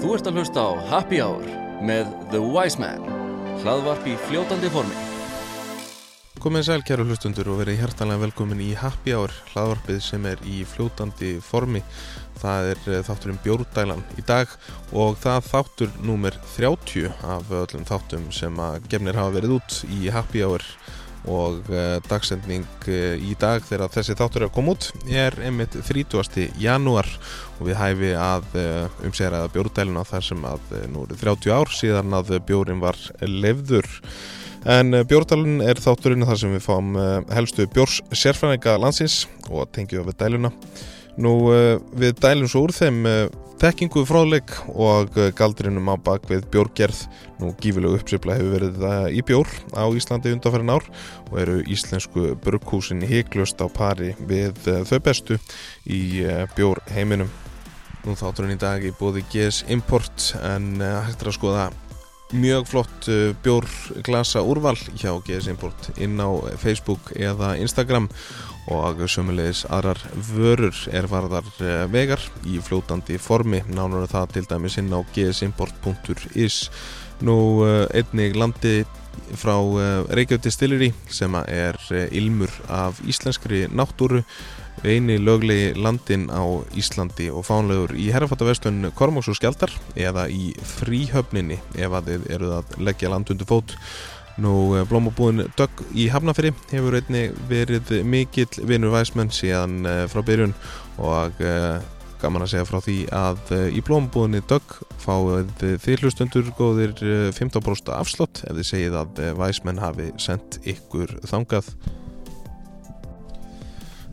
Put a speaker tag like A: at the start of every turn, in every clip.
A: Þú ert að hlusta á Happy Hour með The Wise Man Hlaðvarp í fljótandi formi
B: Komið sæl kæru hlustundur og verið hjertanlega velkomin í Happy Hour, hlaðvarpið sem er í fljótandi formi. Það er eh, þátturinn Bjórdælan í dag og það þáttur númer 30 af öllum þáttum sem að gefnir hafa verið út í Happy Hour og uh, dagsendning uh, í dag þegar þessi þáttur er að koma út er einmitt 30. janúar og við hæfi að uh, umsegraða bjórdæluna þar sem að uh, nú eru 30 ár síðan að bjórin var levður En Bjórdalun er þátturinn þar sem við fáum eh, helstu Bjórs sérfræðinga landsins og tengjum við dæluna. Nú eh, við dælum svo úr þeim eh, þekkingu fróðleik og eh, galdrinum á bak við bjórgerð. Nú gífilegu uppsipla hefur verið það í bjór á Íslandi undanferðin ár og eru íslensku burghúsin heiklust á pari við eh, þau bestu í eh, bjórheiminum. Nú þátturinn í dag í bóði GS Import en eh, hægt er að skoða mjög flott uh, bjórglasa úrval hjá GS Import inn á Facebook eða Instagram og sömulegis aðrar vörur er varðar uh, vegar í fljótandi formi, nánar er það til dæmis inn á gsimport.is Nú uh, einnig landi frá uh, Reykjavík Distillery sem að er uh, ilmur af íslenskri náttúru eini löglegi landin á Íslandi og fánlegur í herrafattaverslun Kormáks og Skjaldar eða í fríhöfninni ef að þið eruð að leggja land undir fót. Nú eh, blómabúðin Dögg í Hafnafyrir hefur einnig verið mikill vinur væsmenn síðan eh, frá byrjun og eh, gaman að segja frá því að eh, í blómabúðinni Dögg fáið þið hlustundur góðir eh, 15% afslott ef þið segið að eh, væsmenn hafi sendt ykkur þangað.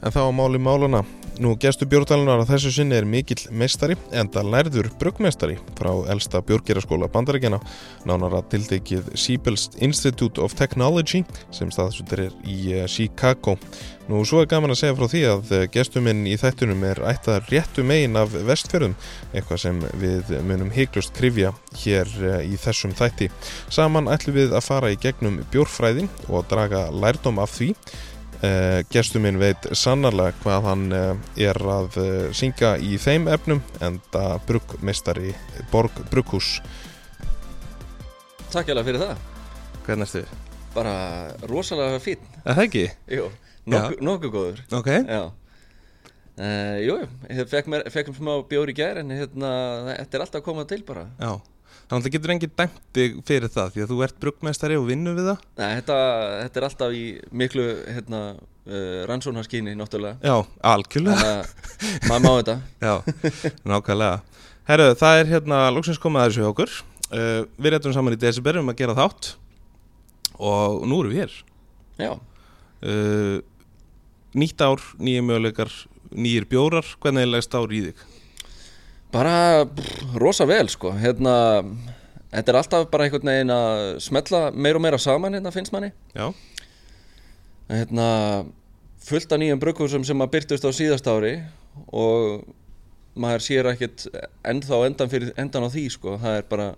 B: En þá að máli málana. Nú, gestur bjórdalunar að þessu sinni er mikill meistari, enda lærður brugmeistari frá elsta bjórgeraskóla bandaríkjana, nánara tiltekið Siebel's Institute of Technology sem staðsvöldur er í eh, Chicago. Nú, svo er gaman að segja frá því að eh, gestuminn í þættunum er ættað réttu megin af vestfjörðum, eitthvað sem við munum heiklust krifja hér eh, í þessum þætti. Saman ætlum við að fara í gegnum bjórfræði og draga lærdóm af því Uh, gestur minn veit sannarlega hvað hann uh, er að uh, syngja í þeim efnum enda bruggmeistari Borg Brugghús
A: Takk hérlega fyrir það
C: Hvernig ertu?
A: Bara rosalega fín
C: Er það ekki?
A: Jú, nokku, nokku góður
C: Ok
A: Já Uh, jú, ég fekk, mér, fekk smá bjór í gær en hérna, þetta er alltaf að koma til bara
C: Já Þannig að það getur enginn dæmt þig fyrir það því að þú ert bruggmeistari og vinnur við það
A: Nei, þetta, þetta er alltaf í miklu hérna, uh, rannsónarskyni náttúrulega
C: Já, algjörlega
A: Þannig að maður má þetta
C: Já, nákvæmlega Herru, það er hérna loksins komið að þessu hjá okkur uh, Við réttum saman í December um að gera þátt Og nú erum við hér
A: Já,
C: uh, Nýtt ár, nýjir möguleikar, nýjir bjórar Hvernig er legst ár í þig?
A: Bara pff, rosa vel sko hérna, Þetta er alltaf bara einhvern veginn að smetla meira og meira saman hérna finnst manni
C: Já,
A: hérna, fullt af nýjum brugghúsum sem að byrtust á síðast ári og maður sér ekkit ennþá endan, fyrir, endan á því sko það er bara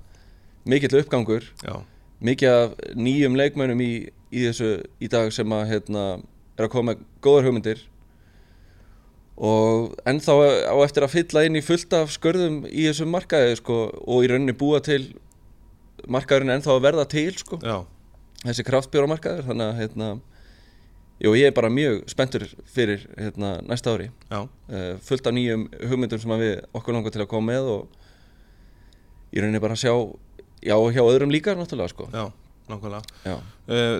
A: mikill uppgangur
C: já,
A: mikið af nýjum leikmönum í, í þessu í dag sem að hérna, er að koma með góðar hugmyndir og ennþá á eftir að fylla inn í fullt af skörðum í þessum markaði sko, og í rauninni búa til markaðurinn ennþá að verða til sko,
C: já
A: þessi kraftbjóramarkaður þannig að hérna, jú, ég er bara mjög spenntur fyrir hérna, næsta ári
C: Já,
A: uh, fullt af nýjum hugmyndum sem að við okkur langar til að koma með og í rauninni bara að sjá já, og hjá öðrum líka náttúrulega sko.
C: já, nákvæmlega
A: Já,
C: Uh,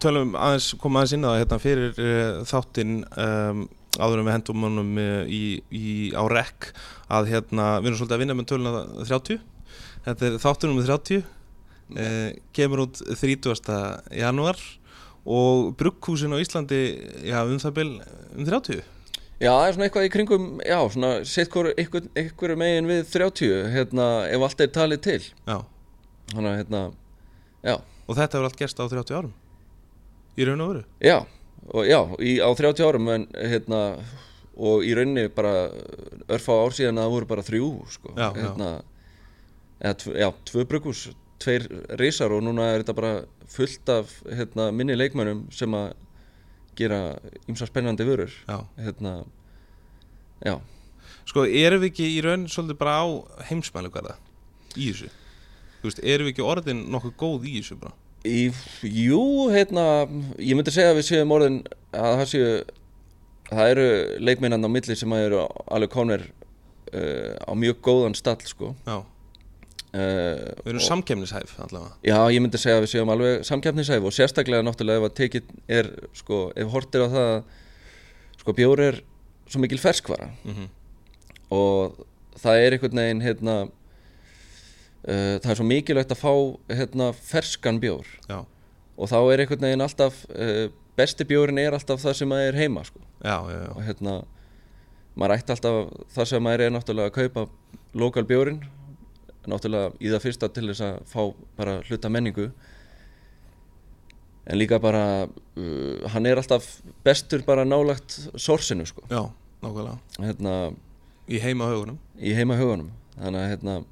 C: tölum aðeins, koma aðeins inn á það hérna fyrir uh, þáttinn um, áður en við hendum honum uh, í, í, á rekk að hérna, við erum svolítið að vinna með töluna 30 þetta er þáttunum með 30 uh, kemur út 30. janúar og brugghúsin á Íslandi já, um það byl um 30
A: já það er svona eitthvað í kringum, já, svona sitt hvort ykkur, ykkur megin við 30, hérna, ef allt er talið til.
C: já.
A: Þannig að, hérna, já,
C: og þetta hefur allt gerst á 30 árum í raun og veru
A: já, og já, í, á 30 árum, en, hérna, og í rauninni bara örfá ár síðan að það voru bara þrjú, sko.
C: Já, já.
A: hérna, Eða, tv- já, tvö brugghús, tveir risar og núna er þetta bara fullt af, hérna, minni leikmönnum sem að gera ymsa spennandi vörur,
C: já.
A: hérna, já.
C: sko, erum við ekki í raun svolítið bara á heimsmælu í þessu þú veist, erum við ekki orðin nokkuð góð í þessu bara
A: Í, jú, hérna, ég myndi segja að við séum orðin að það séu, það eru leikminnan á milli sem að eru alveg konver uh, á mjög góðan stall, sko.
C: já,
A: Uh,
C: við erum samkemnishæf allavega
A: Já, ég myndi segja að við séum alveg samkjafnishæf og sérstaklega náttúrulega ef að tekið er, sko, ef hortir á það að, sko, bjór er svo mikil ferskvara
C: mm -hmm.
A: og það er einhvern veginn, hérna, uh, það er svo mikilvægt að fá, hérna, ferskan bjór
C: já,
A: og þá er einhvern veginn alltaf, uh, besti bjórin er alltaf það sem að er heima, sko,
C: já, já, já.
A: og hérna, maður ætti alltaf það sem maður er náttúrulega að kaupa lokal bjórin náttúrulega í það fyrsta til þess að fá bara hluta menningu en líka bara uh, hann er alltaf bestur bara nálagt sorsinu sko
C: já nákvæmlega,
A: hérna,
C: í heimahugunum
A: í heima hugunum þannig að hérna,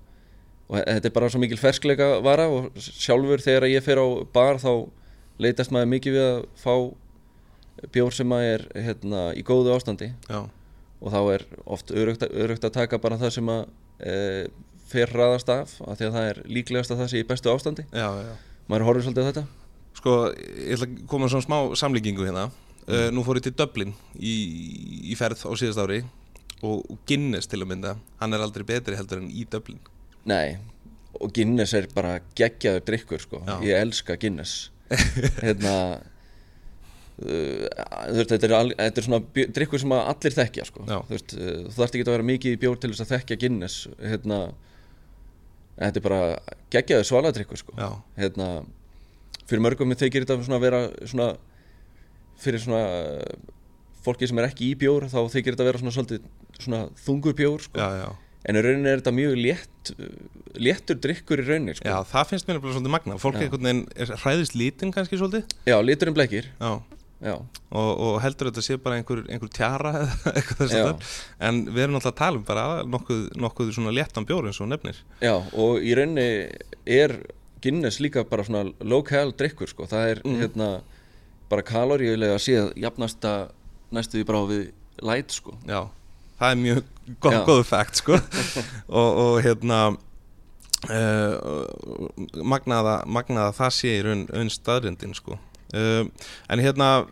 A: og þe- þetta er bara svo mikil ferskleika vara og s- sjálfur þegar ég fer á bar þá leitast maður mikið við að fá bjór sem maður er hérna, í góðu ástandi
C: já,
A: og þá er oft örugt, örugt að taka bara það sem að e, fer raðast af af því að það er líklegast að það sé í bestu ástandi
C: já, já, já.
A: maður horfir svolítið á þetta
C: Sko, ég ætla að koma með svona smá samlíkingu hérna. Uh, nú fór ég til Dublin í, í ferð á síðast ári og og Guinness til að mynda, hann er aldrei betri heldur en í Dublin.
A: nei, og Guinness er bara geggjaður drikkur sko,
C: Já.
A: ég elska Guinness hérna Uh, þú veist, þetta, er al, þetta er svona bjó- drikkur sem að allir þekkja sko.
C: Já.
A: þú veist, uh, þú þarft ekki að vera mikið í bjór til þess að þekkja Guinness hérna, en þetta er bara geggjaður svaladrykkur sko.
C: Já,
A: hérna, fyrir mörgum þykir þetta svona vera svona, fyrir svona eh, fólki sem er ekki í bjór þá þykir þetta vera svona, svolítið, svona þungur bjór sko.
C: já, já.
A: en í rauninni er þetta mjög létt, eh, léttur drikkur í rauninni sko.
C: Já, það finnst mér nefnilega svolítið magna. Fólk
A: Já.
C: einhvern veginn er hræðist lítinn kannski svolítið.
A: já, liturinn blekir
C: Já,
A: já,
C: og, og heldur þetta sé bara einhver, einhver tjara eða eitthvað þess
A: Já.
C: að það. En við erum alltaf að tala um bara nokkuð, nokkuð svona léttan bjór eins og þú nefnir.
A: já, og í rauninni er Guinness líka bara svona lokal drikkur sko. það er hérna bara kaloríulega séð jafnasta næstu því bara á við light sko.
C: Já, það er mjög gó
A: Já.
C: góðu fact sko og, og hérna uh, magnaða, magnaða það sé í raun, raun staðrindin sko uh, en hérna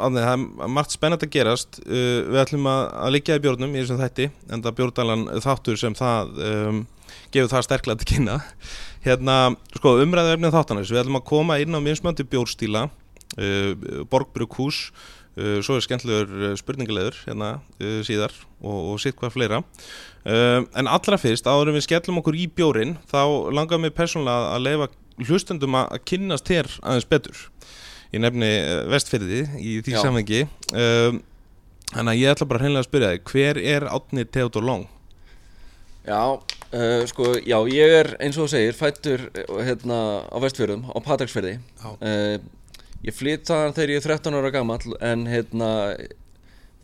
C: Ánið, það er margt spennandi að gerast uh, við ætlum að, að liggja í bjórnum í þessum þætti en það bjórdalan þáttur sem það um, gefur það sterklega til kynna hérna, sko, umræðu efnið þáttanis við ætlum að koma inn á mismöndi bjórstíla uh, borgbrukús uh, svo er skemmtilegur spurningalegur hérna uh, síðar og, og sitt hvað fleira uh, en allra fyrst, áður en við skellum okkur í bjórin þá langar mér persónulega að leifa hlustendum að að kynnast þér aðeins betur ég nefni eh, vestfirði í því
A: Já.
C: samhengi um, þannig að ég ætla bara hreinlega að spyrja þig hver er Átni Theodor Long?
A: Já, uh, sko, já, ég er eins og þú segir fættur eh, hérna, á Vestfjörðum, á Patræksfjörði
C: Já.
A: uh, Ég flytt þaðan þegar ég er 13 ára gamall en hérna,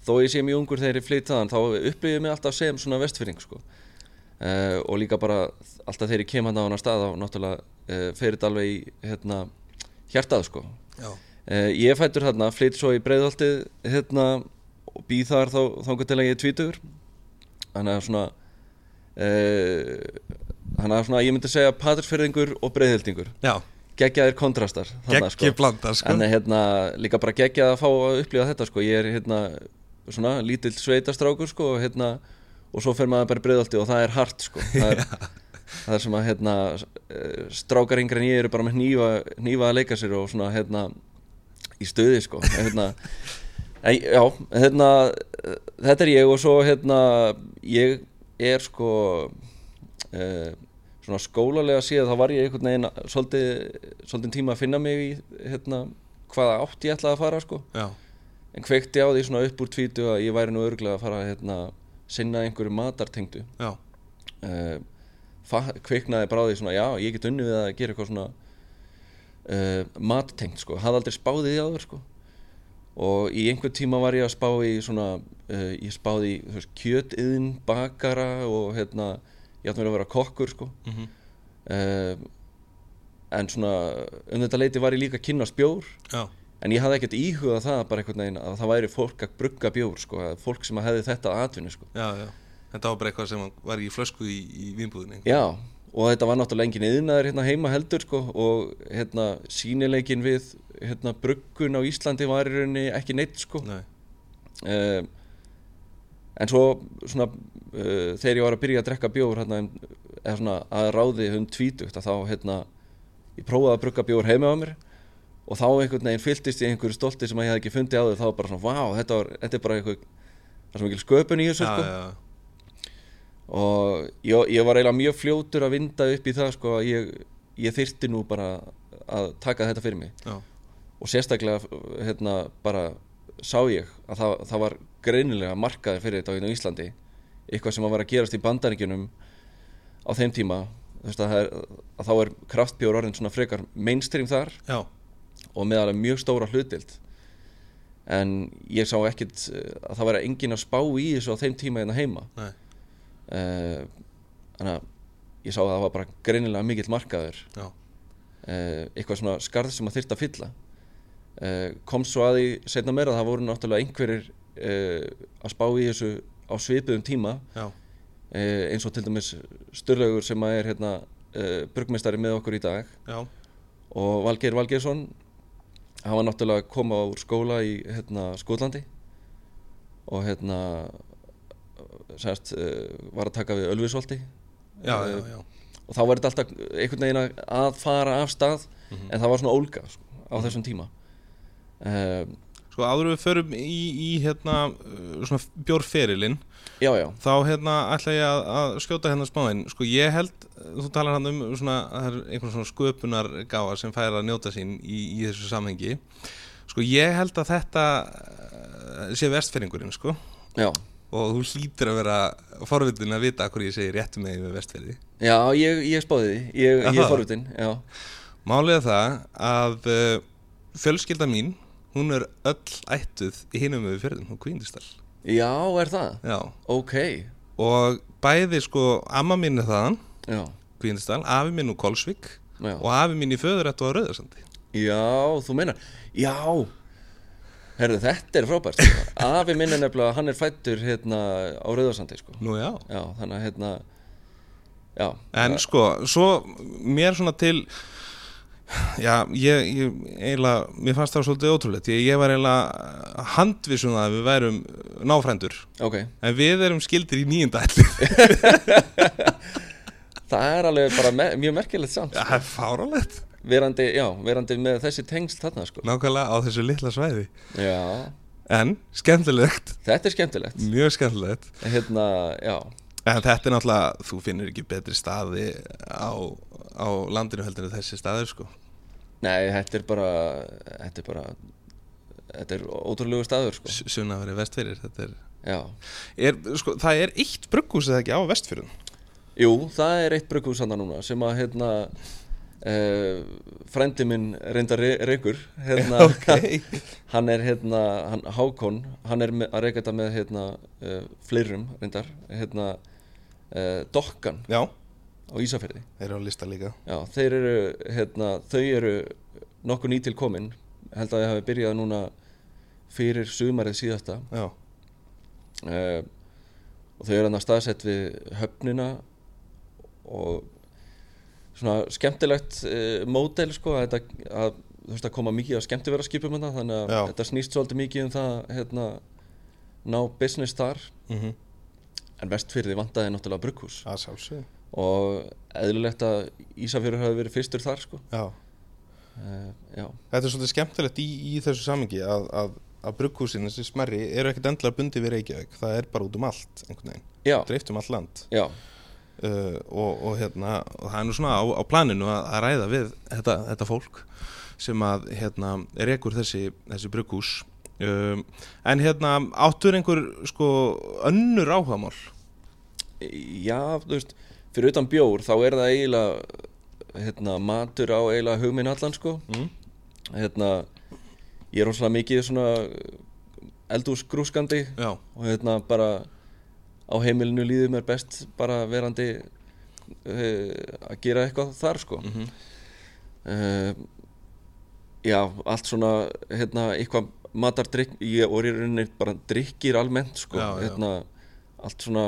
A: þó ég sé mjög ungur þegar ég flytt þaðan þá upplifið mig alltaf sem svona vestfjörðing sko. uh, og líka bara alltaf þegar ég kem hann á hana stað þá náttúrulega uh, fer þetta alveg í hérna, hjartað sko.
C: Já.
A: uh, Ég er fættur þarna, flytt svo í breiðholtið hérna, og býð þar þá, þangar til að ég er tvítugur þannig að svona Eh, Þannig að svona, ég myndi segja patrísfyrðingur og breyðhildingur
C: Já,
A: Geggjaðir kontrastar þarna,
C: geggi blanda sko
A: En hérna, líka bara geggjað að fá að upplifa þetta sko. Ég er hérna, svona, lítill sveitastrákur sko, og, hérna, og svo fer maður bara breyðaldi og það er hart sko. það, er, það er sem að hérna, eh, strákar yngri en ég eru bara með hnífa, hnífa að leika sér og svona hérna, í stöði sko. En, hérna, en, já, hérna, eh, þetta er ég og svo hérna, ég er sko uh, svona skólalega síðan þá var ég einhvern veginn svolítið, svolítið tíma að finna mig í hérna, hvaða átt ég ætlaði að fara sko.
C: Já,
A: en kveikti á því svona upp úr tvítu að ég væri nú örglega að fara að hérna, sinna einhverju matartengdu
C: já,
A: uh, kveiknaði bara á því svona já, ég get unni við að gera eitthvað svona uh, mattengt sko, hafði aldrei spáði því áður sko og í einhver tíma var ég að spá í svona uh, ég spáði í þú veist, kjötiðin bakara og hérna ég átti mér að vera kokkur sko
C: mm
A: uh, en svona um þetta leiti var ég líka að kynna spjór
C: já,
A: en ég hafði ekkert íhugað það bara einhvern veginn að það væri fólk að brugga bjór sko, að fólk sem að hefði þetta að atvinni sko
C: já, já, þetta var bara eitthvað sem var í flösku í, í vinnbúðinni
A: Já, og þetta var náttúrulega engin yðnaður hérna heima heldur sko og hérna sínilegin við hérna bruggun á Íslandi var í rauninni ekki neitt sko
C: Nei.
A: uh, en svo svona uh, þegar ég var að byrja að drekka bjór hérna, um, eða svona að ráði um tvítugt að þá hérna ég prófaði að brugga bjór heima á mér og þá einhvern veginn fylltist ég einhverju stolti sem að ég hafði ekki fundið á þau þá var bara svona, vá, þetta, var, þetta er bara einhver það sem ekki sköpun í þessu
C: Já,
A: sko
C: já, já.
A: og ég, ég var eiginlega mjög fljótur að vinda upp í það sko að ég, ég þyrti nú bara að taka þetta fyrir mig
C: Já.
A: og sérstaklega hérna bara sá ég að það, það var greinilega markaði fyrir þetta á hérna á Íslandi eitthvað sem að vera að gerast í bandaríkjunum á þeim tíma þú veist að, það er, að þá er kraftbjór orðin svona frekar mainstream þar
C: já,
A: og með alveg mjög stóra hlutild en ég sá ekkit eh, að það vera engin að spá í þessu á þeim tíma hérna heima
C: nei,
A: Eh, þannig að ég sá að það var bara greinilega mikill markaður
C: já,
A: uh, eitthvað svona skarð sem að þyrta að fylla uh, kom svo að því setna meira að það voru náttúrulega einhverjir uh, að spá í þessu á svipuðum tíma
C: já,
A: uh, eins og til dæmis Sturlaugur sem að er hérna uh, brugmestari með okkur í dag
C: já,
A: og Valgeir Valgeirsson hann var náttúrulega að koma úr skóla í hérna, Skotlandi og hérna sérst, uh, var að taka við Ölvisvolti
C: já, já, já.
A: og þá var þetta alltaf einhvern veginn að- að fara af stað
C: Mhm.
A: en það var svona ólga sko, á þessum tíma um,
C: Sko áður en við förum í, í hérna uh, svona bjórferilinn
A: já já
C: þá hérna ætla ég að, að skjóta hérna smáinn sko ég held, þú talar hann um svona, það er einhvern svona sköpunar gáa sem fær að njóta sín í, í þessu samhengi sko ég held að þetta eh, sé vestferðingurinn sko
A: já,
C: og þú hlýtir að vera forvitin að vita hvað ég segi rétt um með með vestferði
A: já ég, ég spáði því ég, ég
C: Aha.
A: er forvitin já.
C: málið er það að uh, fjölskylda mín hún er öll ættuð í hinum við fjörðum, hún kvíndistar
A: já, er það?
C: já,
A: ok,
C: og bæði sko amma mín er þaðan
A: já
C: Kvíndistal, afi minn úr Kolsvík
A: Já.
C: og afi minn í föðurættu á Rauðarsandi
A: já, þú meinar, já herðu þetta er frábært sko. afi minn er nefnilega, hann er fættur hérna á Rauðarsandi sko
C: Nú já
A: já, þannig að hérna já,
C: En sko, svo mér svona til Já, ég, ég eiginlega, mér fannst það svolítið ótrúlegt Ég, ég var eiginlega handvissum það að við værum náfrændur
A: ok
C: En við erum skildir í nýjunda ætli
A: það er alveg bara me mjög merkilegt samt
C: Það er fáralegt
A: verandi, já, verandi með þessi tengst þarna sko
C: Nákvæmlega á þessu litla svæði
A: Já,
C: En, skemmtilegt,
A: þetta er skemmtilegt
C: mjög skemmtilegt
A: Hérna, já,
C: En þetta er náttúrulega, þú finnir ekki betri staði á, á landinu heldur en þessi staður sko
A: nei, þetta er bara Þetta er bara Þetta er ótrúlegu staður, sko
C: Sunnafari vestfyrir þetta er,
A: Já,
C: er, sko, það er eitt brugghús eða ekki á vestfyrir
A: jú, það er eitt brugghús hann núna sem að, hérna Uh, frendi minn reyndar re reykur hérna,
C: Ok.
A: hann er hérna hann, Hákon, hann er með, að reyka þetta með hérna, uh, fleirum reyndar hérna, uh, Dokkan
C: já,
A: á Ísafirði
C: þeir eru á lista líka
A: Já, þeir eru, hérna, þau eru nokkuð nýtil komin held að ég hafi byrjað núna fyrir sumarið síðasta
C: já,
A: uh, og þau eru hann að staðsett við höfnina og svona skemmtilegt uh, mótel sko að, þetta, að þú veist að koma mikið að skemmtivera skipum þetta þannig að
C: Já.
A: þetta snýst svolítið mikið um það að, hérna, ná business þar
C: mm -hmm.
A: en vestfyrði vantaði náttúrulega brugghús
C: að sjálfsög
A: og eðlilegt að Ísafjörður hafi verið fyrstur þar sko
C: já.
A: uh, já
C: þetta er svolítið skemmtilegt í, í þessu samingi að, að, að brugghúsin, þessi smerri, eru ekkert endilega bundið við Reykjavík, það er bara út um allt einhvern veginn,
A: Já,
C: dreift um allt land
A: já,
C: uh, og, og hérna og það er nú svona á, á planinu að, að ræða við þetta, þetta fólk sem að hérna rekur þessi, þessi brugghús um, en hérna áttur einhver sko önnur áhagamál
A: já, þú veist, fyrir utan bjór þá er það eiginlega hérna, matur á eiginlega hugminn allan sko
C: Mm.
A: hérna, ég er óslega mikið svona eldúsgrúskandi
C: já,
A: og hérna bara á heimilinu líður mér best bara verandi uh, að gera eitthvað þar sko mm
C: Mhm.
A: já, allt svona hérna, eitthvað matar drikk, ég og ég er rauninni bara drikkir almennt sko,
C: Já, já.
A: hérna allt svona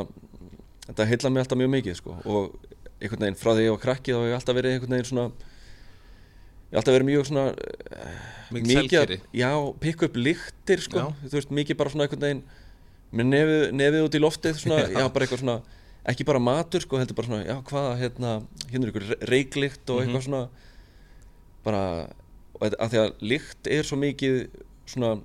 A: þetta heilla mig alltaf mjög mikið sko. og einhvern veginn frá því ég var krakki þá hef ég alltaf verið einhvern veginn svona ég hef alltaf verið mjög svona eh,
C: Mikið
A: að-
C: selgeri.
A: já, pikka upp lyktir sko.
C: Já.
A: þú veist, mikið bara svona einhvern veginn með nefið, nefið út í loftið svona, já. bara eitthvað svona, ekki bara matur sko, heldur bara svona, já hvað, hérna hérna er ykkur reiklikt og eitthvað svona bara, og þetta- af því að lykt er svo mikið svona,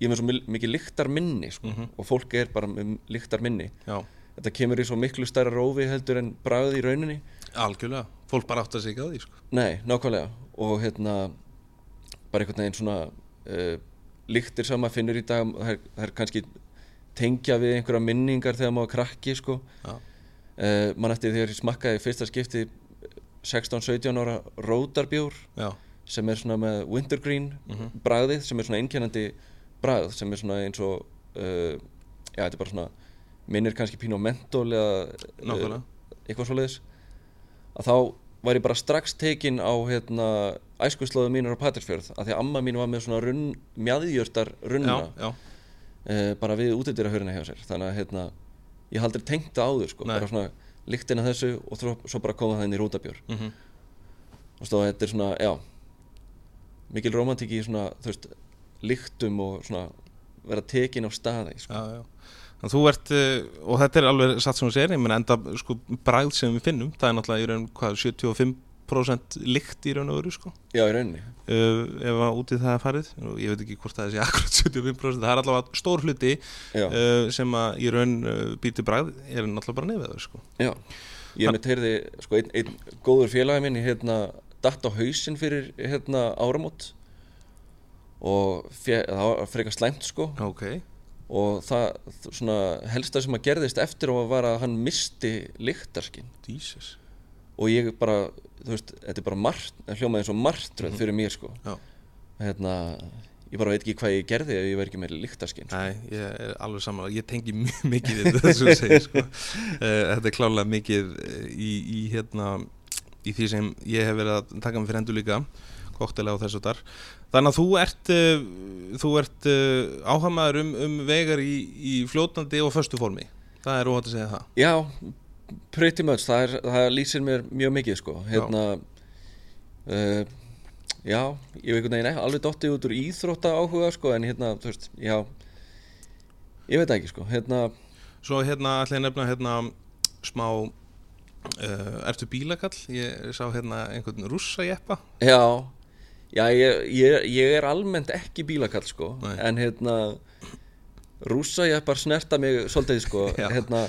A: ég er með svo mil- mikið lyktar minni sko, og fólk er bara með lyktar minni
C: já,
A: þetta kemur í svo miklu stærra rófi heldur en bragði í rauninni
C: algjörlega fólk bara átt að sig ekki á því sko.
A: Nei, nákvæmlega og hérna bara einhvern veginn svona uh, líktir sem maður finnur í dag það er, það er kannski tengja við einhverja minningar þegar maður var krakki sko.
C: já,
A: uh, mann eftir þegar ég smakkaði í fyrsta skipti 16-17 ára rótarbjór
C: já,
A: sem er svona með wintergreen
C: Mhm.
A: bragðið sem er svona einkennandi bragð sem er svona eins og uh, já, þetta er bara svona minnir kannski pínu á mentól eða
C: Nákvæmlega.
A: eh, eitthvað svoleiðis að þá var ég bara strax tekin á hérna, æskuslóðu mínur á Patrísfjörð að því að amma mín var með svona runn, mjadjörtar
C: já,
A: runna
C: já,
A: uh, bara við útindir að hjá sér þannig að hérna, ég haldur tengt það áður sko,
C: Nei.
A: bara svona lyktin af þessu og þró, svo bara koma það inn í rútabjór
C: mm
A: og stóð að þetta er svona, já mikil romantík í svona, þú veist lyktum og svona vera tekin á staði, sko.
C: já, já. En Þú ert, eh, og þetta er alveg satt sem þú segir, ég menn enda sko bræð sem við finnum, það er náttúrulega í raun hvað, 75% lykt í raun og veru sko.
A: já, í rauninni
C: uh, ef að út í það er farið og ég veit ekki hvort það sé akkurat 75% það er allavega stór hluti
A: Já.
C: uh, sem að í raun uh, býti bragð er náttúrulega bara nefið sko.
A: já. ég mitt heyrði, sko, einn ein, góður félagi minn hérna, datt á hausinn fyrir hérna, áramót og fe, það var frekar slæmt, sko
C: ok,
A: og það, svona, helsta sem að gerðist eftir á var að hann misti lyktarskinn
C: Jesus
A: og ég bara, þú veist, þetta er bara margt, hljómaði eins og martröð fyrir mér, sko
C: Já.
A: hérna, ég bara veit ekki hvað ég gerði ef ég verð ekki með lyktarskinn sko.
C: Nei, ég er alveg samanlega, ég tengi mjög mikið við þetta sem þú segir sko. uh, þetta er klálega mikið eh, í, í, hérna, í því sem ég hef verið að taka mig fyrir hendur líka koktelega á þessu þar þannig að þú ert, uh, þú ert uh, áhamaður um, um vegar í, í fljótandi og föstu formi það er óhætt að segja það
A: Já, pretty much það, er, það lýsir mér mjög mikið sko. hérna já. já, ég veit einhvern veginn ekki alveg dottið út úr íþrótta áhuga sko, en hérna, þú veist, já ég veit það ekki, sko, hérna
C: Svo hérna ætla ég að nefna hérna smá uh, Ertu bílakall? Ég sá hérna einhvern rússa jeppa
A: Já, já ég, ég, ég er almennt ekki bílakall sko
C: Nei.
A: En hérna Rúsa jeppa snerta mig svolítið sko
C: Já.
A: Hérna,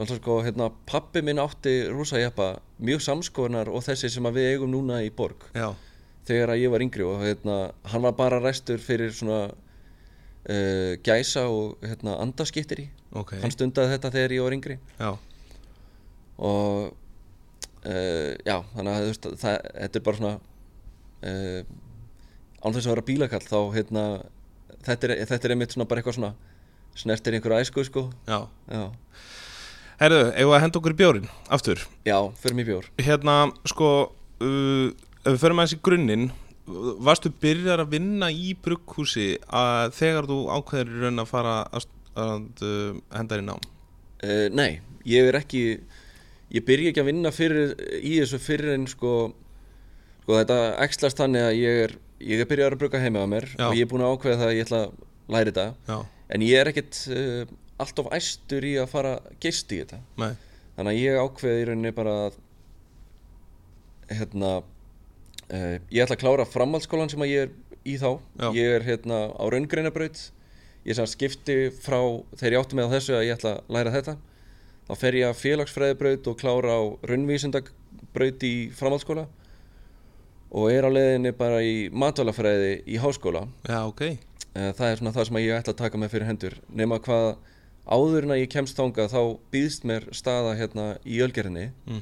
A: alltaf, sko, hérna Pappi minn átti rúsa jeppa Mjög samskonar og þessi sem að við eigum núna í borg
C: Já,
A: Þegar að ég var yngri og hérna Hann var bara ræstur fyrir svona uh, Gæsa og hérna andaskiptir í
C: ok
A: Hann stundaði þetta þegar ég var yngri
C: Já,
A: og uh, já, þannig að þú veist, það, þetta er bara svona uh, án þess að vera bílakall þá hérna, þetta er, þetta er einmitt svona bara eitthvað svona snertir einhverja æsku sko
C: já
A: já,
C: Herðu, eigum við að henda okkur í bjórin, aftur
A: já fyrir mig bjór
C: Hérna, sko uh, Ef við förum aðeins í grunninn uh, Varstu byrjar að vinna í brugghúsi að þegar þú ákveður í raun að fara að, að uh, henda þér í nám?
A: uh, nei, ég er ekki ég byrja ekki að vinna fyrir, í þessu fyrir en sko, sko þetta ekslast þannig að ég er ég er byrjað að bruka heima á mér
C: Já.
A: og ég er búin að ákveða það að ég ætla að læra þetta
C: Já,
A: en ég er ekkit uh, alltof æstur í að fara gist í þetta
C: nei,
A: Þannig að ég ákveði í rauninni bara að hérna uh, ég ætla að klára framhaldsskólan sem að ég er í þá
C: Já.
A: ég er hérna á raungreinabraut ég sem sagt skipti frá þegar ég átti með á þessu að ég ætla að læra þetta þá fer ég að félagsfræðibraut og klára á raunvísindabraut í framhaldsskóla og er á leiðinni bara í matvælafræði í háskóla
C: já, ok
A: Eh, það er svona það sem ég ætla að taka með fyrir hendur nema hvað áður en að ég kemst þangað þá býðst mér staða hérna í ölgerinni
C: Mm.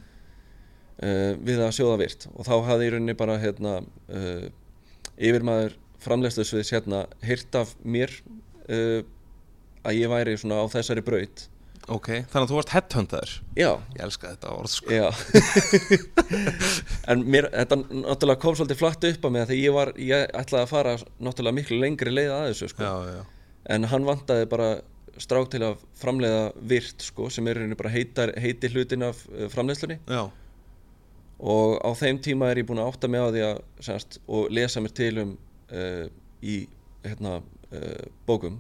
A: eh, við að sjóða virt og þá hafði ég í rauninni bara hérna uh, yfirmaður framleiðslusviðs hérna heyrt af mér uh, að ég væri svona á þessari braut
C: Ok, þannig að þú varst headhunter
A: já,
C: Ég elska þetta orð, sko
A: já en mér, þetta náttúrulega kom svolítið flatt upp að mig því ég var, ég ætlaði að fara náttúrulega miklu lengri leið að þessu sko
C: Já, já,
A: en hann vantaði bara strák til að framleiða virt sko, sem er í rauninni bara heitar, heiti hlutin af eh, framleiðslunni
C: já,
A: og á þeim tíma er ég búin að átta mig á því að semst, og lesa mér til um uh, í hérna, uh, bókum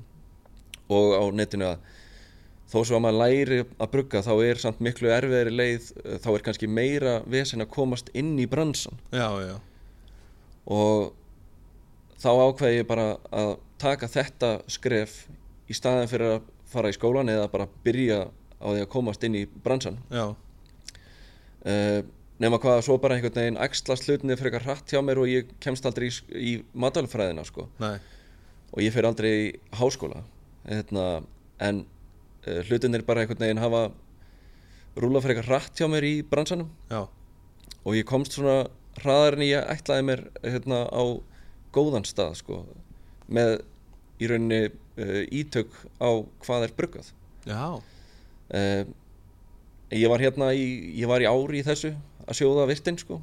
A: og á netinu að þó svo að maður læri að brugga þá er samt miklu erfiðari leið eh, þá er kannski meira vesen að komast inn í bransan
C: já, já,
A: og þá ákveði ég bara að taka þetta skref í staðin fyrir að fara í skólan eða bara byrja á því að komast inn í bransan
C: já,
A: uh, nema hvað svo bara einhvern veginn axlast hlutinni frekar hratt hjá mér og ég kemst aldrei í, í matalfræðina sko
C: nei,
A: og ég fer aldrei í háskóla hérna, en uh, hlutinir bara einhvern veginn hafa rúla frekar hratt hjá mér í bransanum
C: já,
A: og ég komst svona hraðar en ég ætlaði mér hérna á góðan stað sko með í rauninni uh, ítök á hvað er bruggað
C: já,
A: uh, ég var hérna í, ég var í ári í þessu að sjóða virtin sko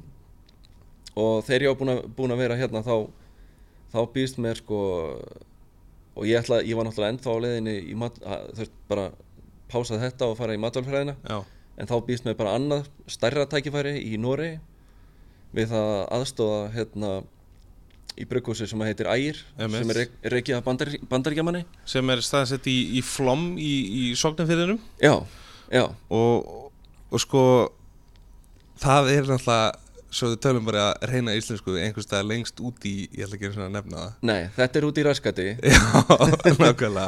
A: og þegar ég var búin að, búin að vera hérna þá þá býðst mér sko og ég, ætla, ég var náttúrulega ennþá á leiðinni í mat, að, þú veist bara pásaði þetta og fara í matvælfræðina
C: já,
A: en þá býðst mér bara annað stærra tækifæri í Noregi við það að aðstóða hérna í brugghúsi sem heitir Ægir
C: Einmitt.
A: sem er rek- rekið af bandar, bandaríkjamanni
C: sem er staðsett í, í flom í, í sognafyrðinum
A: já, já,
C: og, og sko það er náttúrulega svo við tölum bara að reyna íslensku einhvers staðar lengst út í, ég ætla ekki einu sinni að nefna það
A: nei, þetta er út í raskati
C: Já, nákvæmlega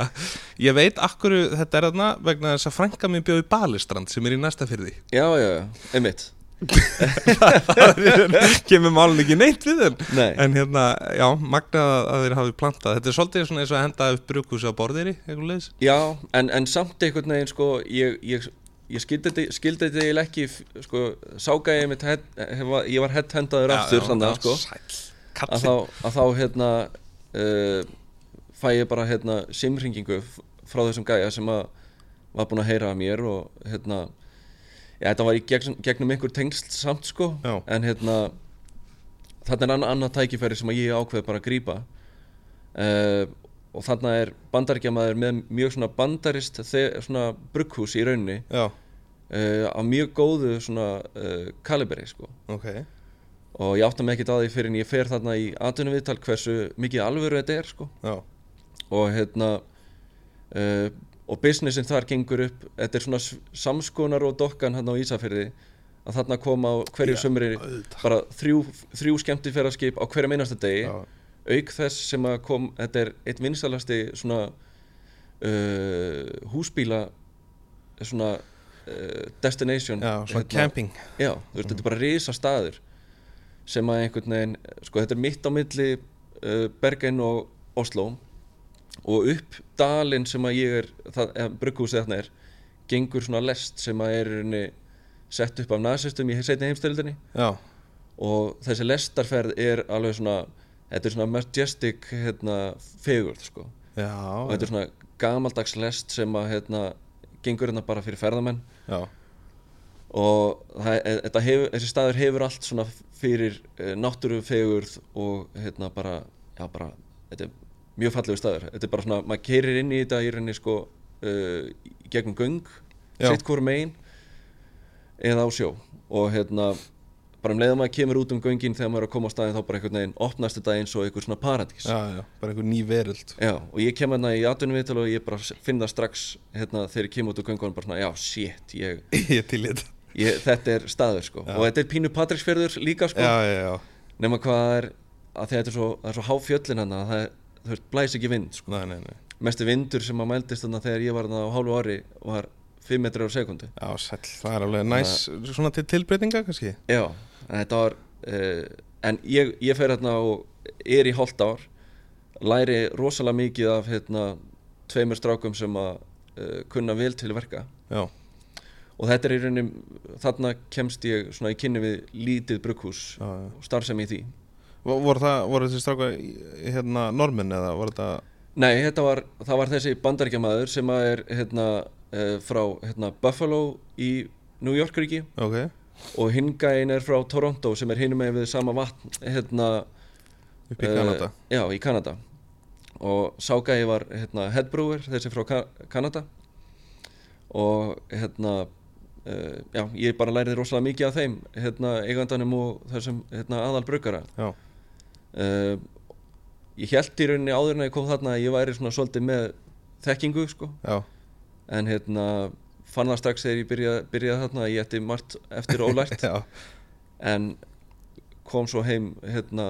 C: Ég veit akkur þetta er þarna vegna þess að frænka mín bjóði Balistrand sem er í næsta fyrði
A: já, já, já, einmitt
C: kemur málun ekki neitt við þeim
A: Nei.
C: en hérna, já, magnað að- að þeir hafi plantað þetta er svolítið svona eins og að henda upp brugghúsi á borðiri, eitthvað leiðis
A: Já, en, en samt einhvern veginn sko, ég, ég, ég skildi þetta- skildi þetta eiginlega ekki f- sko, ságæði mitt head, hefa, ég var headhendaður aftur þannig að sko að
C: Kalli,
A: þá, að þá hérna uh, fæ ég bara hérna simringingu f- frá þessum gæja sem að var búin að heyra að mér og hérna já, þetta var í gegn, gegnum einhver tengsl samt sko
C: Já.
A: en hérna þarna er annað, annað tækifæri sem að ég ákveð bara að grípa uh, og þarna er bandaríkjamaður með mjög svona bandarist þe- svona brugghús í rauninni
C: já,
A: uh, á mjög góðu svona uh, kaliberi sko
C: ok
A: og ég átta mig ekkert að því fyrir en ég fer þarna í atvinnum viðtal hversu mikið alvöru þetta er sko
C: já,
A: og hérna uh, og businessin þar gengur upp þetta er svona s- samskonar og dokkan hérna á Ísafyrði að þarna koma á hverju sömri bara þrjú, þrjú skemmtifæraskip á hverjum einasta degi
C: Já.
A: auk þess sem að kom þetta er eitt vinstalasti svona uh, húsbíla svona uh, destination
C: já, svona
A: hérna,
C: camping
A: Já, þú veist, þetta er bara risa staður sem að einhvern veginn, sko þetta er mitt á milli uh, Bergen og Oslo og upp dalinn sem að ég er, það, eða brugghúsið þarna er, gengur svona lest sem að er í rauninni sett upp af nasistum í setni heimstöldinni
C: já,
A: og þessi lestarferð er alveg svona, þetta er svona majestic hérna, fegurð sko
C: já,
A: og þetta er svona gamaldags lest sem að hérna, gengur hérna bara fyrir ferðamenn
C: já,
A: og það, e- þetta hefur, þessi staður hefur allt svona fyrir e, náttúrufegurð og hérna bara, já bara, þetta er mjög fallegu staður, þetta er bara svona, maður keirir inn í þetta í rauninni sko e, í gegnum göng,
C: Já.
A: sitt hvort megin eða á sjó og hérna, bara um leiðum maður kemur út um göngin þegar maður er að koma á staðin þá bara einhvern veginn opnast þetta eins og einhver svona paradís
C: já, já, bara einhver ný veröld
A: Já, og ég kem hérna í atvinnum viðtal og ég bara s- finn það strax hérna þegar ég kem út úr göngunum bara svona, já, shit, ég
C: ég er til í þetta
A: ég, þetta er staður sko og þetta er pínu Patricksfjörður líka sko
C: já, já, já,
A: nema hvað það er að því að þetta er svo, það er svo háfjöllin hann að það er, þú veist, blæs ekki vind sko.
C: nei, nei, nei
A: mesti vindur sem að mældist þannig þegar ég var hann á hálfu ári var 5 metrar á sekundu
C: Já, sæll, það er alveg næs, svona til tilbreytinga kannski
A: já, en þetta var uh, en ég, ég fer hérna og er í hálft ár læri rosalega mikið af hérna tveimur strákum sem að uh, kunna vel til verka
C: Já,
A: og þetta er í rauninni þarna kemst ég svona í kynni við lítið brugghús
C: Já, já.
A: og starfsemi í því
C: Vo- voru, það, voru þessi stráka hérna normin eða voru þetta
A: Nei, þetta var, það var þessi bandaríkjamaður sem að er hérna, uh, frá hérna, Buffalo í New York-ríki
C: ok,
A: og hingæin er frá Toronto sem er hinum með við sama vatn hérna,
C: upp í
A: eh,
C: Kanada
A: Já, í Kanada og ságæði var hérna, headbrewer, þessi frá Ka Kanada og hérna uh, já, ég bara læriði rosalega mikið af þeim hérna, eigandanum og þessum hérna, aðal brugara
C: já,
A: uh, ég held í rauninni áður en að ég kom þarna að ég væri svona svolítið með þekkingu sko
C: já,
A: en hérna fann það strax þegar ég byrjaði, byrjaði þarna að ég ætti margt eftir ólært
C: já,
A: en kom svo heim hérna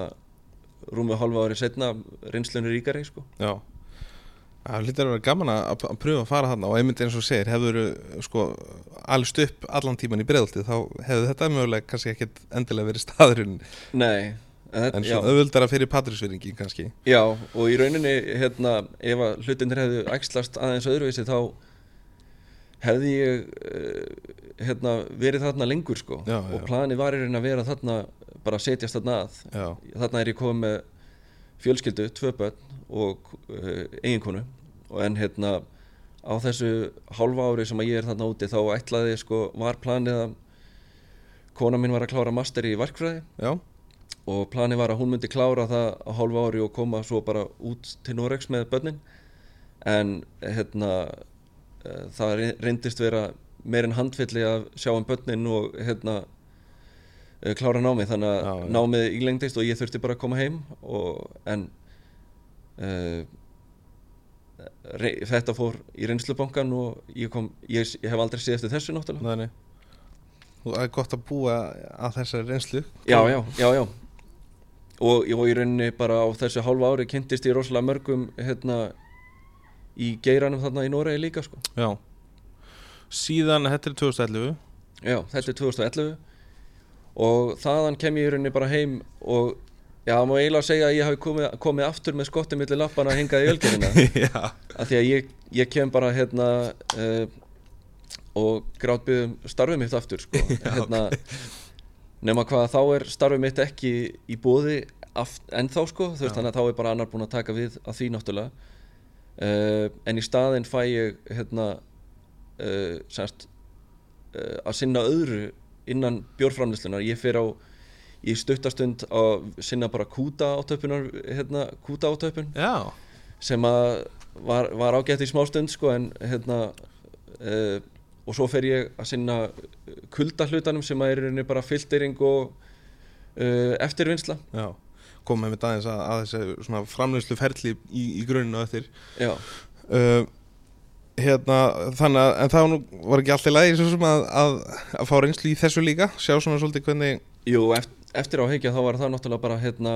A: rúmið hálfa ári setna reynslunni ríkari sko
C: já. Það lítur að vera gaman að, að að pröfa að fara þarna og einmitt eins og þú segir, hefur sko allst upp allan tíman í breðaltið þá hefur þetta mögulega kannski ekkit endilega verið staðurinn
A: Nei, en, þetta-
C: en
A: já,
C: svona auðvöldara fyrir patrísveringi kannski
A: já, og í rauninni hérna, ef að hlutinir hefðu æxlast aðeins öðruvísi þá hefði ég uh, hérna, verið þarna lengur sko
C: Já, já.
A: og planið var í rauninni að vera þarna bara að setjast þarna að
C: Já,
A: þarna er ég komið með fjölskyldu, tvö börn og uh, eiginkonu og en hérna á þessu hálfa ári sem að ég er þarna úti þá ætlaði ég sko var planið að kona mín var að klára master í verkfræði
C: já,
A: og planið var að hún myndi klára það á hálfa ári og koma svo bara út til Norex með börnin en hérna eh, það reyn- reyndist vera meir en handfylli að sjá um börnin og hérna eh, klára námið þannig að
C: Já, já.
A: námið ílengdist og ég þurfti bara að koma heim og, en uh, rey, þetta fór í reynslubankan og ég kom ég, ég hef aldrei séð eftir þessu náttúrulega
C: næni Og það er gott að búa að þessari reynslu
A: já, já, já, já. Og, og í rauninni bara á þessu hálfa ári kynntist ég rosalega mörgum hérna, í geiranum þarna í Noregi líka sko.
C: Já Síðan, þetta er 2011
A: já, þetta er 2011 og þaðan kem ég í rauninni bara heim og já, það má eiginlega segja að ég hafi komið, komið aftur með skottið millir lappana hingað í ölgerina
C: Já,
A: af því að ég, ég kem bara hérna uh, og grátbyðum starfið mitt aftur sko. hérna, nema hvað þá er starfið mitt ekki í bóði ennþá sko, þú veist
C: Já.
A: þannig að þá er bara annar búin að taka við að því náttúrulega uh, en í staðinn fæ ég hérna uh, semst uh, að sinna öðru innan bjórframlislunar ég fer á í stuttastund að sinna bara kúta átöpunar hérna, kúta átöpun
C: já,
A: sem að var, var ágætt í smástund sko en hérna uh, og svo fer ég að sinna kulda hlutanum sem að er í rauninni bara filtering og uh, eftirvinnsla
C: já Komum við aðeins að, að þessi svona framleyslu ferli í, í gruninu og eftir
A: já,
C: uh, Hérna, þannig að En það var, nú, var ekki allt í lagi Svo sem að, að, að fá reynslu í þessu líka Sjá svona svolítið hvernig
A: jú, eftir, eftir á heikja þá var það náttúrulega bara hérna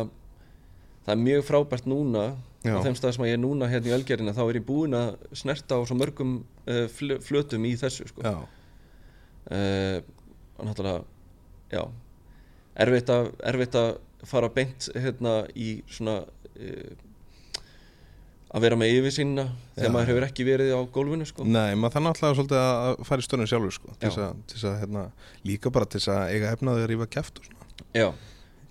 A: það er mjög frábært núna
C: Já.
A: á þeim stað sem að ég er núna hérna í Ölgerina þá er ég búinn að snerta á svo mörgum uh, fl flötum í þessu sko
C: Já,
A: uh, náttúrulega já, erfitt að erfitt að fara beint hérna í svona uh, að vera með yfirsýnina
C: Já.
A: þegar maður hefur ekki verið á gólfinu sko.
C: nei, maður þannig alltaf svolítið að fara í störnum sjálfur sko, til
A: Já.
C: þess að, til þess að hérna, líka bara til þess að eiga efnaði að rífa kæft og sko. svona
A: já,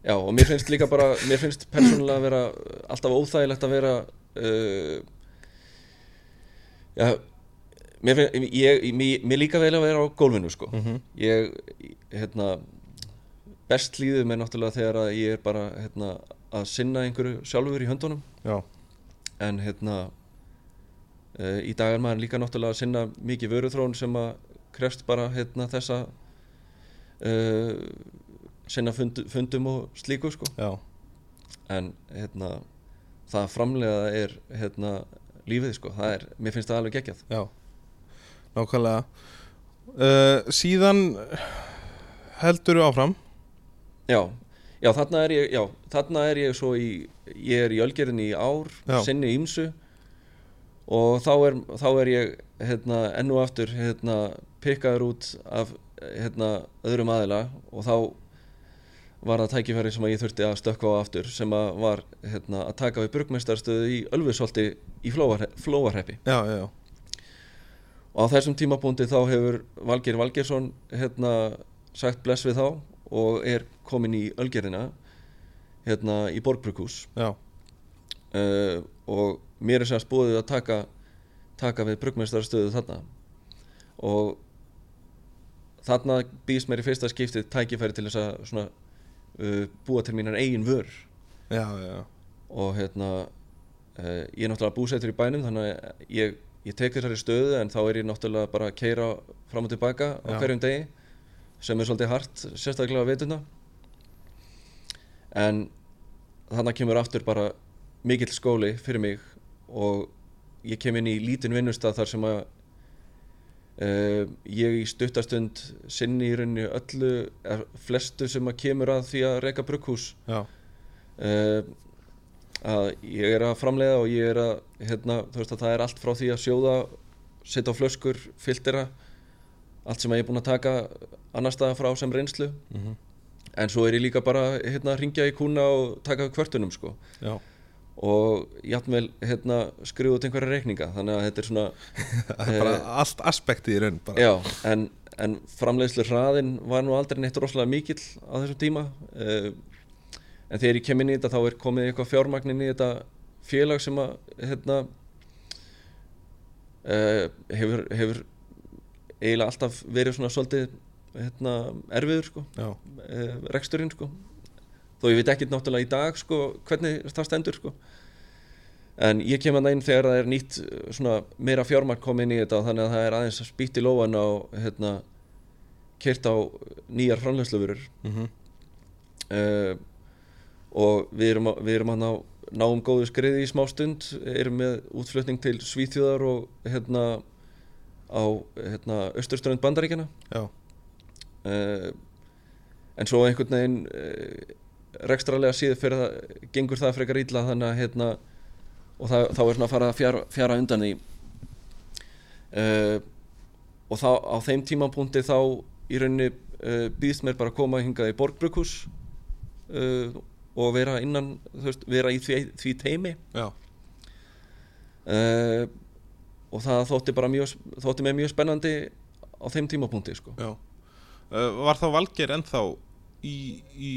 A: já, og mér finnst líka bara mér finnst persónulega að vera alltaf óþægilegt að vera uh, já mér, finn, ég, mér, mér líka vel að vera á gólfinu sko.
C: -hmm.
A: ég hérna best líður mér náttúrulega þegar að ég er bara hérna, að sinna einhverju sjálfur í höndunum
C: Já,
A: en hérna uh, í dag er maður líka náttúrulega að sinna mikið vöruþrón sem að krefst bara hérna þessa uh, sinna fund, fundum og slíku sko
C: já,
A: en hérna það að framlega er hérna lífið sko, það er, mér finnst það alveg geggjað
C: já Nákvæmlega uh, Síðan heldur þú áfram
A: Já, já þarna er ég, já, þarna er ég svo í, ég er í ölgerðinni í ár,
C: Já.
A: sinni ímsu og þá er, þá er ég hérna enn og aftur hérna pikkaður út af hérna öðrum aðila og þá var það tækifæri sem að ég þurfti að stökkva á aftur sem að var hérna að taka við burgmestarstöðu í Ölfusholti í Flóarhe- Flóarhreppi
C: Já, já, já,
A: og á þessum tímabúndi þá hefur Valgeir Valgeirsson hérna sagt bless við þá og er komin í Ölgerðina hérna í Borgbrukhús
C: já,
A: uh, og mér er semst búið að taka taka við brugmestarstöðu þarna og þarna býðst mér í fyrsta skiptið tækifæri til þess að svona, eh, uh, búa til mínar eigin vör
C: já, já,
A: og hérna Uh, ég er náttúrulega búsettur í bænum þannig að ég, ég tek þessari stöðu en þá er ég náttúrulega bara að keira fram og tilbaka á
C: Já.
A: hverjum degi sem er svolítið hart, sérstaklega að veituna en þannig kemur aftur bara mikill skóli fyrir mig og ég kem inn í lítinn vinnustað þar sem að uh, ég í stuttastund sinni í rauninni öllu er, flestu sem að kemur að því að reyka brugghús
C: já,
A: uh, að ég er að framleiða og ég er að, hérna, þú veist að það er allt frá því að sjóða, setja á flöskur, filtera, allt sem ég er búinn að taka annar staðar frá sem reynslu,
C: mhm,
A: en svo er ég líka bara, hérna, að ringja í kúna og taka kvörtunum, sko,
C: já,
A: og játmvel, hérna, skrifa út einhverja reikninga, þannig að þetta er svona, eh,
C: það er bara allt aspekti í raun bara.
A: já, en, en framleiðslu hraðin var nú aldrei neitt rosalega mikill á þessum tíma uh, en þegar ég kem inn í þetta þá er komið eitthvað fjármagn inn í þetta félag sem að hérna, uh, hefur, hefur eiginlega alltaf verið svona svolítið hérna, erfiður sko,
C: já,
A: uh, reksturinn sko. þó ég veit ekkert náttúrulega í dag sko, hvernig það stendur sko. en ég kem að inn þegar það er nýtt eh, svona, meira fjármagn komið inn í þetta þannig að það er aðeins að spýtt í lóan á hérna, kert á nýjar framleysluvörur
C: mhm,
A: uh, og við erum, að- við erum að ná, náum góðu skriði í smá stund erum með útflutning til Svíþjóðar og hérna á hérna, austurströnd bandaríkjana
C: já,
A: uh, en svo einhvern veginn uh, rekstralega síður fyrir það gengur það frekar illa þannig að hérna, og það, þá er svona að fara að fjara, fjara undan því uh, og þá á þeim tímapunkti þá í rauninni uh, býðst mér bara að koma hingað í Borgbrukus uh, og vera innan þú veist, vera í því, því teimi
C: já,
A: uh, og það þótti bara mjög þótti mér mjög spennandi á þeim tímapunkti sko.
C: já. Uh, var þá Valgeir ennþá í, í,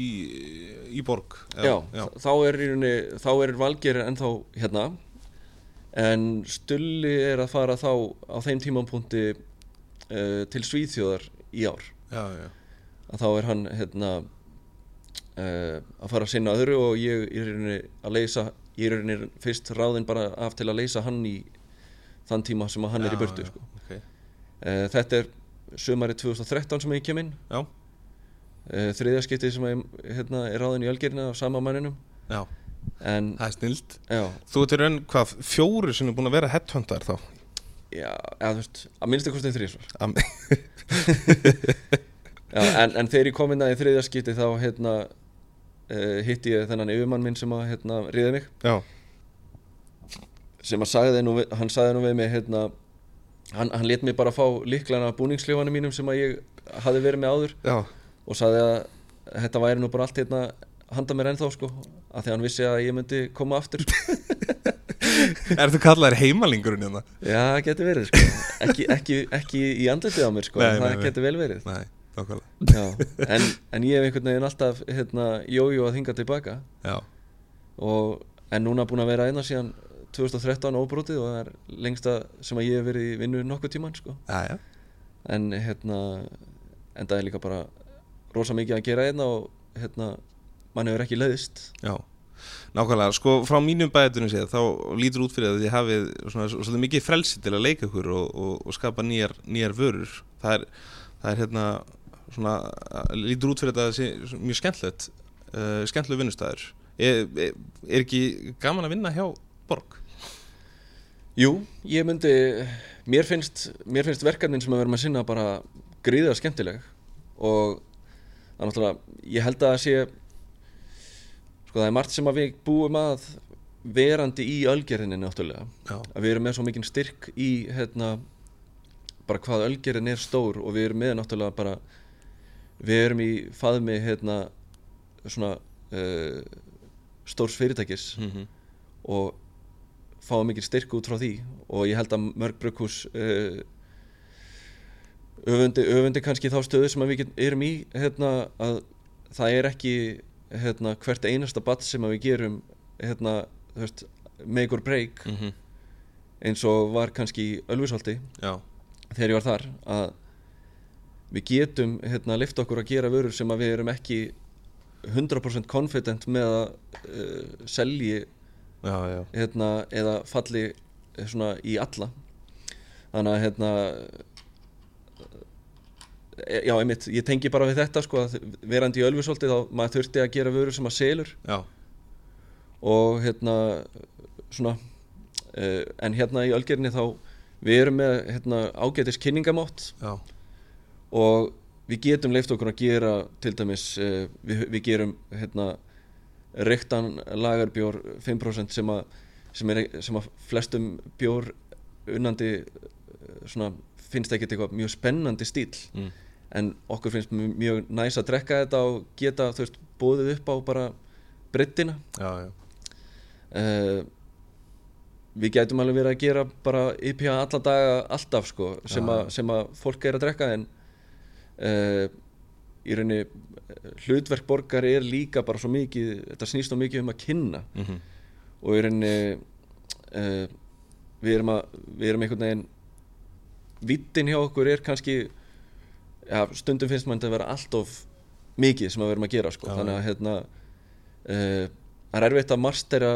C: í borg?
A: já,
C: já,
A: þá er, í rauninni- þá er Valgeir ennþá hérna en Stulli er að fara þá á þeim tímapunkti uh, til Svíþjóðar í ár
C: já, já,
A: að þá er hann hérna uh, að fara að sinna öðru og ég er rauninni að leysa ég er rauninni fyrst ráðin bara af til að leysa hann í þann tíma sem að hann er í
C: Já,
A: burtu
C: já,
A: sko.
C: ok.
A: uh, þetta er sumari 2013 sem ég kem inn
C: já,
A: uh, þriðaskiptið sem ég hérna, er ráðin í algerina af sama manninum
C: já,
A: en
C: það er snild
A: já,
C: Þú ert í raun, hvað, fjóru sem er búin að vera headhunter þá?
A: Já, eða, þú veist, að minnstu kostið þrísvar
C: Am-
A: Já, en, en þegar ég kom inn að í þriðja skipti þá hérna, uh, hitti ég þennan yfirmann minn sem að hérna, ríði mig
C: Já,
A: sem að sagði nú, við- hann sagði nú við mig hérna, hann, hann let mig bara fá líklan af búningsljófanum mínum sem að ég hafi verið með áður
C: já,
A: og sagði að þetta væri nú bara allt hérna handa mér ennþá sko að því hann vissi að ég myndi koma aftur
C: er þú kallaðir heimalingurinn hérna?
A: Já, getur verið sko ekki, ekki, ekki í andlitið á mér sko
C: Nei,
A: en
C: nei,
A: það
C: nei.
A: getur vel verið
C: Nei, nákvæmlega
A: Já, en, en ég hef einhvern veginn alltaf hérna, jójó að hinga tilbaka
C: Já,
A: og, en núna búin að vera einna síðan 2013 óbrótið og það er lengsta sem að ég hef verið í vinnu nokkuð tíman sko.
C: já, já,
A: en hérna en það er líka bara rosa mikið að gera einna og hérna mann hefur ekki leiðist
C: já Nákvæmlega, sko, frá mínum bæðutunum séð þá lítur út fyrir að þið hafið svona, svona, svona mikið frelsi til að leika ykkur og, og, og skapa nýjar, nýjar vörur það er, það er hérna svona, lítur út fyrir að það sé svona mjög skemmtilegt uh, skemmtileg vinnustæður er, er, er ekki gaman að vinna hjá Borg?
A: Jú, ég myndi mér finnst, mér finnst verkefnin sem við verum að sinna bara gríða skemmtileg og það er náttúrulega ég held að það sé sko það er margt sem að við búum að verandi í ölgerinni náttúrulega
C: Já,
A: að við erum með svo mikinn styrk í hérna, bara hvað ölgerin er stór og við erum með náttúrulega bara við erum í faðmi hérna, svona uh, stórs fyrirtækis
C: Mhm.
A: og fáum mikinn styrk út frá því og ég held að mörg brukhús uh, öfundi, öfundi kannski þá stöðu sem að við get- erum í hérna, að það er ekki hérna, hvert einasta bat sem að við gerum hérna, þú veist, make or break
C: mm -hmm.
A: eins og var kannski í Ölfusholti
C: já,
A: þegar ég var þar að við getum hérna lift okkur að gera vörur sem að við erum ekki 100% confident með að uh, eh, selji
C: já, já,
A: hérna, eða falli eh, svona í alla þannig að hérna eh, já einmitt, ég tengi bara við þetta sko að verandi í Ölfusóldi þá maður þurfti að gera vörur sem að selur
C: já,
A: og hérna svona uh, en hérna í Ölgerinni þá við erum með hérna ágætis kynningamátt
C: já,
A: og við getum leift okkur að gera til dæmis uh, við, við gerum hérna reyktan lagarbjór 5% sem að, sem er, sem að flestum bjór unnandi eh, svona, finnst ekkert eitthvað mjög spennandi stíl
C: mm.
A: en okkur finnst mjög, mjög næs að drekka þetta og geta þú veist bóðið upp á bara breyttina
C: já, já,
A: uh, við gætum alveg verið að gera bara IPA alla daga alltaf sko sem,
C: Já.
A: að, sem að fólk er að drekka en uh, í rauninni eh, hlutverk borgar er líka bara svo mikið þetta snýst svo mikið um að kynna
C: mm -hmm.
A: og í rauninni uh, við erum að við erum einhvern veginn vittin hjá okkur er kannski ja, stundum finnst mann þetta að vera alltof mikið sem að við erum að gera sko.
C: Já,
A: þannig að hérna uh, það er erfitt að marstera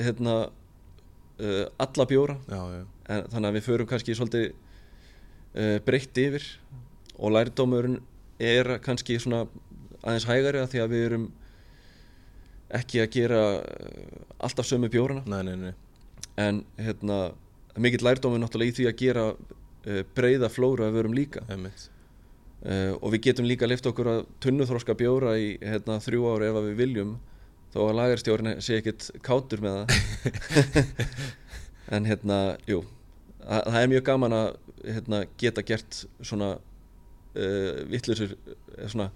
A: hérna uh, alla bjóra
C: já, já,
A: en, þannig að við förum kannski svolítið uh, breytt yfir og lærdómurinn er kannski svona aðeins hægari að því að við erum ekki að gera uh, alltaf sömu bjórana
C: nei, nei, nei,
A: en hérna, mikill lærdómur náttúrulega í því að gera uh, breyða flóru að við erum líka
C: einmitt,
A: uh, og við getum líka leift okkur að tunnuþroska bjóra í hérna, þrjú ári ef að við viljum þó að lagarstjórn sé ekkit kátur með það en hérna, jú það, það er mjög gaman að hérna, geta gert svona uh, vittlusur svona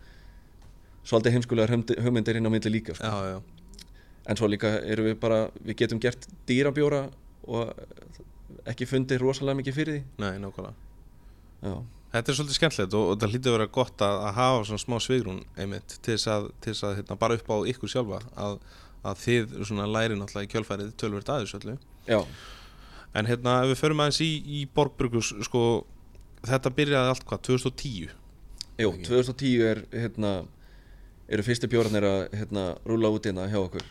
A: svolítið heimskulegar hugmynd- hugmyndir inn á myndi líka sko.
C: já, já,
A: en svo líka erum við bara við getum gert dýrabjóra og ekki fundið rosalega mikið fyrir því
C: nei, nákvæmlega
A: já,
C: Þetta er svolítið skemmtilegt og, og það hlýtur að vera gott að, að hafa svona smá svigrún einmitt til þess að, til þess að hérna, bara upp á ykkur sjálfa að, að þið svona læri náttúrulega í kjölfærið tölvert aðeins öllu
A: já,
C: En hérna ef við förum aðeins í, í Borgbrukus sko þetta byrjaði allt hvað 2010
A: jú,
C: Ekki.
A: 2010 er hérna, eru fyrstu bjórarnir að hérna, rúla út hérna hjá okkur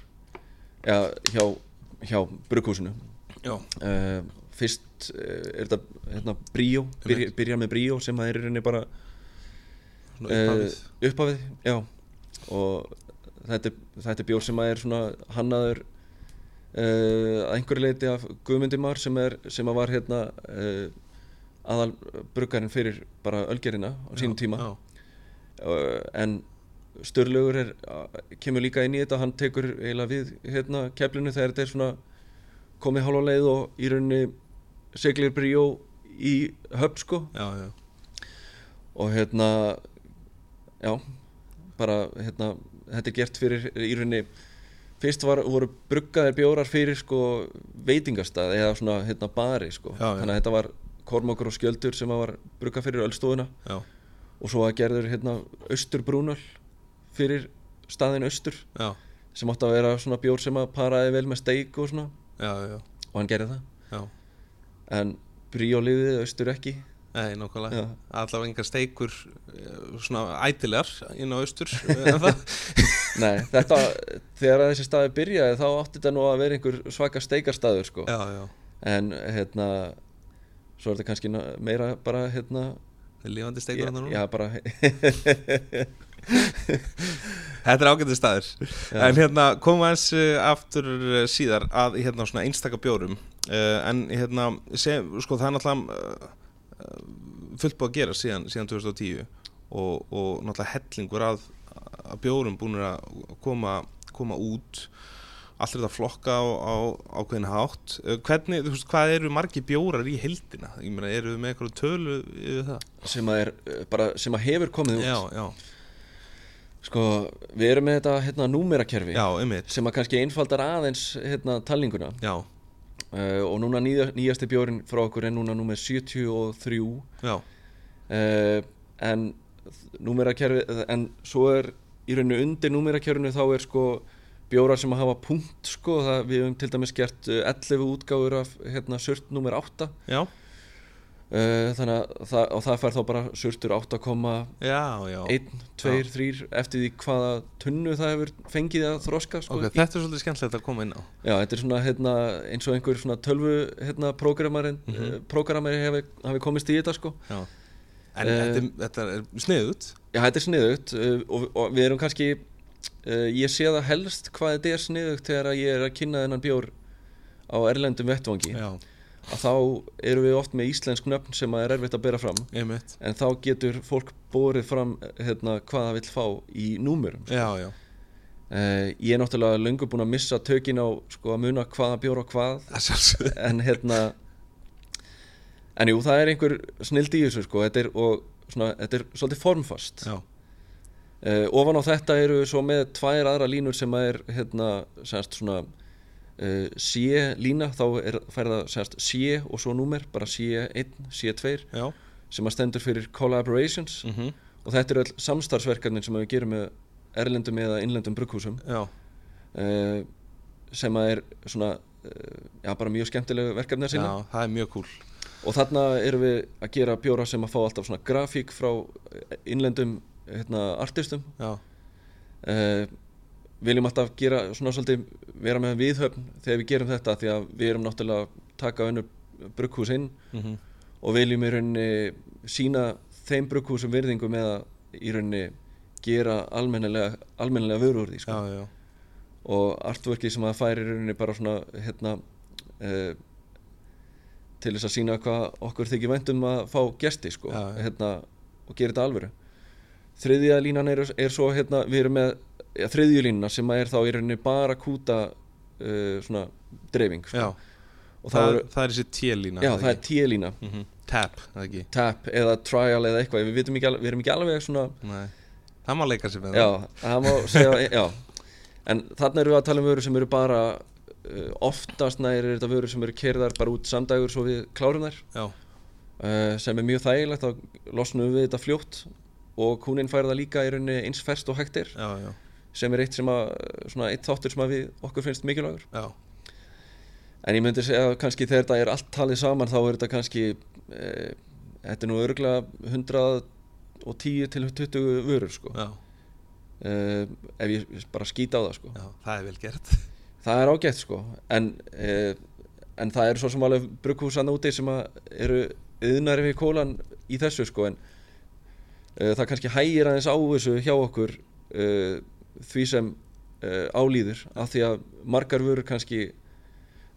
A: já, hjá, hjá brugghúsinu
C: Já,
A: uh, fyrst uh, er þetta hérna, bríó, byrja,
C: Einmitt.
A: byrja með bríó sem það er í rauninni bara
C: svona
A: uh,
C: upphafið
A: upphafið já. og þetta, er- þetta er bjór sem að er svona hannaður uh, að einhverju leiti af Guðmundimar sem, er, sem að var hérna uh, aðal bruggarinn fyrir bara ölgerina á sínum tíma
C: já,
A: uh, en Sturlaugur er, eh, kemur líka inn í þetta hann tekur eiginlega við hérna keflinu þegar þetta er svona komið hálfa leið og í rauninni seglir bríó í höfn sko
C: já, já,
A: og hérna já, bara hérna, þetta er gert fyrir í rauninni, fyrst var, voru bruggaðir bjórar fyrir sko veitingastað eða svona hérna bari sko
C: Já, já.
A: þannig að þetta var kormokur og skjöldur sem að var bruggað fyrir ölstofuna
C: já,
A: og svo að gerður hérna austurbrúnöl fyrir staðin austur
C: já,
A: sem átti að vera svona bjór sem að paraði vel með steik og svona
C: já, já,
A: og hann gerði það
C: já.
A: en bríóliðið austur ekki
C: Nei, nákvæmlega,
A: Já.
C: allavega engar steikur eh, svona ætilegar inn á austur en það
A: Nei, þetta, þegar þessi staði byrjaði þá átti þetta nú að vera einhver svaka steikarstaður sko.
C: Já, já,
A: en hérna svo er þetta kannski na- meira bara hérna
C: það er lífandi steikur
A: já,
C: þarna núna.
A: já, bara
C: Þetta er ágætið staður
A: Já.
C: En hérna komum aðeins eh, aftur eh, síðar að hérna svona einstaka bjórum uh, En hérna sem, sko það er náttúrulega uh, fullt búið að gera síðan, síðan 2010 og, og náttúrulega hellingur að, að bjórum búinir að koma, koma út Allt er þetta flokka á, á ákveðin hátt Eh, Hvernig, þú veist, hvað eru margi bjórar í heldina? Ég meina, eru við með eitthvað tölu yfir það?
A: sem að, er, eh, bara, sem að hefur komið út
C: Já, já,
A: sko, við erum með þetta hérna númerakerfi
C: já, einmitt
A: sem að kannski einfaldar aðeins hérna talninguna
C: Já,
A: uh, og núna nýja, nýjasti bjórin frá okkur er núna númer 73
C: já,
A: uh, en númerakerfi en svo er í rauninu undir númerakerfinu þá er sko bjórar sem að hafa punkt sko það við höfum til dæmis gert eh, 11 útgáfur af hérna sört númer 8
C: já,
A: uh, þannig að það, og það fær þá bara surtur 8,1,
C: Já, já
A: 2, 3 eftir því hvaða tunnu það hefur fengið að þroska sko,
C: Ok,
A: í-
C: þetta er svolítið skemmtilegt að koma inn á
A: Já, þetta er svona hérna, eins og einhver svona tölvu hérna, prógramarin, mm prógramari hefur hafi komist í þetta sko.
C: Já En
A: Eh,
C: þetta, er- þetta er sniðut
A: Já, þetta er sniðugt uh, og, og við erum kannski, uh, ég sé það helst hvað þetta er sniðugt þegar að ég er að kynna þennan bjór á erlendum vettvangi.
C: Já,
A: Að þá erum við oft með íslensk nöfn sem að er erfitt að bera fram.
C: einmitt
A: En þá getur fólk borið fram hérna, hvað það vill fá í númurum.
C: Já, já
A: Uh, ég er náttúrulega löngu búin að missa tökin á sko, að muna hvaða bjór og hvað
C: Það er sjálfsögð
A: en hérna en jú, það er einhver snild í þessu sko, þetta er, og svona, þetta er svolítið formfast
C: Já,
A: uh, ofan á þetta eru svo með tvær aðra línur sem að er hérna, semst svona uh, sé lína, þá er færða semst sé og svo númer, bara sé 1, sé 2,
C: já
A: sem að stendur fyrir collaborations
C: mm
A: og þetta eru all samstarfsverkarnir sem við gerum með erlendum eða innlendum brugghúsum
C: Já,
A: uh, sem að er svona uh, já, bara mjög skemmtilegu verkefni að sinna
C: já, það er mjög cool
A: Og þarna erum við að gera bjóra sem að fá alltaf svona grafík frá innlendum hérna, artistum.
C: Já,
A: Uh, viljum alltaf gera svona svolítið vera með viðhöfn þegar við gerum þetta því að við erum náttúrulega að taka önnur brugghús inn
C: mm -hmm.
A: og viljum í rauninni sína þeim brugghúsum virðingu með að í rauninni gera almennilega, almennilega vöru úr því
C: já,
A: sko.
C: já
A: og artworkið sem að færi í rauninni bara svona hérna uh, til þess að sína hvað okkur þykir vænt um að fá gesti sko,
C: Já, já.
A: hérna, og gera þetta alvöru þriðja línan er, er svo hérna, við erum með ja, þriðju línuna sem að er þá í rauninni bara kúta uh, svona dreifing sko.
C: Já,
A: og
C: það,
A: það,
C: er, það er þessi télína
A: já, það er tílína
C: mm Tap, það ekki
A: tap eða trial eða eitthvað við, vitum ekki alveg, við erum ekki alveg svona
C: Nei Það má leika sér með það
A: Já, það má segja já. En þarna erum við að tala um vörur sem eru bara uh, oftast nær er þetta vörur sem eru kerðar bara út samdagur svo við klárum þær
C: Já,
A: uh, sem er mjög þægilegt, þá losnum við þetta fljótt og kúnin fær það líka í rauninni eins ferst og hægtir
C: já, já,
A: sem er eitt, sem að, svona, eitt þáttur sem að við okkur finnst mikilvægur
C: já.
A: En ég myndi segja að kannski þegar þetta er allt talið saman þá er þetta kannski eh, þetta er nú örgulega 110 til 20 vörur sko.
C: já,
A: uh, ef ég bara skýta á það sko.
C: já Það er vel gert
A: Það er ágætt sko en, uh, en það eru svo sem alveg brugghúsan úti sem að eru yðnari við kólan í þessu sko en uh, það kannski hægir aðeins á þessu hjá okkur uh, því sem uh, álýður af því að margar vörur kannski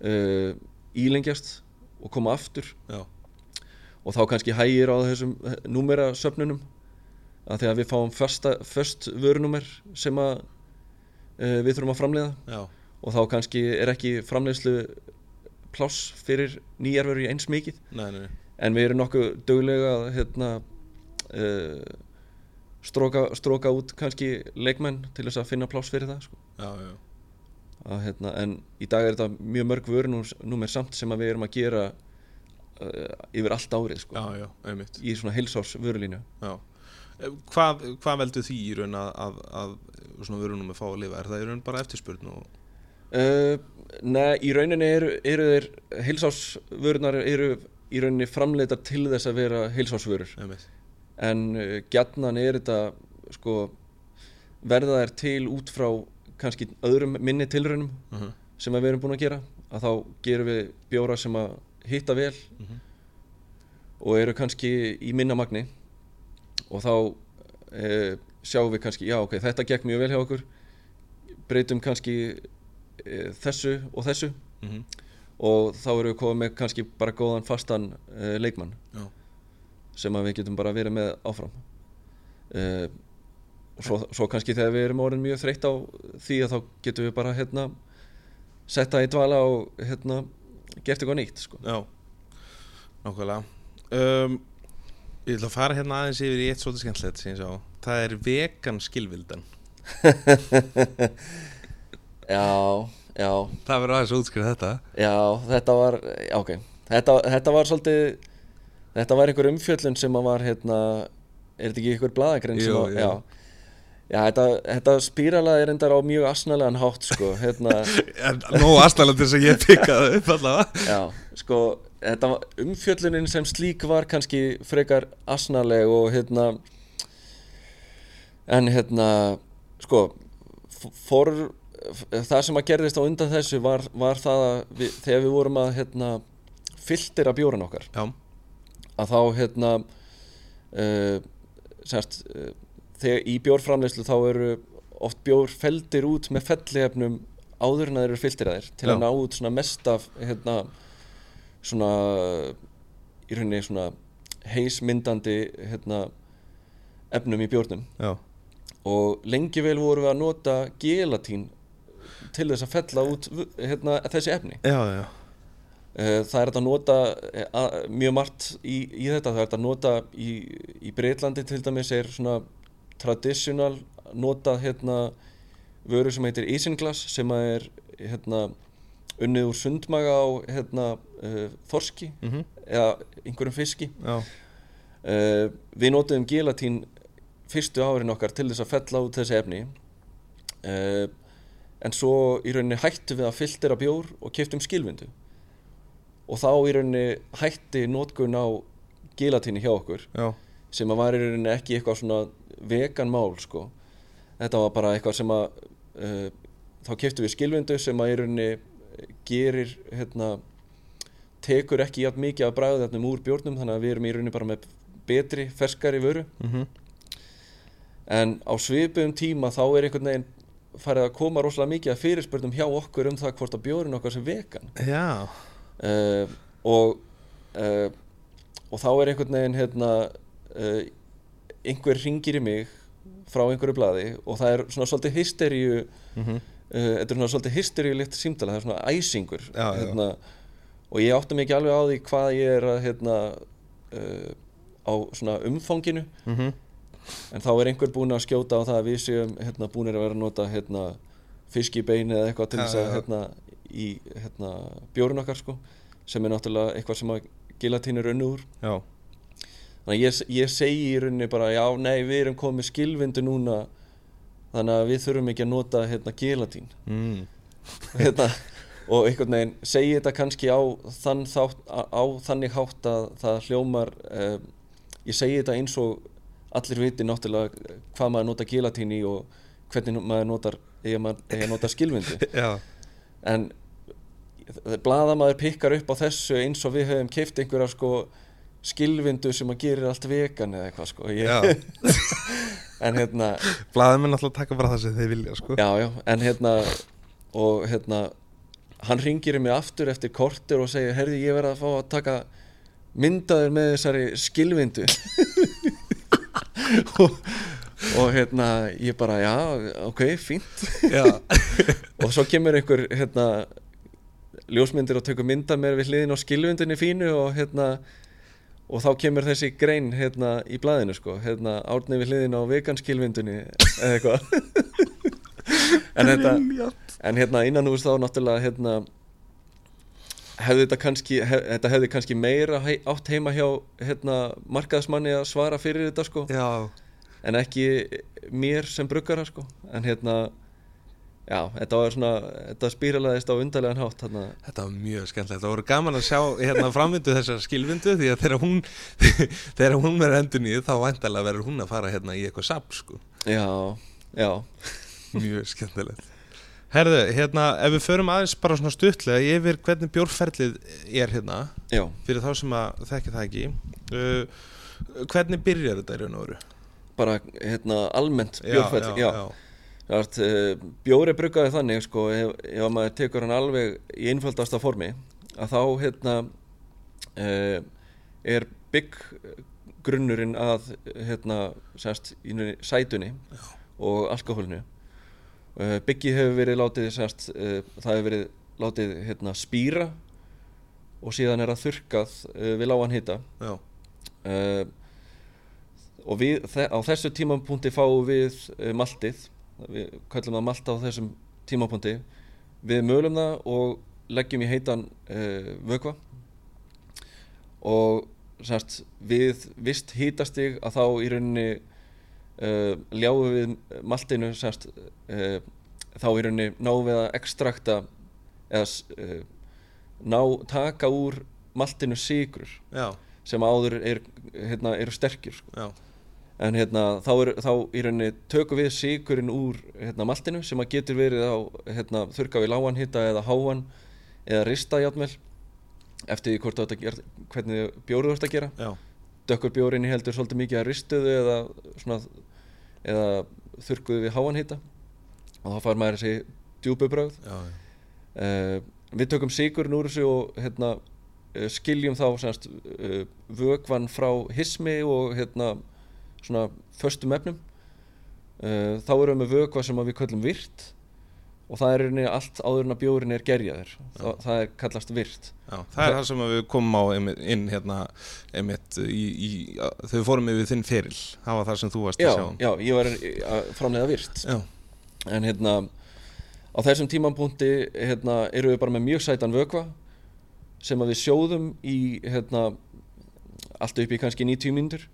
A: uh, ílengjast og koma aftur
C: Já,
A: og þá kannski hægir á þessum númera söfnunum að því að við fáum fasta, föst vörunúmer sem að uh, við þurfum að framleiða
C: já,
A: og þá kannski er ekki framleiðslu pláss fyrir nýjarveru eins mikið
C: nei, nei, nei.
A: en við erum nokkuð dögulega að hérna, uh, stróka, stróka út kannski leikmenn til þess að finna pláss fyrir það sko.
C: já, já,
A: að, hérna, en í dag er þetta mjög mörg vörunúmer samt sem að við erum að gera uh, yfir allt árið sko,
C: já, já, auðvitað
A: í svona heilsárs vörulínu
C: Já. Eh, Hvað, hvað veldur því í raun að, að, að svona vörunum með fá að lifa? Er það í raun bara eftirspurn og...
A: Uh, nei, í rauninni eru, eru þeir heilsásvörunar eru í rauninni framleita til þess að vera heilsásvörur
C: Einmitt.
A: en uh, gjarnan er þetta sko verða þær til út frá kannski öðrum minni tilraunum
C: Uh -huh.
A: sem að við erum búin að gera að þá gerum við bjóra sem að hitta vel
C: Mhm.
A: og eru kannski í minna magni og þá e, sjáum við kannski, já ok, þetta gekk mjög vel hjá okkur breytum kannski e, þessu og þessu
C: Mhm.
A: og þá erum við komið með kannski bara góðan fastan e, leikmann
C: Já.
A: sem að við getum bara verið með áfram e, og svo, svo kannski þegar við erum orðin mjög þreytt á því að þá getum við bara hérna setta í dvala og hérna gert eitthvað nýtt sko.
C: Já, nákvæmlega. Um, ég ætla að fara hérna aðeins yfir í eitt svolítið skemmtilegt sem ég sá. Það er vegan skilvildan.
A: Já, já,
C: Það verður aðeins að útskrifa þetta.
A: já þetta var já, ok, þetta, þetta var svolítið þetta var einhver umfjöllun sem að var hérna, er þetta ekki einhver blaðagrein sem
C: Jú,
A: að,
C: jú.
A: já Já, þetta, þetta spíralað er endar á mjög asnalegan hátt sko, hérna,
C: Nó aðstæðlega til þess að ég pikkaði upp allavega
A: já, sko, þetta var, umfjöllunin sem slík var kannski frekar asnaleg og hérna, en hérna, sko, f- for, f- það sem að gerðist á undan þessu var, var það að við, þegar við vorum að, hérna, filtera bjóran okkar,
C: Já,
A: að þá hérna uh, sérst uh, þegar í bjórframleyslu þá eru oft bjór feldir út með fellihefnum áður en að þeir eru fyltir að þeir til
C: Já.
A: að ná út svona mest af hérna svona í rauninni svona heismyndandi hérna efnum í bjórnum
C: já,
A: og lengi vel vorum við að nota gelatín til þess að fella út v- hérna þessi efni
C: já, já,
A: Eh, Það er hægt að nota eh, að- mjög margt í, í þetta, það er hægt að nota í, í Breitlandi til dæmis er svona traditional notað hérna vöru sem heitir isinglass sem að er hérna unnið úr sundmaga á hérna uh, þorski
C: Mhm.
A: eða einhverjum fiski.
C: já,
A: Uh, við notuðum gelatín fyrstu árin okkar til þess að fella út þessi efni uh, en svo í rauninni hættum við að filtera bjór og keftum skilvindu og þá í rauninni hætti notkun á gelatíni hjá okkur
C: já,
A: sem að var í rauninni ekki eitthvað svona vegan mál sko þetta var bara eitthvað sem að uh, þá keftum við skilvindu sem að í rauninni gerir hérna tekur ekki jafn mikið af bræðefnum úr bjórnum þannig að við erum í rauninni bara með betri, ferskari vöru
C: mhm,
A: en á svipum tíma þá er einhvern veginn farið að koma rosalega mikið að fyrirspurnum hjá okkur um það hvort að bjórin okkar sem vegan
C: já,
A: uh, og uh, og þá er einhvern veginn hérna uh, einhver ringir í mig frá einhverju blaði og það er svona svolítið hysteríu
C: mhm,
A: uh, þetta er svona svolítið hysteríulitt símdala það er svona æsingur
C: Já, já.
A: hérna, og ég átti mig ekki alveg á því hvað ég er að hérna uh, á svona umfanginu
C: mhm,
A: en þá er einhver búinn að skjóta á það að við séum hérna, búinir að vera að nota hérna, fiskibein eða eitthvað til
C: Já,
A: þess að
C: já, já.
A: hérna, í hérna, bjórun okkar sko, sem er náttúrulega eitthvað sem að gilatín er unnu úr
C: já,
A: þannig að ég, ég segi í rauninni bara já, nei, við erum komið skilvindu núna þannig að við þurfum ekki að nota hérna, gilatín
C: mhm,
A: hérna, og einhvern veginn segi þetta kannski á, þann þátt, á á þannig hátt að það hljómar um, ég segi þetta eins og allir viti náttúrulega eh, hvað maður nota gelatín í og hvernig maður notar eða maður eigi að nota skilvindu
C: já,
A: en bladamaður pikkar upp á þessu eins og við höfum keift einhverja sko skilvindu sem að gerir allt vegan eða eitthvað sko
C: já.
A: ég, en hérna
C: Blaðið minn alltaf taka bara það sem þeir vilja, sko.
A: já, já, en hérna og hérna hann ringir í mig aftur eftir kortir og segir herði ég verða að fá að taka myndaður með þessari skilvindu og, og hérna ég bara já, ok, fínt
C: Já,
A: og svo kemur einhver hérna ljósmyndir og tekur mynda mér við hliðin á skilvindinni fínu og hérna og þá kemur þessi grein hérna í blaðinu sko, hérna árni við hliðin á veganskilvindinni eða eitthvað en þetta
C: sko.
A: en hérna innan hús þá náttúrulega hérna hefði þetta kannski hef, þetta hefði kannski meira hei- átt heima hjá hérna markaðsmanni að svara fyrir þetta sko
C: já,
A: en ekki mér sem bruggara sko en hérna já, þetta var svona, þetta spýralaðist á undarlegan hátt þarna
C: Þetta var mjög skemmtilegt, það voru gaman að sjá hérna framvindu þessar skilvindu því að þegar hún, þegar hún verður endur nýð þá væntalega verður hún að fara hérna í eitthvað sapp sko,
A: já, já,
C: mjög skemmtilegt. Herðu, hérna ef við förum aðeins bara svona stuttlega yfir hvernig bjórferlið er hérna
A: já
C: fyrir þá sem að þekki það ekki, uh, hvernig byrjar þetta í raun og veru?
A: bara hérna almennt bjórfell já, já, já.
C: já,
A: Þart, uh, bjóri bruggaði þannig sko ef, ef maður tekur hann alveg í einföldasta formi að þá hérna uh, er bygg grunnurinn að hérna sérst í rauninni sætunni og alkohólinu uh, byggið hefur verið látið sérst, uh, það hefur verið látið hérna spýra og síðan er það þurkað uh, við lágan hita
C: já,
A: uh, og við, þe- á þessu tímapunkti fáum við uh, maltið við kallum það malta á þessum tímapunkti við mölum það og leggjum í heitan uh, vökva og semst, við vist hítastig að þá í rauninni uh, ljáum við maltinu semst, uh, þá í rauninni náum við að ekstrakta eða uh, ná, taka úr maltinu sigur
C: já,
A: sem áður er, hérna, eru sterkir sko.
C: já,
A: en hérna, þá, er, þá í rauninni tökum við sigurinn úr hérna, maltinu sem að getur verið á hérna, þurka við lágan hita eða háan eða rista játmel eftir því hvort þú ert að gera, hvernig bjóru þú ert að gera
C: já,
A: dökkur bjórinni heldur svolítið mikið að ristuðu eða, svona, eða þurrkuðu við háan hita og þá fær maður þessi djúbu brögð
C: já, já.
A: uh, við tökum sigurinn úr þessu og hérna, eh, skiljum þá semst, uh, vökvan frá hismi og hérna, svona föstum efnum uh, þá erum við með vökva sem að við köllum virt og það er í rauninni allt áður en að bjórin er gerjaður það, það er kallast virt
C: Já, það er það sem að við komum á einmitt, inn hérna einmitt í, í, þau fórum yfir þinn feril það var það sem þú varst að
A: já,
C: sjá um.
A: já, ég var að framleiða virt
C: já,
A: en hérna á þessum tímanbúndi hérna, eru við bara með mjög sætan vökva sem að við sjóðum í hérna, allt upp í kannski 90 mínútur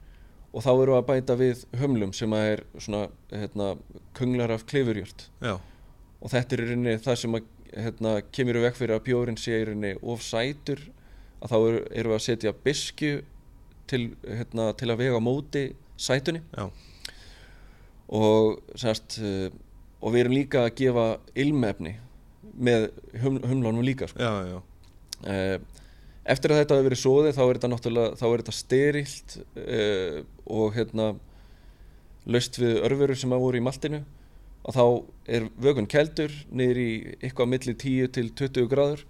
A: og þá eru við að bæta við hömlum sem að er svona hérna, kunglar af klifurjört
C: já,
A: og þetta er í rauninni það sem að hérna, kemur í veg fyrir að bjórin sé í rauninni of sætur að þá eru, eru við að setja bisku til, hérna, til að vega á móti sætunni
C: já,
A: og, sérst, og við erum líka að gefa ilmefni með hum, humlánum líka sko.
C: já, já,
A: Eh, eftir að þetta hefur verið soðið þá er þetta náttúrulega þá er þetta sterilt uh, og hérna löst við örverur sem að voru í maltinu og þá er vökun keldur niður í eitthvað á milli 10 til 20 gráður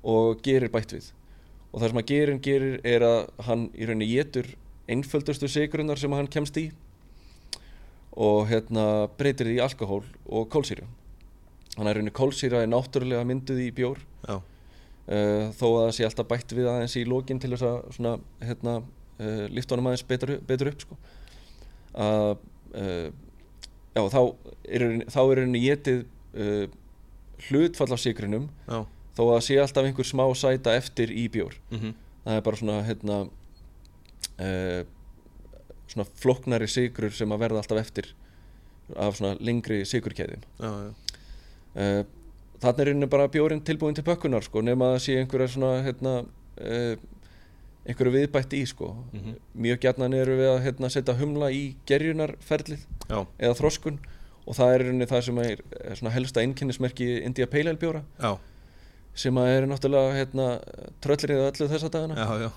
A: og gerir bætt við og það sem að gerin gerir er að hann í rauninni getur einföldustu sigrunar sem hann kemst í og hérna breytir því í alkohól og kólsýra þannig að í rauninni kólsýra er náttúrulega mynduð í bjór
C: já,
A: uh, þó að það sé alltaf bætt við aðeins í lokin til þess að svona, hérna, uh, lifta honum aðeins betur, betur upp sko. að uh, já, þá er þá er henni getið uh, hlutfall af sigrinum
C: já,
A: þó að það sé alltaf einhver smá sæta eftir í bjór
C: mhm,
A: það er bara svona hérna, uh, svona floknari sigrur sem að verða alltaf eftir af svona lengri sigurkæðum
C: já, já,
A: uh, þannig er einu bara bjórin tilbúin til pökkunar sko, nema að það sé einhverja svona hérna, uh, einhverju viðbætt í sko.
C: Mhm.
A: mjög gjarnan eru við að hérna, setja humla í gerjunarferlið
C: já,
A: eða þroskun og það er einu það sem er eh, svona helsta einkennismerki India Pale Ale bjóra
C: já,
A: sem að er náttúrulega hérna, tröllriða öllu þessa dagana
C: já, já,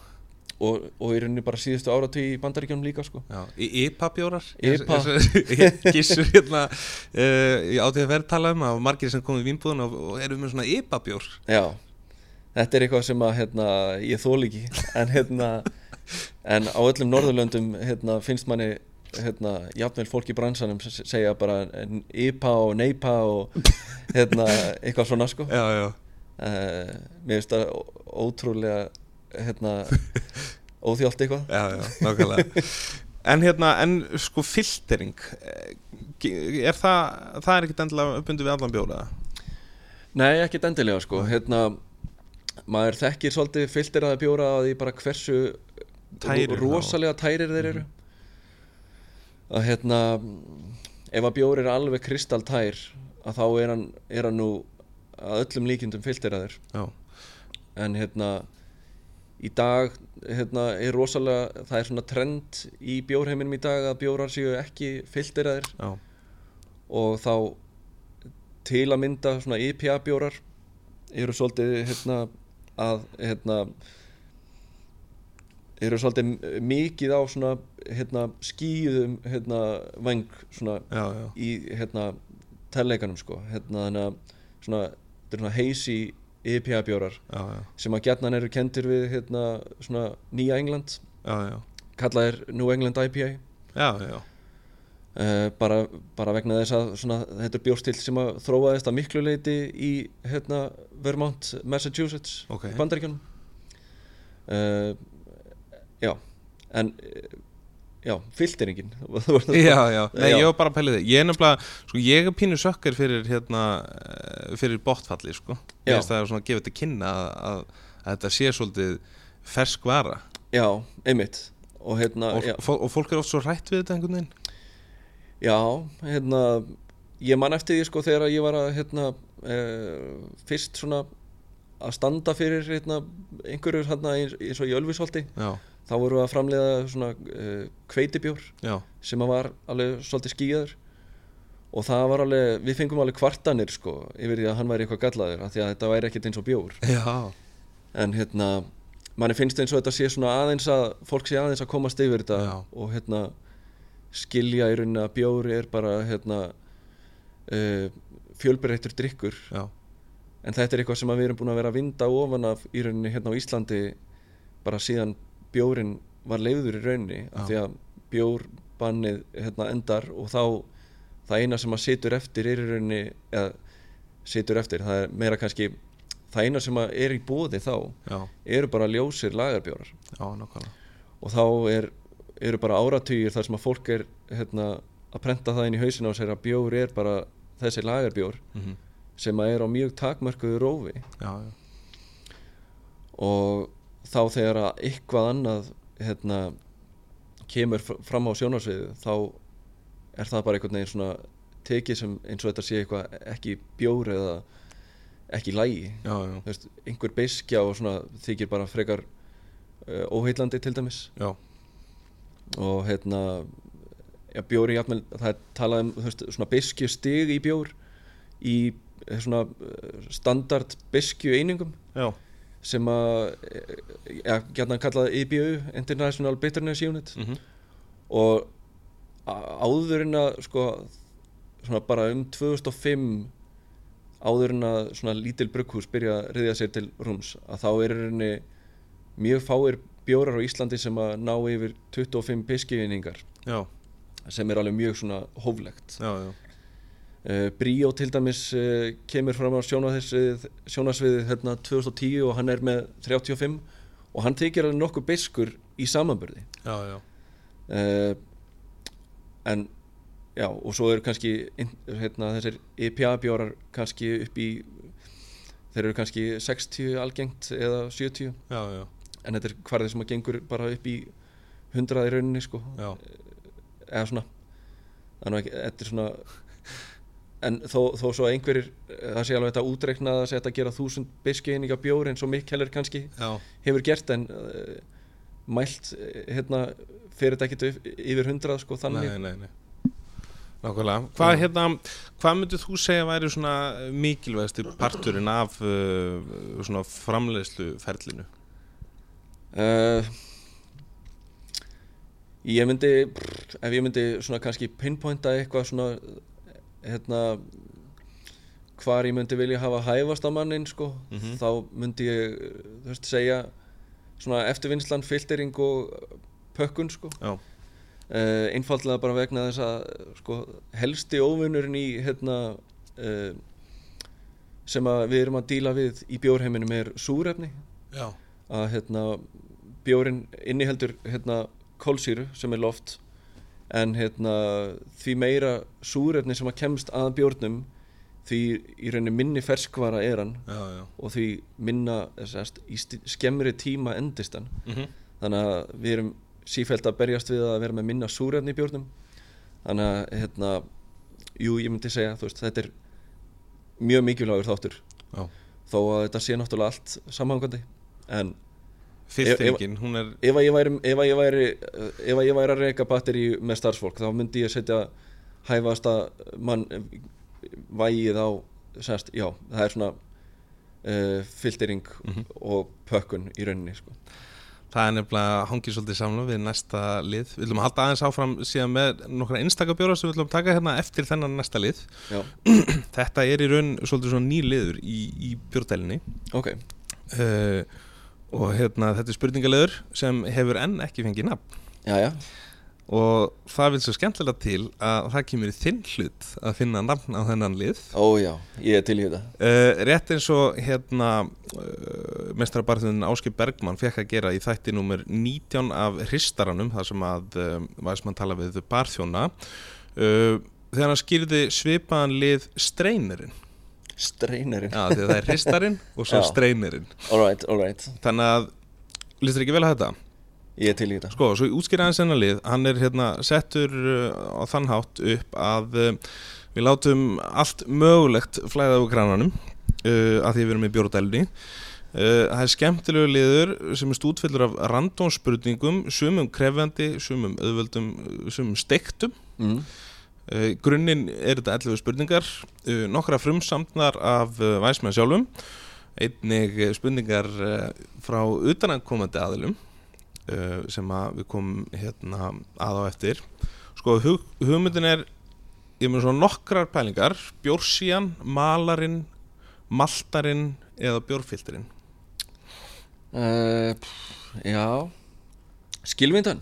A: og, og er einu bara síðustu áratug í bandaríkjónum líka sko.
C: já. Í IPA-bjórar
A: IPA.
C: Gissur hérna uh, ég átti að verð tala um að margir sem komið í vínbúðun og, og erum með svona IPA-bjór
A: Já, þetta er eitthvað sem að hérna, ég þól ekki en, hérna, en á öllum norðurlöndum hérna, finnst manni hérna, jafnvel fólk í bransanum sem se- segja bara en IPA og NEIPA og hérna, eitthvað svona sko uh,
C: Já, já,
A: Mér finnst það ó- ótrúlega hérna, óþjólt eitthvað
C: já, já, nákvæmlega En hérna, en sko filtering eh, ge- er það, það er ekkert endilega uppbundu við allan bjóra
A: Nei, ekkert endilega sko hérna, maður þekkir svolítið filter að bjóra að því bara hversu
C: Tærir
A: tærir
C: þá.
A: rosalega tærir þeir eru að hérna ef að bjór er alveg kristaltær að þá er hann, er hann nú að öllum líkindum filteraður
C: Já,
A: en hérna í dag hérna, er rosalega það er svona trend í bjórheiminum í dag að bjórar séu ekki filteraðir
C: já,
A: og þá til að mynda svona IPA bjórar eru svolítið hérna, að hérna, eru svolítið mikið á svona hérna, skýðum hérna, veng svona
C: já, já
A: í hérna, telleikanum sko hérna, þannig að svona, þetta er svona heisi IPA bjórar
C: Já, já,
A: sem að gjarnan eru kendir við hérna, svona nýja England
C: já, já,
A: kallaðir New England IPA
C: já, já,
A: Eh, bara, bara vegna þess að svona, þetta er bjórstil sem að þróaðist að miklu leiti í hérna, Vermont, Massachusetts
C: Ok.
A: í bandaríkjunum uh, já en eh, já, filteringin Þú varst að-
C: já, já. Nei,
A: Já.
C: ég var bara að pæla þig Ég er nefnilega, sko, ég er pínu sökkar fyrir hérna, eh, fyrir botfalli, sko Ég
A: Já.
C: veist að það er svona að gefa þetta kynna að, að, að þetta sé svolítið fersk vara
A: já, einmitt og hérna,
C: og,
A: já,
C: fó- og fólk er oft svo rætt við þetta einhvern veginn
A: Já, hérna ég man eftir því sko þegar ég var að hérna e, fyrst svona að standa fyrir hérna einhverjur hérna eins eins og í Ölfisholti
C: já,
A: þá vorum við að framleiða svona e, kveitibjór
C: já,
A: sem að var alveg svolítið skýjaður og það var alveg, við fengum alveg kvartanir sko yfir því að hann væri eitthvað gallaður af því að þetta væri ekkert eins og bjór
C: já,
A: en hérna, manni finnst eins og þetta sé svona aðeins að, fólk sé aðeins að komast yfir þetta
C: Já.
A: og hérna skilja í rauninni að bjór er bara hérna uh, fjölbreyttur drikkur
C: já,
A: en þetta er eitthvað sem að við erum búin að vera að vinda ofan af í rauninni hérna á Íslandi bara síðan bjórin var leiður í rauninni af
C: Já.
A: því að bjórbannið hérna endar og þá það eina sem að situr eftir er í rauninni eða situr eftir, það er meira kannski það eina sem að er í bóði þá
C: já,
A: eru bara ljósir lagarbjórar
C: já, nákvæmlega.
A: og þá er, eru bara áratugir þar sem að fólk er hérna, að prenta það inn í hausina og segja að bjór er bara þessi lagarbjór
C: Mhm.
A: sem að er á mjög takmörkuðu rófi
C: Já, já,
A: og þá þegar að eitthvað annað hérna, kemur fr- fram á sjónarsviðu þá er það bara einhvern veginn svona tekið sem eins og þetta sé eitthvað ekki bjór eða ekki lægi
C: já, já,
A: Þú veist, einhver beiskja og svona þykir bara frekar uh, óheillandi til dæmis
C: já,
A: og hérna já, bjóri jafnvel, það er talað um þú veist, svona beskju stig í bjór í eh, svona eh, standard beskju einingum
C: já,
A: sem að eh, já, gætna kallað IBU International Bitterness Unit
C: mhm,
A: og á- áður en að sko svona bara um 2005 áður en að svona lítil brugghús byrja að riðja sér til rúms að þá er henni mjög fáir bjórar á Íslandi sem að ná yfir 25 biskiðningar
C: já,
A: sem er alveg mjög svona hóflegt
C: já, já,
A: uh, Bríó til dæmis uh, kemur fram á sjónasviðið, sjónasviðið hérna 2010 og hann er með 35 og hann þykir alveg nokkuð biskur í samanburði
C: já, já,
A: uh, en já, og svo eru kannski inn- hérna, þessir IPA bjórar kannski upp í þeir eru kannski 60 algengt eða 70
C: já, já,
A: en þetta er hvarðið sem að gengur bara upp í 100 í rauninni sko
C: já,
A: eða svona það er nú ekki, þetta er svona en þó, þó svo að einhverjir það sé alveg þetta útreiknað að setja að gera þúsund biskeininga bjór eins og Mikkeller kannski
C: já,
A: hefur gert en uh, mælt eh, hérna fyrir þetta ekkert yf- yfir hundrað sko þannig
C: nei, nei, nei. Nákvæmlega. Hvað, hérna, hvað myndir þú segja væri svona mikilvægasti parturinn af uh, svona framleiðsluferlinu?
A: Uh, ég myndi, prr, ef ég myndi svona kannski pinpointa eitthvað svona, hérna, hvar ég myndi vilja hafa hæfast á mannin, sko,
C: Mhm.
A: þá myndi ég, þú veist, segja svona eftirvinnslan, filtering og pökkun, sko.
C: Já,
A: Uh, einfallega bara vegna þess að, sko, helsti óvinnurinn í, hérna, uh, sem að við erum að díla við í bjórheiminum er súrefni
C: já,
A: að hérna, bjórin inniheldur hérna, kólsýru sem er loft en hérna, því meira súrefni sem að kemst að bjórnum því í rauninni minni ferskvara er hann
C: já, já.
A: og því minna sest, í sti- skemmri tíma endist hann
C: Mm
A: þannig að við erum sífælt að berjast við að vera með minna súrefni í bjórnum þannig að hérna, jú, ég myndi segja þú veist, þetta er mjög mikilvægur þáttur
C: já.
A: þó að þetta sé náttúrulega allt samhangandi en
C: Fyrsteringin, hún er,
A: ef að ég væri, ef að ég væri, ef að ég væri að reyka batteri með starfsfólk þá myndi ég setja hæfasta mann vægið á sérst, já, það er svona uh, filtering og pökkun í rauninni sko.
C: það er nefnilega hangið svolítið samla við næsta lið. Við viljum halda aðeins áfram síðan með nokkra einstakabjóra sem við viljum taka hérna eftir þennan næsta lið.
A: já,
C: Þetta er í raun svolítið svona ný liður í, í bjórdælinni.
A: ok,
C: Uh, og hérna, þetta er spurningalegur sem hefur enn ekki fengið nafn.
A: já, já
C: og það vil svo skemmtilega til að það kemur í þinn hlut að finna nafn á þennan lið
A: ó já, ég er til í þetta
C: uh, rétt eins og hérna uh, mestrabarðun Áskip Bergmann fekk að gera í þætti númer 19 af hristaranum þar sem að um, væsmann tala við barþjóna uh, þegar hann skýrði svipaðan lið streynerinn
A: streinerinn,
C: já því að það er hristarinn og svo
A: Já.
C: streynerinn
A: all right, all right
C: þannig að lístur ekki vel að þetta
A: ég er til í þetta
C: Sko, svo ég útskýra aðeins hennar lið, hann er hérna settur uh, á þann hátt upp að uh, við látum allt mögulegt flæða úr krananum uh, að því við erum í bjórdælni. Uh, það er skemmtilegu liður sem er stútfellur af randónspurningum, sumum krefjandi, sumum auðvöldum, uh, sumum steiktum.
A: mm.
C: Uh, grunnin er þetta 11 spurningar, uh, nokkra frumsamtnar af uh, væsmenn sjálfum, einnig eh, spurningar uh, frá utanankomandi aðilum uh, sem að við komum hérna að á eftir. Sko hug, hugmyndin er, ég mun svona nokkrar pælingar, bjórsían, malarinn, maltarinn eða bjórfilterinn.
A: uh, pff, Já Skilvindan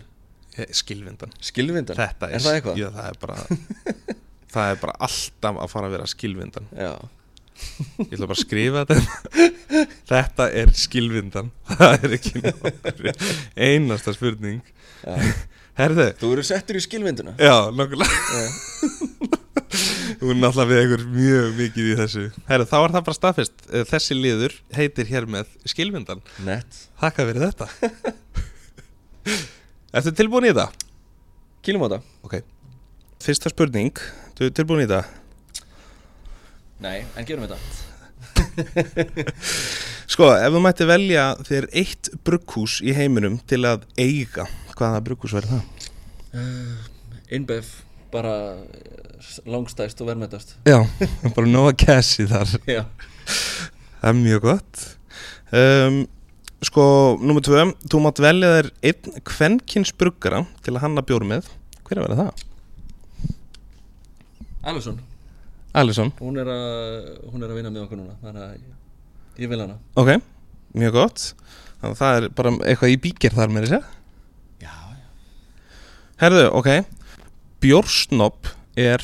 C: Eh, Skilvindan.
A: Skilvindan,
C: Þetta
A: er það eitthvað?
C: Já, það er bara, það er bara alltaf að fara að vera skilvindan.
A: Já,
C: Ég ætla bara að skrifa þetta Þetta er skilvindan Það er ekki nokkur einasta spurning
A: já.
C: Herðu,
A: Þú eru settur í skilvinduna
C: já, nokkulega Þú er náttúrulega við einhver mjög mikið í þessu Herðu, þá er það bara staðfest Eh, Þessi liður heitir hér með skilvindan
A: Nett
C: Þakka fyrir þetta Ertu tilbúin í þetta?
A: Kýlum á þetta
C: Ok Fyrsta spurning, þú er tilbúin í þetta?
A: Nei, en gerum þetta
C: Sko, ef þú mætti velja þér eitt brugghús í heiminum til að eiga Hvaða brugghús verður það?
A: Innbef Eh, bara eh, s- langstæst og verðmættast
C: Já, bara nóga cassi þar
A: Já
C: Það er mjög gott um, Sko, númer tvö Þú mátt velja þér einn kvenkins bruggara til að hanna bjór með Hver er að vera það?
A: Alison,
C: Alisson
A: hún er að hún er að vinna með okkur núna þannig að ég, ég vil hana
C: Ok, mjög gott Þannig að það er bara eitthvað í bíkir þar með þessi
A: Já, já
C: Herðu, ok Bjórsnopp er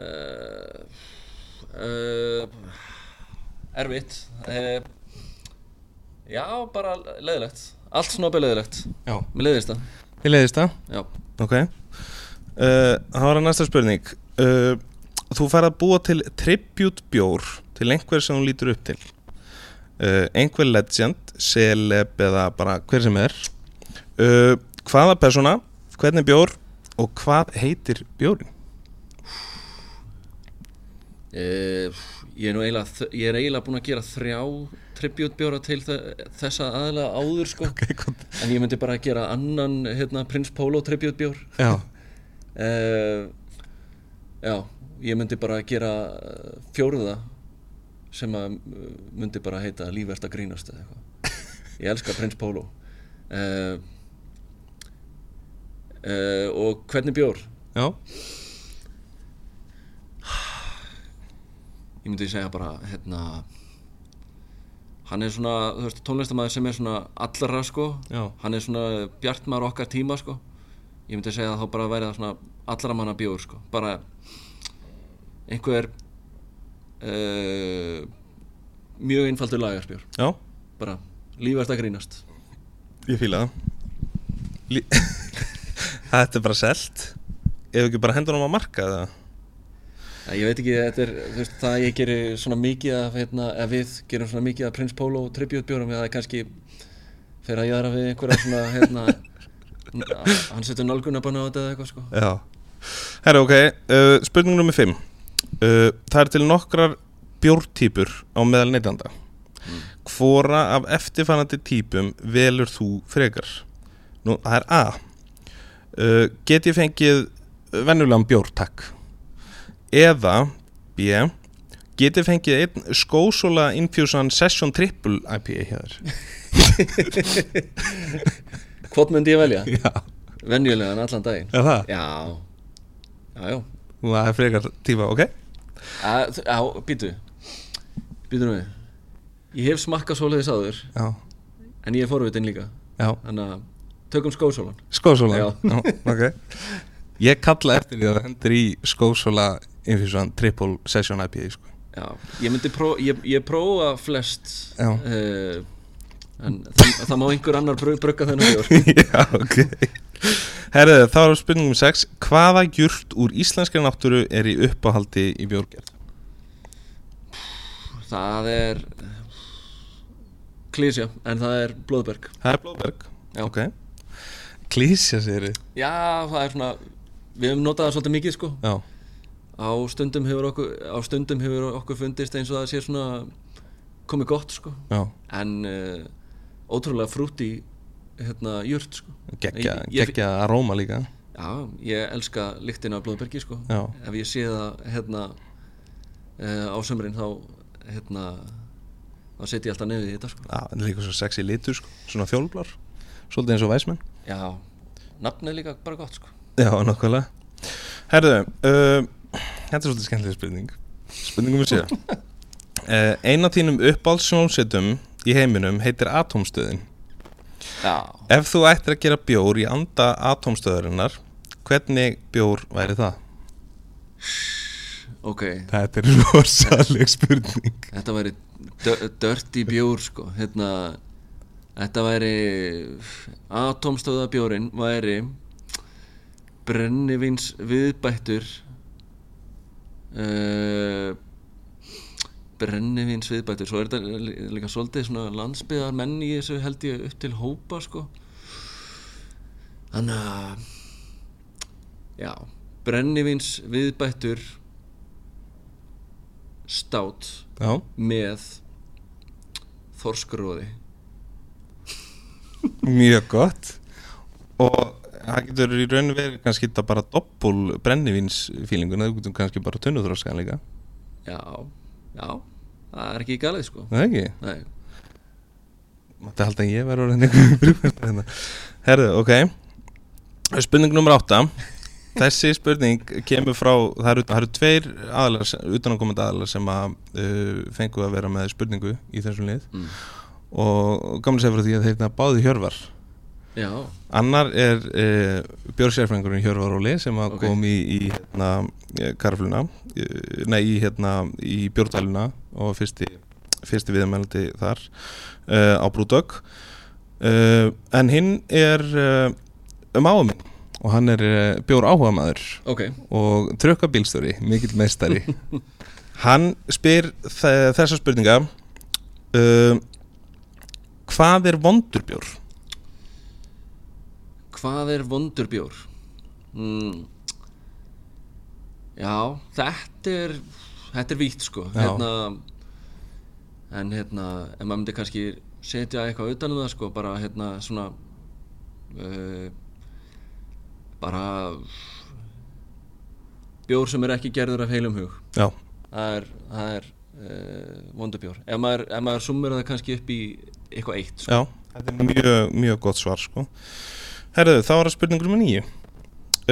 A: uh, uh, Erfitt uh, Já, bara leðilegt Allt snobbi leðilegt
C: Já
A: Mér leðist það
C: Ég leiðist það
A: Já,
C: Ok uh, Það var að næsta spurning uh, Þú fær að búa til tribute bjór til einhver sem þú lítur upp til uh, einhver legend celeb eða bara hver sem er uh, hvaða persóna hvernig bjór og hvað heitir bjórin
A: uh, ég, er nú eiginlega, þ- ég er eiginlega búin að gera þrjá tributbjóra til þe- þessa aðla áður sko
C: okay, gott.
A: En ég myndi bara að gera annan hérna, Prins Polo tributbjór
C: Já,
A: uh, Já, ég myndi bara að gera eh, fjórða sem að eh, myndi bara heita Lífvert að grínast eða eitthvað Ég elska Prins Polo uh, uh, Og hvernig bjór?
C: já,
A: ég myndi segja bara hérna hann er svona, þú veist, tónlistamæður sem er svona allra sko,
C: Já.
A: hann er svona bjartmaður okkar tíma sko ég myndi segja að þá bara væri það svona allra manna bjóður sko, bara einhver uh, mjög einfaldur lagarsbjór,
C: já
A: bara lífast að grínast
C: Ég fíla það Lí... Þetta er bara selt Ef ekki bara hendur hann á marka eða
A: Já, ég veit ekki, þetta er, þú veist, það að ég gerir svona mikið af, hérna, eða við gerum svona mikið af Prince Polo og tributbjórum, það er kannski fyrir að jaðra við einhverja svona, hérna, n- hann setur nálgunabanna á þetta eða eitthvað, sko.
C: Já Herra, ok, uh, spurning nummer 5 uh, Það er til nokkrar bjórtýpur á meðal neytanda Mm. Hvora af eftirfarandi típum velur þú frekar? Nú, það er A uh, Get ég fengið vennulegan bjór, takk Eða B Get ég fengið einn skósóla infusion session triple IPA hér
A: Hvort myndi ég velja?
C: Já,
A: Venjulegan allan daginn.
C: er það?
A: Já, já, já.
C: Það er frekar típa, ok?
A: Að- þú- Já, býtu, býtu nú við. Ég hef smakkað svoleiðis áður,
C: Já,
A: en ég er forvitin líka,
C: já
A: þannig að tökum skósólan.
C: Skósóla?
A: Já.
C: ok Ég kalla eftir því að það hendur í skósóla Infusion Triple Session IPA sko.
A: Já, ég myndi prófa, ég, ég prófa flest
C: Já.
A: eh, En það, það má einhver annar brug, brugga þennan bjór
C: Já, ok Herðu, þá erum spurningum 6 Hvaða jurt úr íslenskri náttúru er í uppáhaldi í bjórgerð?
A: Það er Klísja, en það er Blóðberg
C: Það er Blóberg
A: Já.
C: ok Klísja sér þið
A: Já, það er svona Við höfum notað það svolítið mikið sko
C: Já,
A: Á stundum hefur okkur, á stundum hefur okkur fundist eins og það sé svona komið gott sko
C: já,
A: En uh, ótrúlega frútt í hérna jurt sko
C: geggja,
A: Ég- ég-
C: geggja aróma líka
A: Já, ég elska lyktina af blóðbergi sko
C: Já.
A: Ef ég sé það hérna uh, á sömurinn þá hérna þá setjum ég alltaf nefið í þetta sko
C: Já, en líka svo sexy litur sko, svona fjólblar Svolítið eins og væsmenn
A: Já, nafnið er líka bara gott sko
C: Já, nokkulega Herðu, uh, þetta er svolítið skemmtileg spurning Spurningum við sér uh, Einn af þínum uppáldssjónsetum í heiminum heitir Atomstöðin
A: Já
C: Ef þú ættir að gera bjór í anda Atomstöðarinnar Hvernig bjór væri það?
A: Ok,
C: Þetta er rosaleg spurning
A: þetta væri dö- dirty bjór sko hérna, þetta væri atomstöðabjórin væri brennivins viðbættur uh, brennivins viðbættur svo er þetta lí- líka svolítið svona landsbyðar menn í þessu held ég upp til hópa sko þannig að já, brennivins viðbættur stát
C: Já,
A: með þorskróði
C: mjög gott Og það getur í raun verið kannski þetta bara doppul brennivínsfílingun Það getur kannski bara tunnuþróskan líka
A: já, já, það er ekki galið sko
C: Er Það ekki?
A: nei,
C: Mætti halda að ég verður orðin einhverjum brúkvæmstur hérna Herðu, ok Spurning nummer átta Þessi spurning kemur frá Það eru, það eru tveir aðlar, utanakomandi aðlar sem að uh, fengu að vera með spurningu í þessum lið
A: Mm.
C: og gaman að segja frá því að þeirna báði Hjörvar
A: já,
C: Annar er uh, björnsérfrængurinn Hjörvar Óli sem að
A: Ok.
C: kom í, í hérna, eh, karfluna eh, nei, í, hérna, í björndaluna og fyrsti, fyrsti viðmælandi þar uh, á Brúdögg uh, en hinn er uh, máa minn og hann er uh, bjór áhuga maður
A: ok
C: og trökkabílstjóri, mikill meistari hann spyr þe- þessa spurninga uh, hvað er vondurbjór?
A: hvað er vondur bjór mm. já, þetta er þetta er vítt sko
C: Já.
A: hérna, en hérna en maður myndi kannski setja eitthvað utan um það sko, bara hérna svona uh, bara bjór sem er ekki gerður af heilum hug
C: Já,
A: það er, það er uh, vondubjór ef maður, ef maður summur það kannski upp í eitthvað eitt sko.
C: já, þetta er mjög, mjög gott svar sko. Herðu, þá er það spurningur með nýju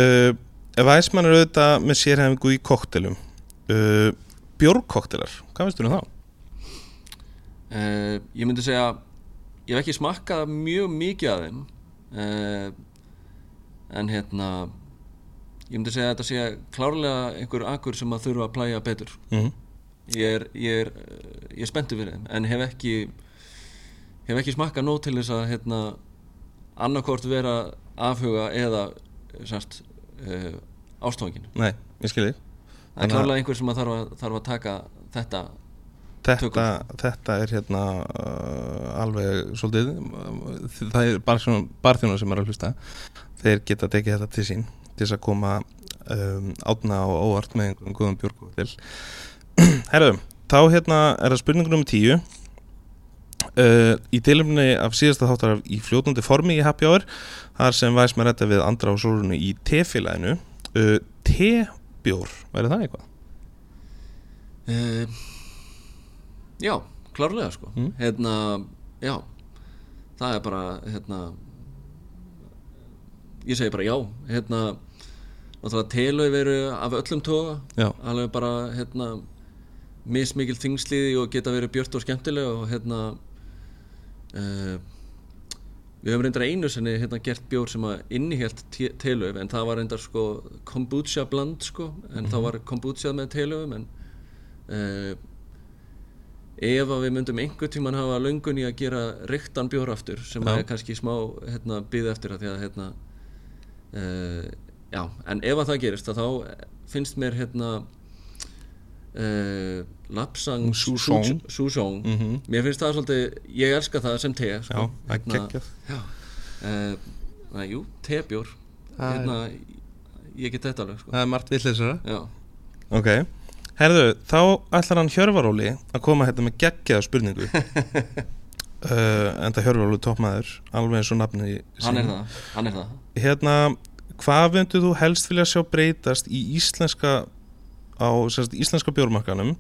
C: uh, Væsmann er auðvitað með sérhæfingu í koktelum uh, Bjórkoktelar, hvað veistu um þá?
A: uh, ég myndi segja ég hef ekki smakkað mjög mikið af þeim uh, en hérna ég myndi segja að þetta sé klárlega einhver akkur sem að þurfa að plæja betur
C: Mm -hmm.
A: ég er, ég er, eh, ég er spenntu fyrir þeim en hef ekki hef ekki smakkað nóg til þess að hérna, annarkort vera afhuga eða sérst, uh, ástóngin
C: Nei, ég skilji
A: Það er
C: Þannig að-
A: klárlega einhver sem að þarf, að þarf að taka þetta
C: þetta,
A: Tökum.
C: þetta er hérna uh, alveg svolítið uh, það er barþjónar, barþjónar sem er að hlusta þeir geta tekið þetta til sín til þess að koma um, átna og óvart með einhverjum góðum björgkóttil Herru, þá hérna er það spurningur um tíu Uh, í tilumni af síðasta þáttar af í fljótandi formi í Happy Hour þar sem væs með þetta við Andra og Sólunu í tefélaginu uh, Tebjór, væri það eitthvað?
A: uh, Já, klárlega sko
C: Mm.
A: Hérna, já Það er bara, hérna Ég segi bara já Hérna Náttúrulega telauð veru af öllum toga
C: Já,
A: Alveg bara, hérna Mismikil þingsliði og geta verið björt og skemmtileg Og hérna uh, Við höfum reyndar einu sinni hérna gert bjór sem að innihjælt telöf en það var reyndar sko kombucha bland sko en þá var kombucha með telöfum en uh, ef að við myndum einhver tíman hafa löngun í að gera reyktan bjór aftur sem
C: Já.
A: að er kannski smá hérna býð eftir það því að hérna uh, já en ef að það gerist að þá finnst mér hérna uh, Lapsang
C: Sousong.
A: Sousong- Sousong
C: mhm
A: Mér finnst það svolítið, ég elska það sem te sko.
C: Já, það
A: Hérna,
C: er geggjað.
A: já. Eh, Þannig að jú, tebjór
C: Það er-
A: hérna, Ég get þetta alveg sko.
C: það er margt villisara
A: Já,
C: Ok, herðu, þá ætlar hann Hjörvaróli að koma hérna með geggjaða spurningu uh, Enda Hjörvaróli toppmaður, alveg eins og nafni
A: hann er það, hann er það.
C: Hérna, hvað myndir þú helst vilja sjá breytast í íslenska á sérst, íslenska bjórmarkanum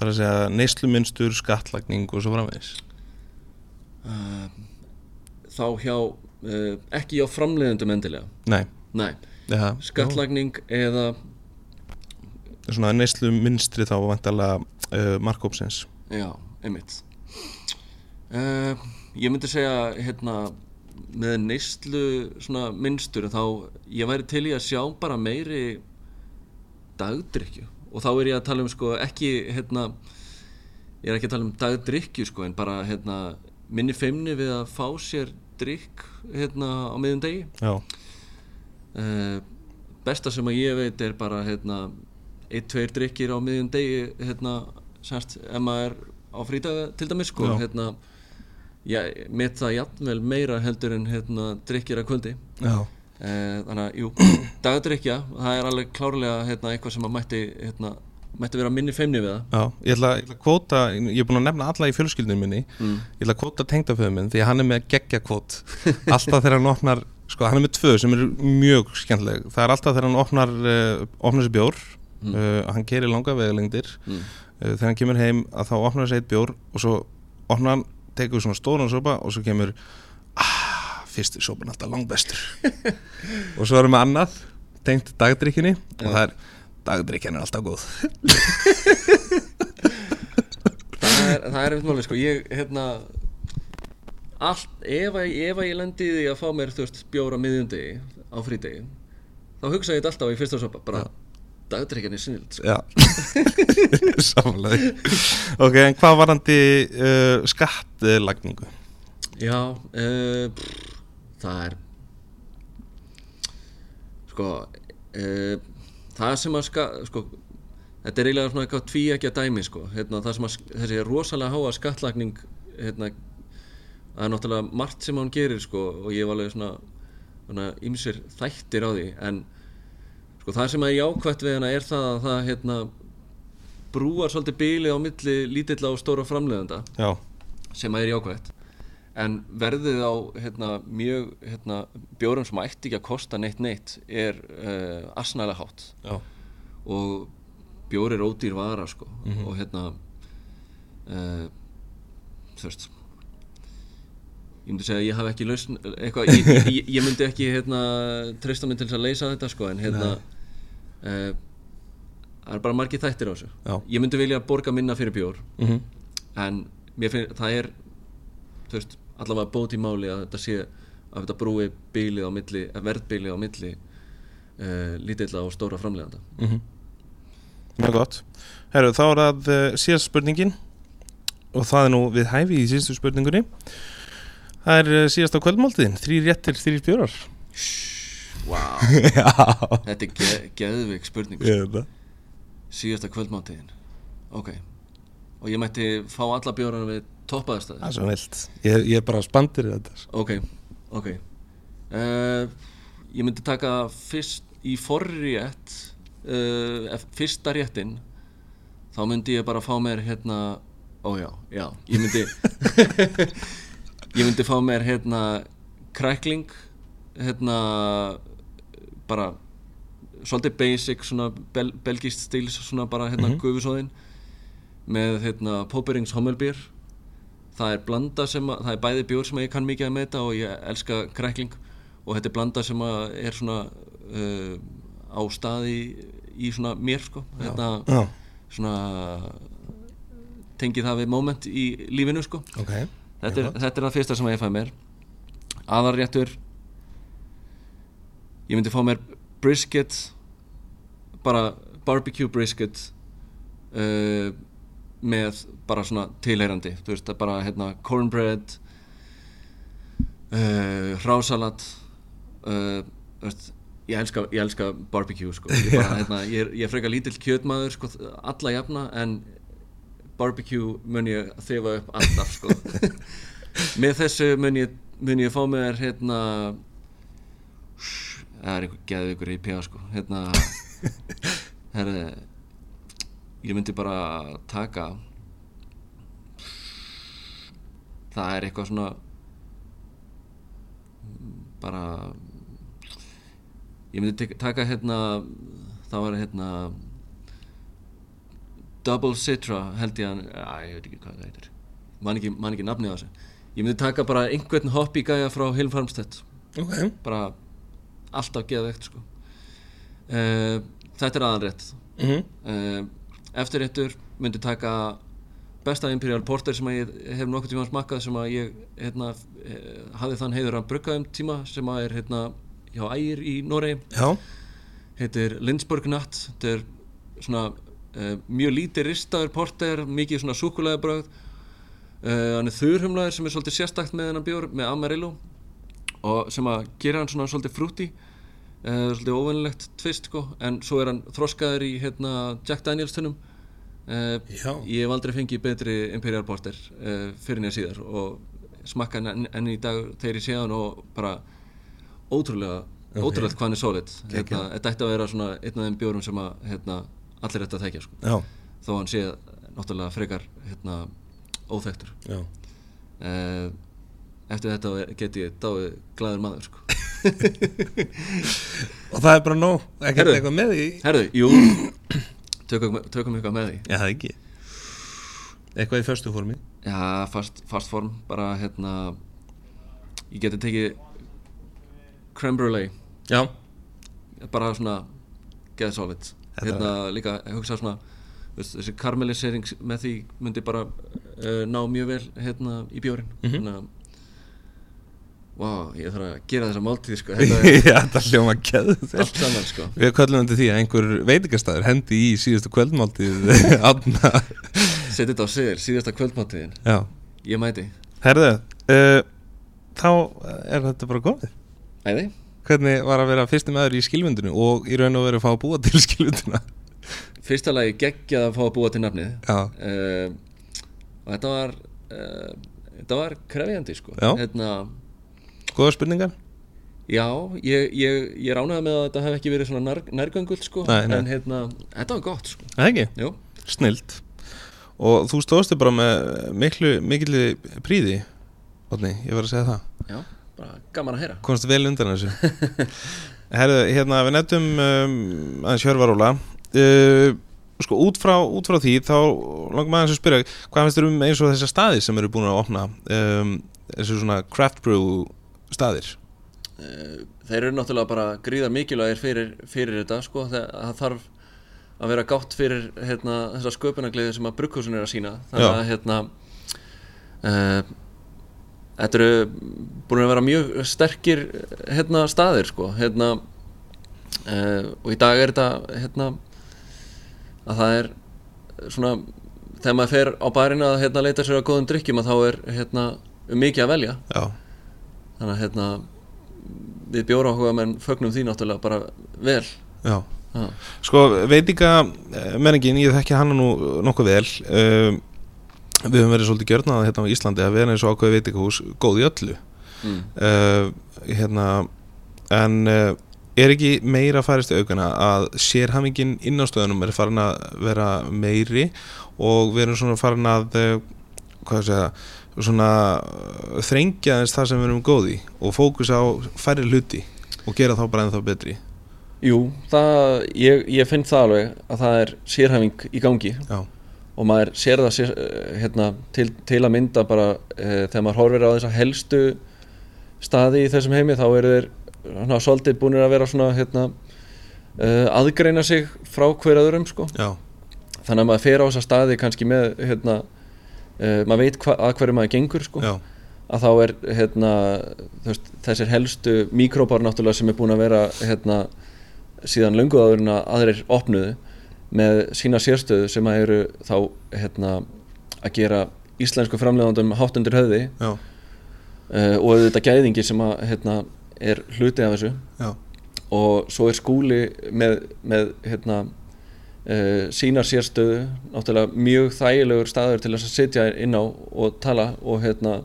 C: þar að segja neysluminstur, skattlagning og svo framvegis
A: Um, Þá hjá uh, ekki hjá framleiðendum endilega
C: Nei,
A: Nei,
C: ja,
A: skattlagning eða
C: Svona neysluminstri þá vantalega uh, markópsins
A: Já, einmitt uh, Ég myndi segja hérna með neyslu svona minnstur þá ég væri til í að sjá bara meiri dagdrykju og þá er ég að tala um sko ekki hérna ég er ekki að tala um dagdrykju sko en bara hérna minni feimni við að fá sér drykk hérna á miðum degi
C: Já,
A: Eh, besta sem að ég veit er bara hérna, ein, tveir drikkir á miðjum degi hérna, semst, ef maður er á frídaga til dæmis sko,
C: Já.
A: hérna ég met það jafnvel meira heldur en hérna, drikkir að kvöldi
C: já
A: eh, þannig að, jú, dagdrykja það er alveg klárlega hérna, eitthvað sem að mætti hérna, mætti vera minni feimni við það
C: Já, ég ætla, ég ætla að kvóta, ég er búin að nefna alla í fjölskyldinu minni, ég ætla að kvóta tengdaföðu minn því að hann er með geggja kvót, alltaf þegar hann opnar, sko hann er með tvö sem eru mjög skemmtileg, það er alltaf þegar hann opnar, uh, opnar sér bjór, uh, hann keri langa vegalengdir,
A: Mm.
C: uh, þegar hann kemur heim að þá opnar hann sér eitt bjór og svo opnar hann, tekur svona stóran sopa og svo kemur, ah, fyrsti sopan alltaf langbestur og svo erum við annað, tengt dagdrykkinni og það er, dagdrykkin er alltaf góð.
A: það er, það er einmitt máli sko, ég hérna allt, ef að, ef að ég lendi í því að fá mér þú veist bjóra miðjundegi á frídegi þá hugsa ég þetta alltaf í fyrsta sopa bara dagdrykjan er sinnild sko.
C: Já Samanlega Ok, en hvað varandi uh, skattlagningu?
A: já uh, pff, það er sko uh, það sem að ska, sko þetta er eiginlega svona eitthvað tvíækja dæmi sko hérna, það sem að sk- þessi rosalega háa skattlagning hérna það er náttúrulega margt sem hann gerir sko og ég var alveg svona svona ymsir þættir á því en sko það sem er jákvætt við hana er það að það hérna brúar svolítið bíli á milli lítilla og stóra framleiðanda
C: Já,
A: sem að er jákvætt en verðið á hérna, mjög hérna, bjórum sem ætti ekki að kosta neitt neitt er uh, asnælega hátt
C: já,
A: og bjór er ódýr vara sko og hérna uh, þú veist ég myndi segja að ég hafi ekki lausn eitthvað, ég, ég, ég myndi ekki hérna, treysta mig til þess að leysa þetta sko en hérna uh, það er bara margir þættir á þessu
C: Já.
A: ég myndi vilja borga minna fyrir bjór
C: mm
A: en mér finn það er þú veist, allavega bót í máli að þetta sé að þetta brúi bílið á milli að verðbílið á milli uh, lítilla og stóra framleganda
C: mhm. mjög gott Herru, þá er að uh, síðast spurningin og það er nú við hæfi í síðustu spurningunni Það er uh, síðast á kvöldmáltiðin, þrý réttir, þrý bjórar
A: wow.
C: Já,
A: þetta er ge geðvik spurning
C: ég veit það
A: síðasta kvöldmáttiðin ok og ég mætti fá alla bjórana við
C: Það
A: toppaðastæði
C: er svo vilt, ég, ég er bara spandir í þetta sko.
A: ok, ok uh, ég myndi taka fyrst í forrétt uh, ef- fyrsta réttin þá myndi ég bara fá mér hérna ó já, já, ég myndi ég myndi fá mér hérna krækling hérna bara svolítið basic svona bel, belgist stíls svona bara hérna
C: Mhm.
A: mm með hérna Póperings Hommelbýr það er blanda sem að, það er bæði bjór sem ég kann mikið að meta og ég elska krækling og þetta er blanda sem að er svona uh, á staði í svona mér sko hérna,
C: Já,
A: svona tengi það við moment í lífinu sko
C: ok
A: þetta er, þetta er það fyrsta sem ég fæ mér aðarréttur ég myndi fá mér brisket bara barbecue brisket uh, með bara svona tilheyrandi þú veist, það er bara hérna cornbread uh, hrásalat uh, þú veist, ég elska, ég elska barbecue sko ég, bara, hérna, ég, er, ég er frekar lítill kjötmaður sko, alla jafna en barbecue mun ég þefa upp alltaf sko með þessu mun ég mun ég fá mér hérna það er einhver geðvikur í pjá sko hérna herri, ég myndi bara taka það er eitthvað svona bara ég myndi tek- taka hérna það var hérna Double Citra held ég hann að ég veit ekki hvað það heitir man ekki, man ekki nafnið á þessu ég myndi taka bara einhvern hoppi gæja frá Hill Farmstead
C: Ok,
A: bara alltaf geðvegt sko. uh, þetta er aðanrétt
C: mm
A: uh, eftir réttur myndi taka besta Imperial Porter sem að ég hef nokkuð tíma smakkað sem að ég hérna, eh, hafði þann heiður að brugga um tíma sem að er hérna, hjá ægir í Noregi
C: já,
A: heitir Lindsburg Nut þetta er svona uh, mjög lítið ristaður porter mikið svona súkulæðabröð uh, hann er þurrhumlaður sem er svolítið sérstakt með hennan bjór með Amarillo og sem að gera hann svona svolítið frúti uh, svolítið óvennilegt tvist sko. en svo er hann þroskaður í hérna, Jack Daniels tunnum uh,
C: Já.
A: ég hef aldrei fengið betri Imperial Porter uh, fyrir nýja síðar og smakka hann enn- enn í dag þegar ég sé hann og bara ótrúlega ótrúlega hvað hann er solid hérna, þetta ætti að vera svona einn af þeim bjórum sem að hérna, allir ætti að þekja sko.
C: já,
A: þó hann sé náttúrulega frekar hérna, óþektur
C: já.
A: Eh, eftir þetta er- get ég dáið glæður maður sko.
C: Og það er bara nóg, ekkert
A: Heyrðu.
C: eitthvað með því
A: herðu, jú tökum, tökum eitthvað með því
C: Já, það ekki Eitthvað í förstu formi
A: já, fast, fast form, bara hérna ég geti tekið creme brulee
C: Já,
A: bara svona geða solid
C: Þetta
A: hérna líka hugsa svona þú veist, þessi karamellisering með því myndi bara uh, ná mjög vel hérna í bjórin
C: Mhm.
A: mm -hmm. wow, ég þarf að gera þessa máltíð sko, þetta er
C: Já það hljóma keðu
A: allt saman sko
C: Við köllum þetta því að einhver veitingastæður hendi í síðustu kvöldmáltíð Átna
A: setja þetta á sigur, síðasta kvöldmáltíðin
C: Já
A: ég mæti,
C: Herðu, uh, þá er þetta bara komið
A: æði
C: Hvernig var að vera fyrsti maður í skilvundinu og í raun og verið að fá að búa til skilvundina
A: fyrsta lagi geggjað að fá að búa til nafnið
C: Já,
A: uh, og þetta var uh, þetta var krefjandi sko
C: Já.
A: hérna
C: góða spurningar
A: Já, ég, ég, ég ránaði með að þetta hef ekki verið svona nær, nærgöngull sko,
C: Nei, nei.
A: en hérna, þetta var gott sko.
C: Það ekki
A: Jú,
C: Snilt Og þú stóðstu bara með miklu, miklu príði Otni, ég var að segja það
A: já, bara gaman að heyra.
C: komst vel undan þessu Herðu, hérna við nettum um, aðeins Hjörvar Óla uh, sko út frá, út frá því þá langum aðeins að spyrja hvað finnst þér um eins og þessa staði sem eru búin að opna um, þessu svona craft brew staðir
A: Eh, Þeir eru náttúrulega bara gríðar mikilvægir fyrir, fyrir þetta sko, það, það þarf að vera gátt fyrir hérna, þessa sköpunagliði sem að brugghúsin er að sína. Þannig
C: Já.
A: að hérna, uh, þetta eru búin að vera mjög sterkir hérna, staðir sko, hérna, uh, og í dag er þetta hérna, að það er svona þegar maður fer á barinn að hérna, leita sér að góðum drykkjum að þá er hérna, um mikið að velja
C: Já,
A: þannig að hérna við bjóra okkur menn fögnum því náttúrulega bara vel
C: já
A: ha.
C: Sko veitinga eh, menningin, ég þekki hana nú nokkuð vel um, við höfum verið svolítið gjörnað hérna á Íslandi að vera eins og ákveði veitingahús góð í öllu
A: mm.
C: uh, hérna en uh, er ekki meira farist í aukana að sérhamingin inn á stöðunum er farin að vera meiri og við erum svona farin að uh, hvað segja svona uh, þrengja þess það sem við erum góð í og fókus á færri hluti og gera þá bara ennþá betri
A: Jú, það, ég, ég finn það alveg að það er sérhæfing í gangi
C: já,
A: og maður sér það sér, eh, hérna, til, til að mynda bara eh, þegar maður horfir á þessa helstu staði í þessum heimi þá eru þeir svona, svolítið búinir að vera svona hérna, eh, aðgreina sig frá hverjaðurum sko.
C: já,
A: þannig að maður fer á þessa staði kannski með hérna, uh, maður veit hva, að hverju maður gengur sko.
C: já,
A: að þá er hérna, þú veist, þessir helstu mikrópar náttúrulega sem er búin að vera hérna, síðan löngu áður en að aðrir opnuðu með sína sérstöðu sem að eru þá hérna, að gera íslensku framlegandum hátt undir höfði
C: já,
A: uh, og auðvitað gæðingi sem að hérna, er hluti af þessu
C: já,
A: og svo er skúli með, með hérna, uh, sína sérstöðu náttúrulega mjög þægilegur staður til þess að sitja inn á og tala og hérna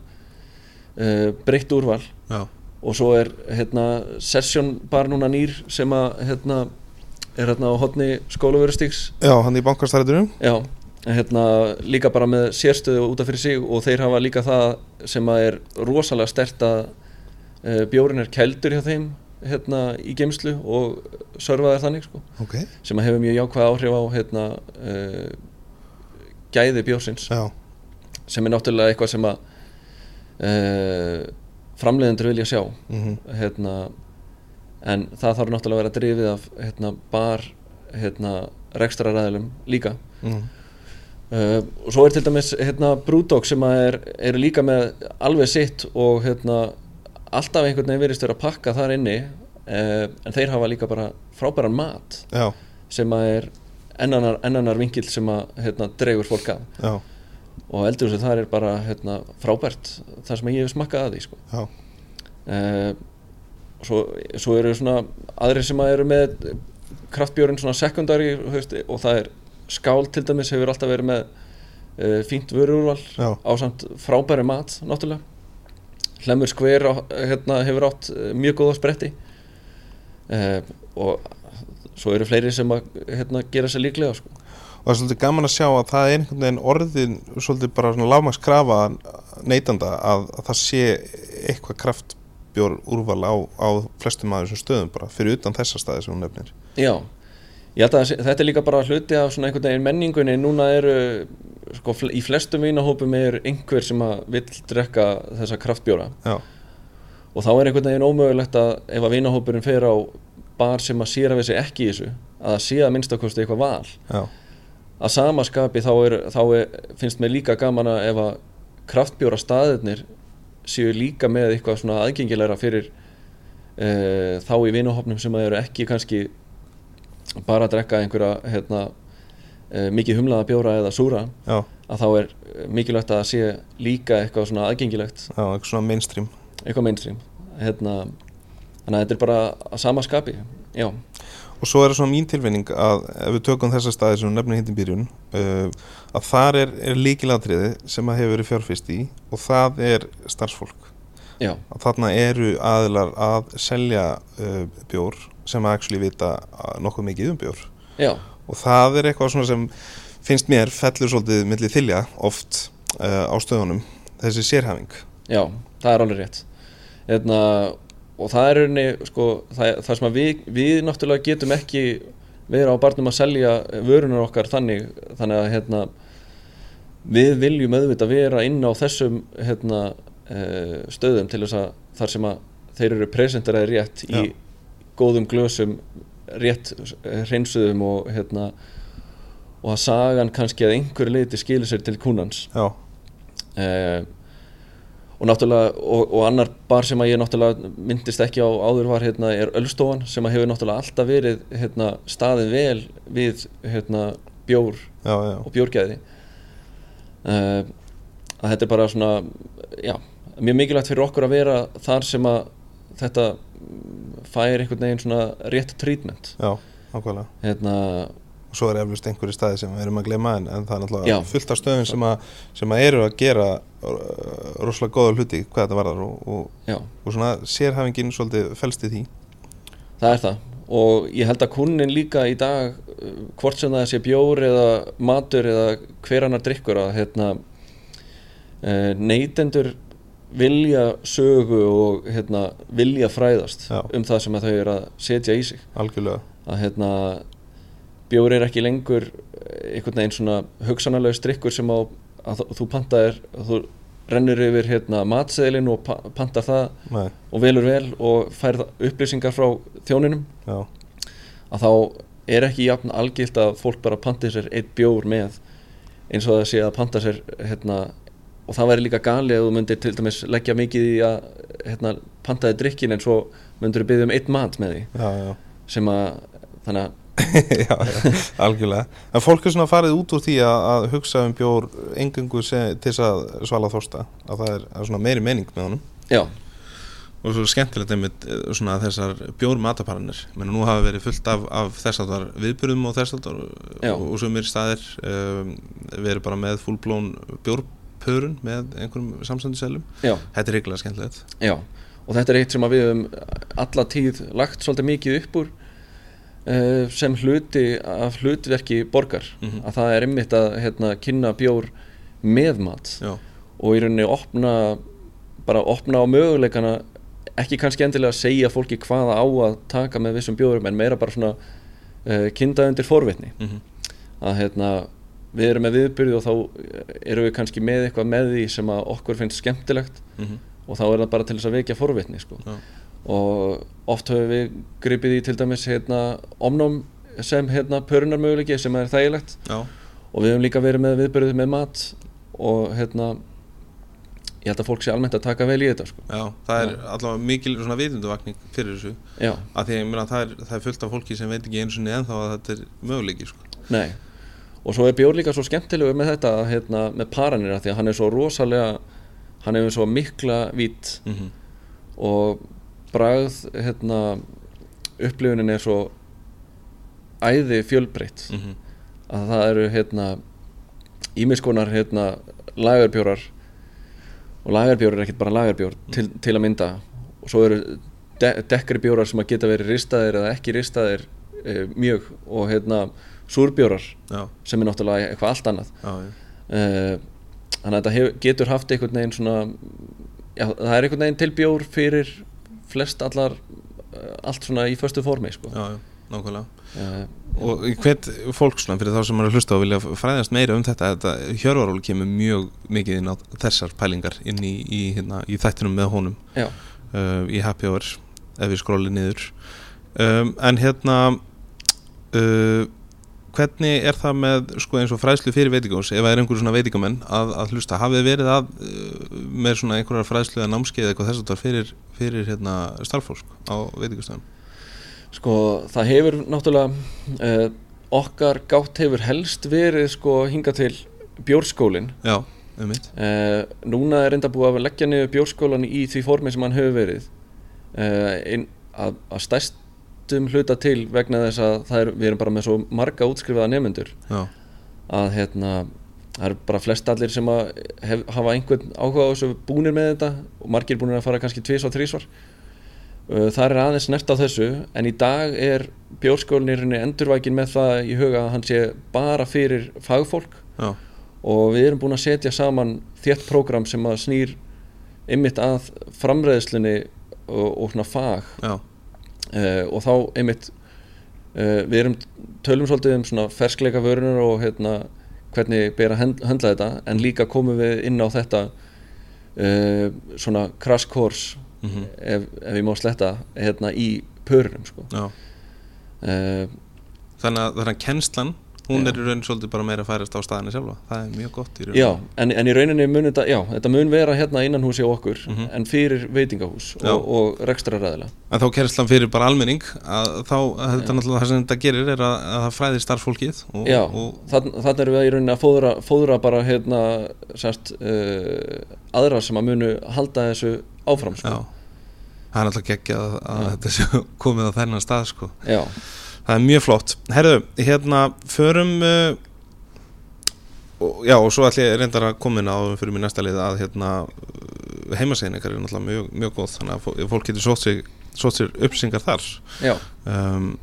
A: uh, breytt úrval
B: já,
A: og svo er hérna, session bar núna nýr sem að hérna, er hérna á hotni skólavörustíks
C: Já, hann í bankastæriðunum
A: já, hérna, líka bara með sérstöðu út af fyrir sig og þeir hafa líka það sem að er rosalega stert að uh, bjórin er keldur hjá þeim hérna, í geimslu og sörfaðar þannig sko,
C: Ok
A: sem að hefur mjög jákvæð áhrif á hérna, uh, gæði bjórsins
C: Já,
A: sem er náttúrulega eitthvað sem að uh, framleiðendur vilja sjá
C: mhm,
A: hérna, en það þarf náttúrulega að vera drifið af hérna, bar hérna, rekstraræðilum líka
C: mhm,
A: uh, og svo er til dæmis hérna, Brewdog sem að er, er líka með alveg sitt og hérna, alltaf einhvern veginn verist verið að pakka þar inni uh, en þeir hafa líka bara frábæran mat
C: já,
A: sem að er ennanar, ennanar vinkill sem að hérna, dregur fólk af
C: já,
A: og eldurhúsið þar er bara hérna, frábært þar sem ég hef smakkað að því sko.
C: já,
A: uh, svo, svo eru svona aðrir sem að eru með kraftbjörn svona sekundari veist, og það er skál til dæmis hefur alltaf verið með uh, fínt vörurúrval
C: já,
A: á samt frábæri mat náttúrulega Hlemur Skver hérna, hefur átt eh, mjög góða spretti uh, og svo eru fleiri sem að hérna, gera sér líklega sko.
C: og það er svolítið gaman að sjá að það er einhvern veginn orðin svolítið bara svona lágmakskrafa neytanda að, að það sé eitthvað kraftbjór úrval á, á flestum af þessum stöðum bara fyrir utan þessa staði sem hún nefnir
A: Já, ég held að það sé- þetta er líka bara hluti af svona einhvern veginn menningunni núna eru, sko, fl- í flestum vínahópum er einhver sem að vill drekka þessa kraftbjóra
C: Já,
A: og þá er einhvern veginn ómögulegt að ef að vínahópurinn fer á bar sem að sér að við sig ekki í þessu að það sé að minnstakosti eitthvað val
C: já,
A: að samaskapi þá, er, þá er, finnst mér líka gaman að ef að kraftbjóra staðirnir séu líka með eitthvað svona aðgengilegra fyrir uh, þá í vinuhopnum sem að eru ekki kannski bara að drekka einhverja hérna, uh, mikið humlaða bjóra eða súra
C: já,
A: að þá er eh, mikilvægt að það sé líka eitthvað svona aðgengilegt
C: já, eitthvað svona mainstream
A: eitthvað mainstream hérna, þannig að þetta er bara að samaskapi já,
C: og svo er það svona mín tilfinning að ef við tökum þessa staði sem hún nefnir hittin byrjun uh, að þar er, er líkilatriði sem að hefur verið fjárfist í og það er starfsfólk
A: já,
C: að þarna eru aðilar að selja uh, bjór sem að actually vita uh, nokkuð mikið um bjór
A: já
C: og það er eitthvað svona sem finnst mér fellur svolítið milli þylja oft uh, á stöðunum þessi sérhæfing
A: Já, það er alveg rétt Eðna, og það er rauninni sko, það, það sem að við, við náttúrulega getum ekki vera á barnum að selja vörunar okkar þannig þannig að hérna, við viljum auðvitað vera inn á þessum hérna, eh, stöðum til þess að þar sem að þeir eru presenteraði rétt í
C: Já.
A: góðum glösum rétt eh, hreinsuðum og hérna og að sagan kannski að einhverju leiti skilur sér til kúnans
C: já,
A: eh, og náttúrulega og, og annar bar sem að ég náttúrulega myndist ekki á áður var hérna er Ölstofan sem að hefur náttúrulega alltaf verið hérna staðið vel við hérna bjór
C: já, já,
A: og bjórgæði eh, að þetta er bara svona já, mjög mikilvægt fyrir okkur að vera þar sem að þetta mm, fær einhvern veginn svona rétt treatment
C: já, nákvæmlega
A: hérna
C: og svo er eflust einhverju staði sem við erum að glema en, en það er náttúrulega
A: Já.
C: fullt af stöðum sem að, sem að eru að gera uh, rosalega góða hluti hvað þetta varðar og, og,
A: já
C: og svona sérhæfingin svolítið felst í því
A: Það er það og ég held að kunnin líka í dag uh, hvort sem það sé bjór eða matur eða hver annar drikkur að hérna, uh, neytendur vilja sögu og hérna, vilja fræðast
C: Já.
A: um það sem að þau eru að setja í sig
C: algjörlega,
A: að hérna, bjór er ekki lengur eh, einhvern veginn svona hugsanalegu strikkur sem á, að þú- þú pantaðir þú rennur yfir hérna, matseðilinn og pa- pantar það
C: nei,
A: og velur vel og færð upplýsingar frá þjóninum
C: já
A: að þá er ekki jafn algilt að fólk bara panti sér eitt bjór með eins og það sé að panta sér hérna, og það væri líka gali að þú myndir til dæmis leggja mikið í að hérna, pantaði drikkin en svo myndir þú byggja um eitt mat með því
C: já, já
A: sem að þannig að
C: já, já, algjörlega en fólk er svona farið út úr því að, að hugsa um bjór engungu til þess að svala þorsta að það er, er svona meiri mening með honum
A: já,
C: og svo skemmtilegt einmitt eh, svona þessar bjór mataparanir menn nú hafa verið fullt af, af þessaldar viðbyrðum og ehm, þessaldar
A: Já.
C: og, og sumir staðir um, verið bara með fullblón bjórpöpp pörun með einhverjum samsönduselum
A: já,
C: þetta er ykkurlega skemmtilegt
A: já og þetta er eitt sem að við höfum alla tíð lagt svolítið mikið upp úr uh, sem hluti af hlutverki borgar
C: Mhm.
A: að það er einmitt að hérna, kynna bjór með mat
C: já,
A: og í rauninni opna bara opna á möguleikana ekki kannski endilega að segja fólki hvaða á að taka með vissum bjórum en meira bara svona uh, kynda undir forvitni
C: mm
A: að hérna við erum með viðbyrði og þá eh, erum við kannski með eitthvað með því sem að okkur finnst skemmtilegt og þá er það bara til þess að vekja forvitni sko.
C: mhm, já.
A: og oft höfum við gripið í til dæmis hérna omnum sem hérna pörunarmöguleiki sem er þægilegt
C: já,
A: og við höfum líka verið með viðbyrðið með mat og hérna ég held að fólk sé almennt að taka vel í þetta sko.
C: já, það er allavega mikil svona vitunduvakning fyrir þessu
A: já,
C: að því að ég meina það er, það er fullt af fólki sem veit ekki eins og niður ennþá að þetta er möguleiki sko.
A: nei og svo er Bjór líka svo skemmtilegu með þetta að, hérna, með paranir að því að hann er svo rosalega hann hefur svo mikla vít
C: mm -hmm.
A: og bragð hérna, upplifunin er svo æði fjölbreytt
C: Mm -hmm.
A: að það eru hérna ímiskonar hérna lagerbjórar og lagerbjór er ekkert bara lagerbjór til, til að mynda og svo eru de dekkri bjórar sem að geta verið ristaðir eða ekki ristaðir e, mjög og hérna súrbjórar
C: já,
A: sem er náttúrulega eitthvað allt annað
C: já, já,
A: e, þannig að þetta hef, getur haft einhvern veginn svona já, það er einhvern veginn til bjór fyrir flest allar eh, allt svona í föstu formi sko.
C: já, já, nákvæmlega
A: e,
C: og hvert fólk svona fyrir þá sem er að hlusta og vilja fræðast meira um þetta, þetta Hjörvaról kemur mjög mikið inn á þessar pælingar inn í, í, hérna, í þættinum með honum
A: já,
C: uh, í happy hour ef við skróli niður um, en hérna uh, hvernig er það með sko eins og fræðslu fyrir veitingahús ef það er einhver svona veitingamenn að, að hlusta hafið verið að uh, með svona einhverjar fræðslu eða námskeið eða eitthvað þess að það fyrir, fyrir hérna starffólk á veitingastöðum
A: Sko, það hefur náttúrulega uh, okkar gátt hefur helst verið sko hinga til bjórskólin
C: já, um mitt
A: uh, núna er enda búið að leggja niður bjórskólan í því formi sem hann hefur verið uh, inn, að, að stæstum hluta til vegna þess að það er, við erum bara með svo marga útskrifaða nefnendur
C: já,
A: að hérna það eru bara flest allir sem að hef, hafa einhvern áhuga á þessu búnir með þetta og margir búnir að fara kannski tvisvar, þrísvar Uh, þar er aðeins nert á þessu en í dag er bjórskólinirinn endurvækin með það í huga að hann sé bara fyrir fagfólk
C: já,
A: og við erum búin að setja saman þétt prógram sem að snýr ymmit að framreiðslunni og, og svona fag
C: já,
A: uh, og þá einmitt uh, við erum tölum svolítið um svona ferskleika vörunar og hérna hvernig ber að hönd- höndla þetta en líka komum við inn á þetta uh, svona crash course
C: Mhm.
A: ef, ef ég má sletta hérna í pörunum sko.
C: já.
A: uh,
C: þannig að þannig að kennslan hún
A: Já.
C: er í raun svolítið bara meira að færast á staðinni sjálfa það er mjög gott í raun
A: já, en, en í rauninni mun þetta, já, þetta mun vera hérna innan húsi á okkur en fyrir veitingahús
C: Mhm. Já.
A: og, og rekstraræðila
C: en þá kennslan fyrir bara almenning að þá að þetta náttúrulega það sem þetta gerir er að, að það fræðir starffólkið og,
A: Já,
C: og,
A: þannig þann erum við í rauninni að fóðra, fóðra bara hérna, sérst, uh, aðra sem að munu halda þessu áfram
C: já
A: sko.
C: það er náttúrulega geggja að, að þetta sé komið á þennan stað sko
A: Já.
C: það er mjög flott herðu, hérna, förum uh, og, já, og svo ætlum ég reyndar að koma inn á fyrir mér næsta lið að hérna heimasegin ykkar er náttúrulega mjög, mjög góð þannig að fó- fólk getur sótt sér, sótt sér uppsingar þar
A: Já.
C: um,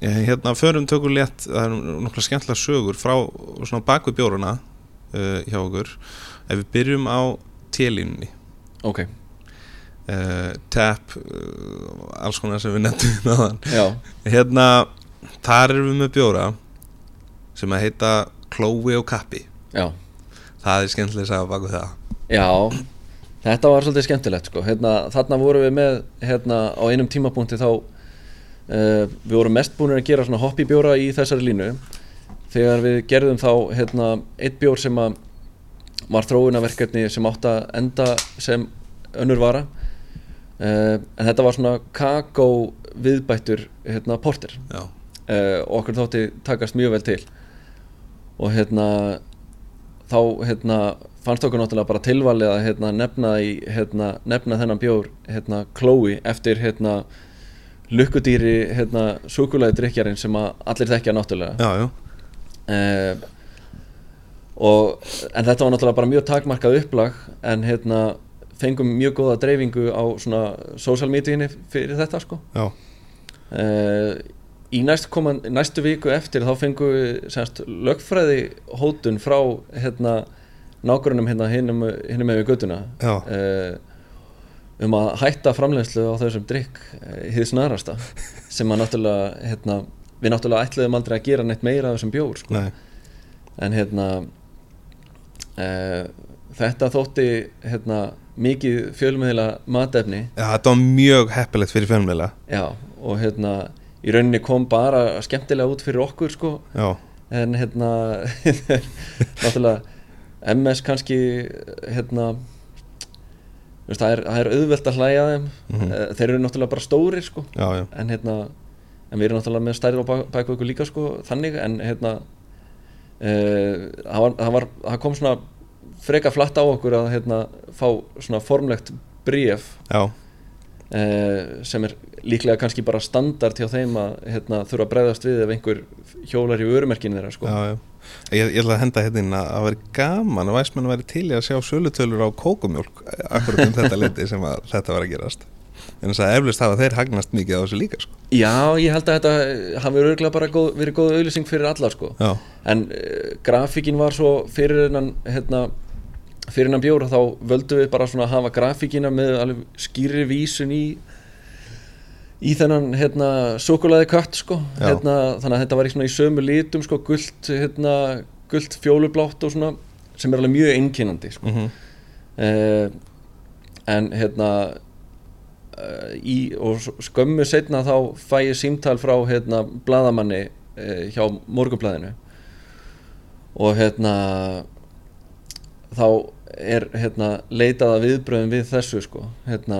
C: eh, hérna förum tökum létt það er nokkla skemmtilega sögur frá svona baku bjóruna uh, hjá okkur ef við byrjum á télínni
A: ok,
C: uh, tap uh, alls konar sem við nefndum náðan
A: já,
C: hérna þar erum við með bjóra sem að heita Chloe og Kappi
A: já,
C: það er skemmtilega að sagða baku það
A: já, þetta var svolítið skemmtilegt sko. hérna, þarna vorum við með, hérna, á einum tímapunkti þá uh, við vorum mest búin að gera svona hoppibjóra í þessari línu þegar við gerðum þá hérna, eitt bjór sem að var þróunaverkefni sem átt að enda sem önnur vara uh, en þetta var svona kakó viðbættur hérna, porter
C: já,
A: uh, og okkur þótti takast mjög vel til og hérna þá hérna fannst okkur náttúrulega bara tilvalið að hérna, nefna, í, hérna, nefna þennan bjór hérna Chloe eftir hérna lukkudýri hérna súkulæði drikjarinn sem að allir þekkja náttúrulega
C: já, já,
A: uh, Eh, og, en þetta var náttúrulega bara mjög takmarkað upplag en hérna fengum mjög góða dreifingu á svona social mediainni fyrir þetta sko
C: Já,
A: uh, í næst koman, næstu viku eftir þá fengum við semst lögfræði hótun frá hérna nágrunum hérna hinnum með við göttuna
C: Já.
A: uh, um að hætta framleiðslu á þessum drikk hið snarasta sem að náttúrulega hérna, við náttúrulega ætluðum aldrei að gera neitt meira af þessum bjór sko.
C: nei,
A: en hérna uh, þetta þótti hérna mikið fjölmiðla matefni
C: já, þetta var mjög heppilegt fyrir fjölmiðla
A: Já, og hérna í rauninni kom bara skemmtilega út fyrir okkur sko
C: Já,
A: en hérna náttúrulega MS kannski hérna þú veist, það, er, það er auðvelt að hlæja að þeim Eh, þeir eru náttúrulega bara stórir sko
C: já, já,
A: en hérna en við erum náttúrulega með stærð á bak, baku ykkur líka sko þannig en hérna uh, það, var, það, var, það kom svona freka flatt á okkur að hérna fá svona formlegt bréf
C: já,
A: eh, sem er líklega kannski bara standard hjá þeim að hérna, þurfa að bregðast við ef einhver hjólar í vörumerkinu þeirra sko.
C: já, já. Ég, ég ætla að henda hérna inn að það væri gaman að væsmenn væri til í að sjá sölutölur á kókumjólk akkurat um þetta liti sem að þetta var að gerast en þess að eflust hafa þeir hagnast mikið á þessu líka sko.
A: Já, ég held að þetta hafi örgulega bara góð, verið góð auðlýsing fyrir alla sko.
C: Já,
A: en uh, grafíkin var svo fyrir hennan hérna, fyrir hennan bjóra þá völdum við bara svona að hafa grafíkina með alveg skýri vísun í í þennan hérna súkulaði kött sko
C: Já.
A: hérna, þannig að þetta var í svona í sömu litum sko gult, hérna, gult fjólublátt og svona sem er alveg mjög einkennandi sko.
C: mm
A: uh, en hérna uh, í, og s- skömmu setna þá fæ ég símtal frá hérna bladamanni uh, hjá morgunblæðinu og hérna þá er hérna leitað að viðbröðum við þessu sko hérna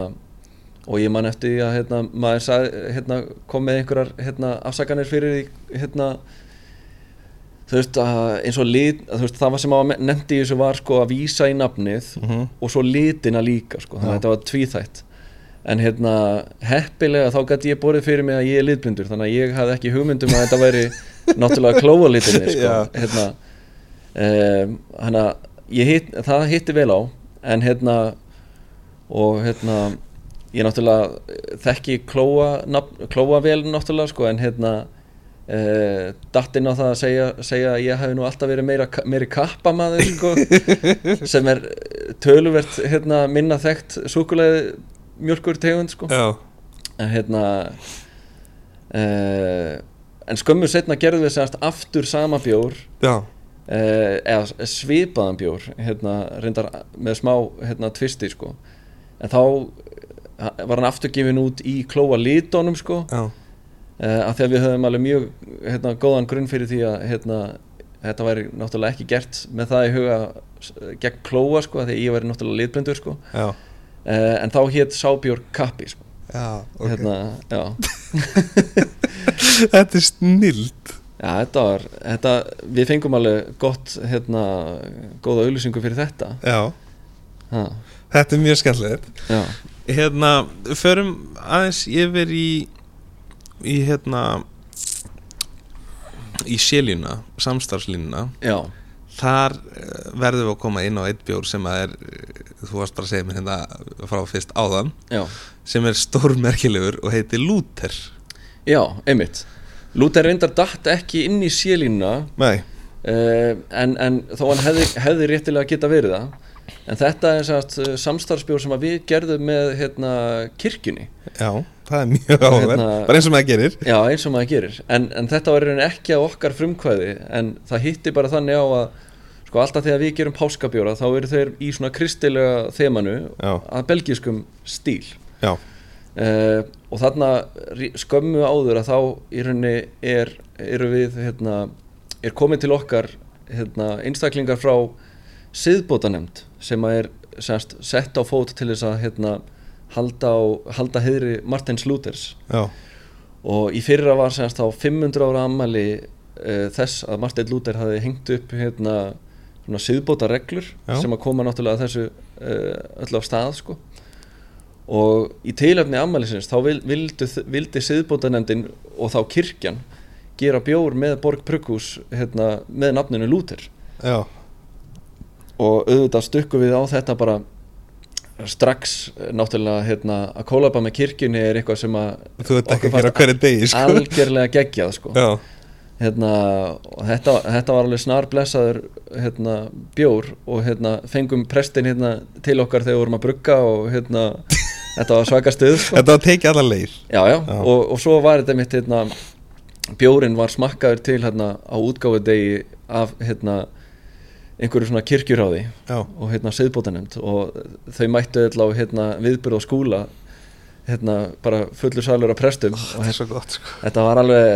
A: og ég man eftir því að hérna, maður sag, hérna, kom með einhverjar hérna, afsakanir fyrir því hérna, þú veist að eins og lit, að þú veist, það var sem að nefndi í þessu var sko að vísa í nafnið
C: Mhm.
A: og svo litina líka sko, þannig að
C: Já.
A: þetta var tvíþætt en hérna heppilega þá gæti ég borðið fyrir mig að ég er litblindur þannig að ég hafði ekki hugmyndum að þetta væri náttúrulega klófalitinni sko,
C: Já.
A: hérna um, hana, hitt, það hitti vel á en hérna og hérna ég náttúrulega eh, þekki klóa, nafn, klóa vel náttúrulega sko en hérna uh, dattinn á það að segja, segja að ég hafi nú alltaf verið meira, ka- meiri kappamaður sko sem er eh, töluvert hérna, minna þekkt súkulegði mjölkur tegund sko
C: já,
A: en hérna uh, en skömmu setna gerðum við semast aftur sama bjór
C: já,
A: Eh, eða svipaðan bjór hérna, reyndar með smá hérna, tvisti sko en þá eh, var hann aftur gefin út í klóa litónum sko
C: já,
A: eh, af því að við höfum alveg mjög hérna, góðan grunn fyrir því að hérna, þetta væri náttúrulega ekki gert með það í huga eh, gegn klóa sko af því að ég væri náttúrulega litblindur sko
C: já,
A: eh, en þá hétt sábjór kappi sko
C: já ok.
A: hérna, já.
C: Þetta er snild
A: já, þetta var þetta, við fengum alveg gott hérna, góða auðlýsingu fyrir þetta
C: Já,
A: ha,
C: þetta er mjög skemmtilegt
A: já
C: Hérna, förum aðeins yfir í í hérna í séljuna, samstarfslínuna
A: Já,
C: þar eh, verðum við að koma inn á eitt bjór sem að er, eh, þú varst bara að segja mér hérna frá fyrst áðan
A: já,
C: sem er stórmerkilegur og heitir Luther
A: já, einmitt Lúter reyndar datt ekki inn í sélínuna
C: Nei,
A: uh, en, en þó hann hefði, hefði réttilega geta verið það en þetta er sagt, eh, samstarfsbjór sem að við gerðum með hérna, kirkjunni
C: já, það er mjög áverð
A: Hérna-
C: bara eins og maður gerir
A: Já, eins og maður gerir en, en þetta var í rauninni ekki á okkar frumkvæði en það hitti bara þannig á að sko alltaf þegar við gerum páskabjóra þá eru þeir í svona kristilega þemanu
C: Já.
A: að belgiskum stíl
C: Já,
A: uh, og þarna rí- skömmu áður að þá í rauninni er, eru við hérna, er komið til okkar hérna, einstaklingar frá siðbótanemnd sem að er semst, sett á fót til þess að hérna, halda, á, halda heiðri Martins Luthers
C: já,
A: og í fyrra var semst þá 500 ára ammali uh, þess að Martin Luther hafði hengt upp hérna svona siðbóta reglur
C: Já.
A: sem að koma náttúrulega þessu uh, öllu á stað sko og í tilöfni ammælisins þá vil- vildu, vildi siðbótanendin og þá kirkjan gera bjór með Borg Prukkus hérna, með nafninu Luther
C: já
A: og auðvitað stukku við á þetta bara strax eh, náttúrulega hérna, að kólaba með kirkjunni er eitthvað sem að
C: Þú veit ekki
A: okkur
C: að gera á
A: fannst
C: hverju degi sko.
A: algjörlega geggjað sko.
C: Já,
A: hérna, og þetta, þetta var alveg snar blessaður hérna, bjór og hérna, fengum prestin hérna, til okkar þegar við vorum að brugga og hérna, þetta var svaka stuð sko.
C: Þetta var tekið alla leið
A: já, já. Og, og svo var þetta mitt hérna, bjórin var smakkaður til hérna, á útgáfudegi af hérna, einhverju svona kirkjuráði
C: Já.
A: og hérna siðbótanemt og þau mættu öll á hérna, viðbyrð og skúla hérna, bara fullu salur af prestum og hérna,
C: Þetta er svo gott sko.
A: Þetta var alveg,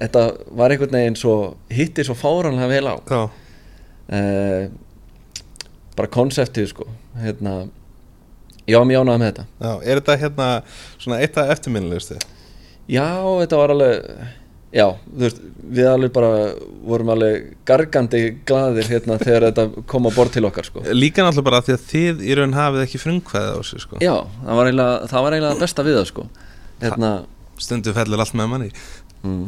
A: þetta var einhvern veginn svo, hitti svo fáránlega vel á
C: Já,
A: eh, bara konseptið sko hérna, já, mér ánaði með þetta
C: já, er þetta hérna svona eitt af eftirminnilegustu?
A: Já, þetta var alveg, já, þú veist, við alveg bara vorum alveg gargandi glaðir hérna þegar þetta kom á borð til okkar sko
C: Líka náttúrulega bara af því að þið í raun hafið ekki frumkvæðið á þessu sko.
A: Já, það var eiginlega, það var eiginlega besta við það sko hérna,
C: Stundum fellur allt með manni
A: mm,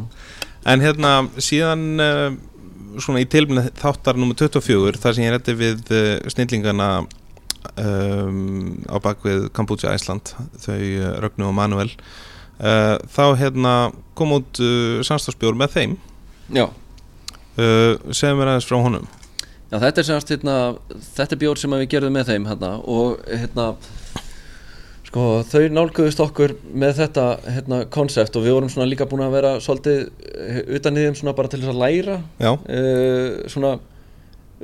C: En hérna síðan uh, svona í tilbyrni þáttar nummer 24 þar sem ég rétti við uh, snillingana um, á bak við Kambútsja Æsland þau uh, Rögnu og Manuel uh, þá hérna kom út uh, samstagsbjór með þeim
A: já
C: uh, segjum mér aðeins frá honum
A: Já, þetta er semast, hérna, þetta er bjór sem að við gerðum með þeim hérna og hérna, sko, þau nálguðust okkur með þetta, hérna, konsept og við vorum svona líka búin að vera svolítið eh, utan í þeim svona bara til þess að læra
C: Já,
A: uh, svona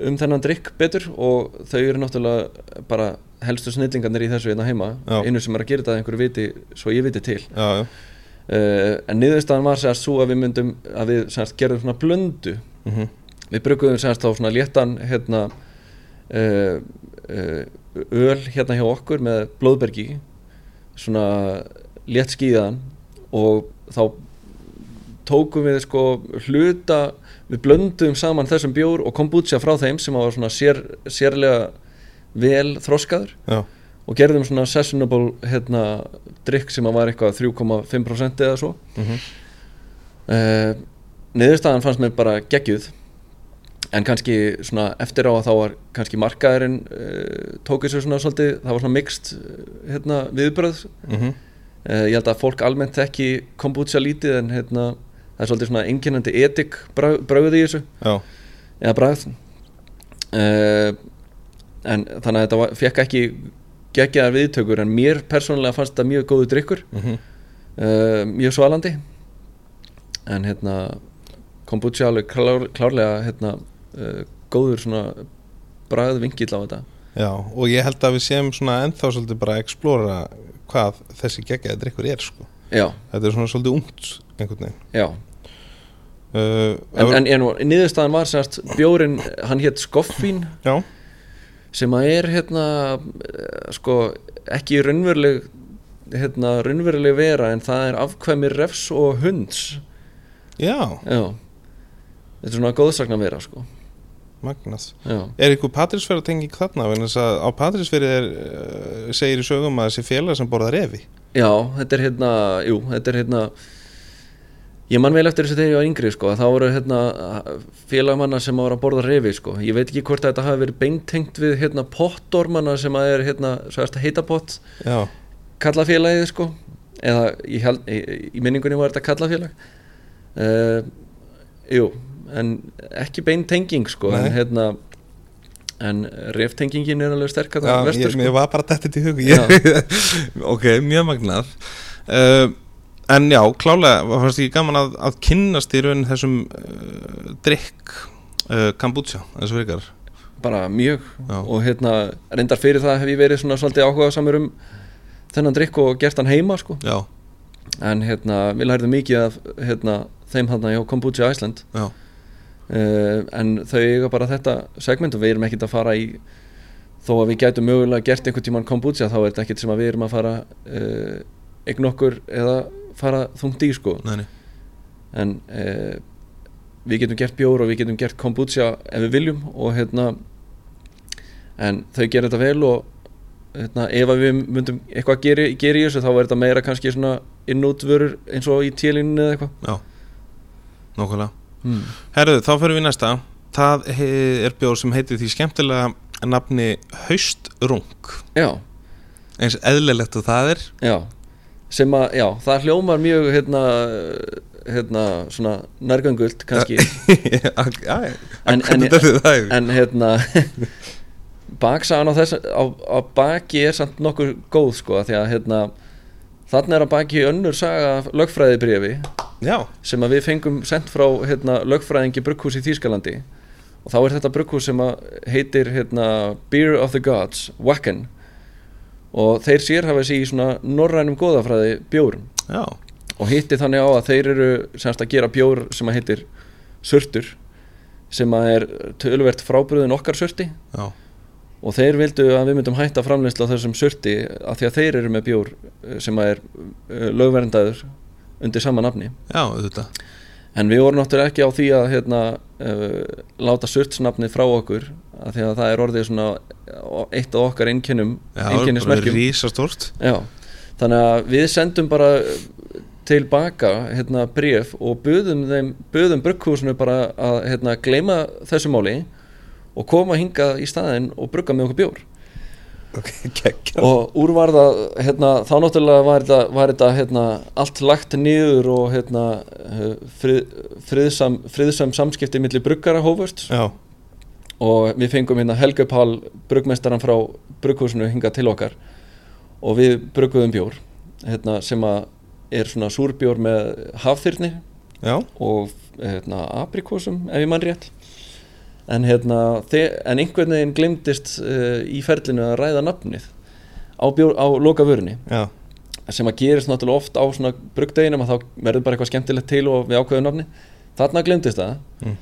A: um þennan drikk betur og þau eru náttúrulega bara helstu snillingarnir í þessu hérna heima,
C: Já.
A: einu sem er að gera þetta að einhverju viti, svo ég viti til
C: já, já,
A: uh, en niðurstaðan var sérst svo að við myndum að við sérst gerðum svona blöndu
C: mhm,
A: við brukuðum semst á svona léttan hérna uh, uh, öl hérna hjá okkur með blóðbergi svona létt skíðan og þá tókum við sko hluta við blönduðum saman þessum bjór og kombucha frá þeim sem var svona sér, sérlega vel þroskaður
C: já,
A: og gerðum svona sessionable hérna drikk sem að var eitthvað 3,5% eða svo
C: mhm,
A: uh, niðurstaðan fannst mér bara geggjuð en kannski svona eftir á að þá var kannski markaðurinn uh, tókið sér svona svolítið, það var svona mixt hérna, viðbröð
C: mhm,
A: uh, ég held að fólk almennt ekki kombucha lítið en hérna, það er svolítið svona einkennandi etik bröðið í þessu
C: já,
A: eða bragð uh, en þannig að þetta var, fekk ekki geggjaðar viðtökur en mér persónulega fannst þetta mjög góðu drikkur
C: mhm,
A: uh, mjög svalandi en hérna kombucha alveg klár, klárlega hérna, uh, góður svona bragð vingill á þetta
C: já og ég held að við séum svona ennþá svolítið bara að explora hvað þessi geggjaði drikkur er sko.
A: já,
C: Þetta er svona svolítið ungt einhvern veginn
A: já
C: uh,
A: en, en, en niðurstaðan var sérst bjórin, hann hétt Skoffín
C: Já,
A: sem að er hérna eh, sko ekki raunveruleg hérna raunveruleg vera en það er afkvæmi refs og hunds
C: já,
A: já þetta er svona góðsakna vera sko
C: magnað
A: já
C: Er einhver patrísfæra tenging þarna? Vegna þess að á patrísfæri er, uh, segir í sögum að þessi félag sem borðar refi
A: Já, þetta er hérna, jú, þetta er hérna Ég man vel eftir þessu þegar ég var yngri sko, að þá voru hérna félagmanna sem voru að borða refi sko. Ég veit ekki hvort að þetta hafi verið beintengt við hérna pottormanna sem að er hérna, svo erst að heita pott
C: Já,
A: kalla félagið sko eða í, held, í, í minningunni var þetta kalla félag uh, Jú, en ekki beintenging sko,
C: Nei.
A: en hérna en reftengingin er alveg sterk að
C: já
A: það
C: ég,
A: vestur sko.
C: mér var bara dættið í hug ég, Ok, mjög magnað uh, En já, klálega var fannst ekki gaman að, að kynnast í raun þessum uh, drikk uh, kombucha, þessu virkar
A: bara mjög
C: Já.
A: og hérna reyndar fyrir það hef ég verið svona svolítið áhugað samur um þennan drikk og gert hann heima sko
C: Já,
A: en hérna við lærðum mikið af hérna, þeim hann hjá Kombucha Iceland
C: já,
A: uh, en þau eiga bara þetta segment og við erum ekkert að fara í þó að við gætum mögulega gert einhvern tíman kombucha þá er þetta ekkert sem að við erum að fara uh, eign okkur eða fara þungt í sko
C: neini
A: en uh, við getum gert bjór og við getum gert kombucha ef við viljum og hérna en þau gerir þetta vel og hérna, ef að við myndum eitthvað að gera, gera í þessu þá er þetta meira kannski svona innútvörur eins og í tílinni eða eitthvað
C: Já, nákvæmlega
A: hmm.
C: Herðu, þá fyrir við í næsta Það he- er bjór sem heitir því skemmtilega nafni Haustrung
A: já,
C: eins eðlilegt og það er
A: já sem að, já, það hljómar mjög hérna, hérna svona nærgöngult kannski
C: Ak- já,
A: En-
C: en,
A: en-
C: hvernig þetta er það yfir?
A: en hérna baksagan á þess á, á baki er samt nokkuð góð sko því að hérna þarna er að baki önnur saga af lögfræðibréfi
C: já,
A: sem að við fengum sendt frá hérna, lögfræðingi brugghús í Þýskalandi og þá er þetta brugghús sem að heitir hérna, Beer of the Gods, Wacken og þeir sér hafa sig í svona norrænum góðafræði bjórum
C: já,
A: og hitti þannig á að þeir eru semst að gera bjór sem að heitir surtur sem að er tölvert frábröðin okkar surti
C: já,
A: og þeir vildu að við myndum hætta framleyslu á þessum surti af því að þeir eru með bjór eh, sem að er eh, lögverndaður undir sama nafni
C: já, auðvitað
A: En við vorum náttúrulega ekki á því að hérna, uh, láta surtsnafnið frá okkur af því að það er orðið svona uh, eitt af okkar einkennum
C: Já,
A: einkennismerkjum
C: Rísastórt
A: Já. Þannig að við sendum bara uh, til baka hérna, bréf og buðum, þeim, buðum brugghúsinu bara að hérna, gleyma þessu máli og koma hingað í staðinn og brugga með okkur bjór
C: Ok, geggja
A: og úr var það hérna, þá náttúrulega var þetta, var þetta hérna, allt lagt niður og hérna, eh, frið, friðsam, friðsam samskipti millir bruggara hófust
C: Já,
A: og við fengum hérna Helga Pál bruggmestaran frá brugghúsinu hingað til okkar og við brugguðum bjór hérna, sem að er svona súrbjór með hafþyrni
C: já,
A: og hérna, aprikosum ef ég mann rétt en, hérna, þe- en einhvern veginn glemdist uh, í ferlinu að ræða nafnið á, bjór, á loka vörunni
C: já,
A: sem að gerist náttúrulega oft á svona brugdeginum að þá verður bara eitthvað skemmtilegt til og við ákveðum nafni þarna glemdist það
C: Mm.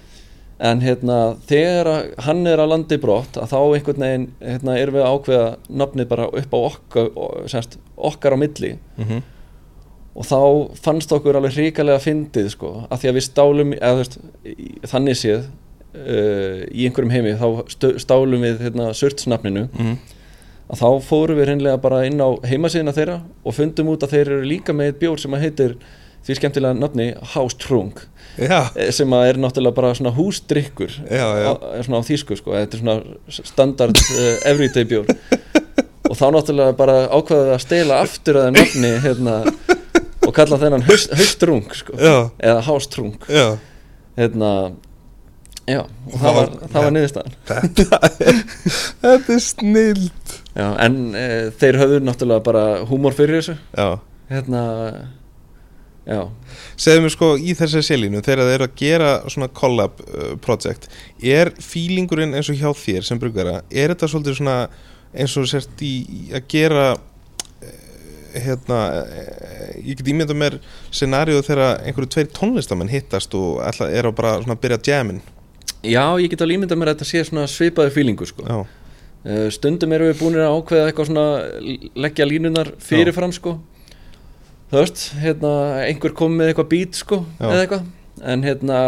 A: en hérna þegar að hann er að landi brott að þá einhvern veginn hérna, erum við að ákveða nafnið bara upp á okkar, semst, okkar á milli
C: mhm,
A: og þá fannst okkur alveg hrikalega fyndið sko, að því að við stálum eða, þú veist, í- þannig séð uh, í einhverjum heimi þá stö- stálum við hérna, surtsnafninu
C: mhm
A: að þá fórum við reynlega bara inn á heimasíðina þeirra og fundum út að þeir eru líka með eitt bjór sem að heitir því skemmtilega nafni Hástrung
C: Já,
A: eh, sem að er náttúrulega bara svona húsdrykkur
C: Já, já.
A: Á, svona á þýsku sko, þetta er svona standard uh, everyday bjór og þá náttúrulega bara ákvaðið að stela aftur að þeim nafni hérna, og kalla þennan haust, haustrung sko,
C: já,
A: eða hástrung
C: já
A: hérna, já, og það var, það var niðurstaðan
C: Þetta er, þetta er snild
A: já, en e, þeir höfðu náttúrulega bara húmor fyrir þessu
C: Já
A: hérna, já
C: Segðu mér sko í þessari selinu þegar þeir eru að gera svona collab uh, project er fílingurinn eins og hjá þér sem brugara er þetta svolítið svona eins og sért í, í að gera eh, hérna eh, ég get ímynda mér scenaríu þegar einhverju tveir tónlistamenn hittast og alltaf er að bara svona að byrja jamin
A: já, ég get alveg ímyndað mér að þetta sé svona svipaði fílingu sko
C: Já,
A: Eh, stundum erum við búinir að ákveða eitthvað svona leggja línunar fyrirfram sko þú veist, hérna, einhver kom með eitthvað beat sko,
C: Já.
A: eða eitthvað en hérna,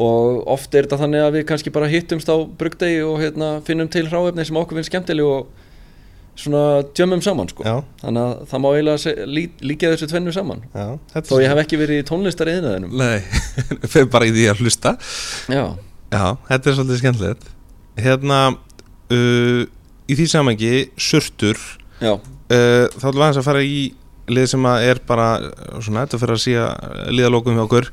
A: og oft er þetta þannig að við kannski bara hittumst á brugdegi og hérna, finnum til hráefni sem okkur finnst skemmtileg og svona djömmum saman sko
C: já,
A: þannig að það má eiginlega se- lí, líka þessu tvennu saman
C: já þetta
A: þó ég hef ekki verið í tónlistar eðnaðinum
C: Nei, fyrir bara í því að hlusta
A: já,
C: Já, þetta er svolítið skemmtilegt Hérna uh, Í því samangi, surtur
A: já,
C: uh, Þá ætlum við aðeins að fara í lið sem að er bara uh, svona, þetta fyrir að síða liðalókum hjá okkur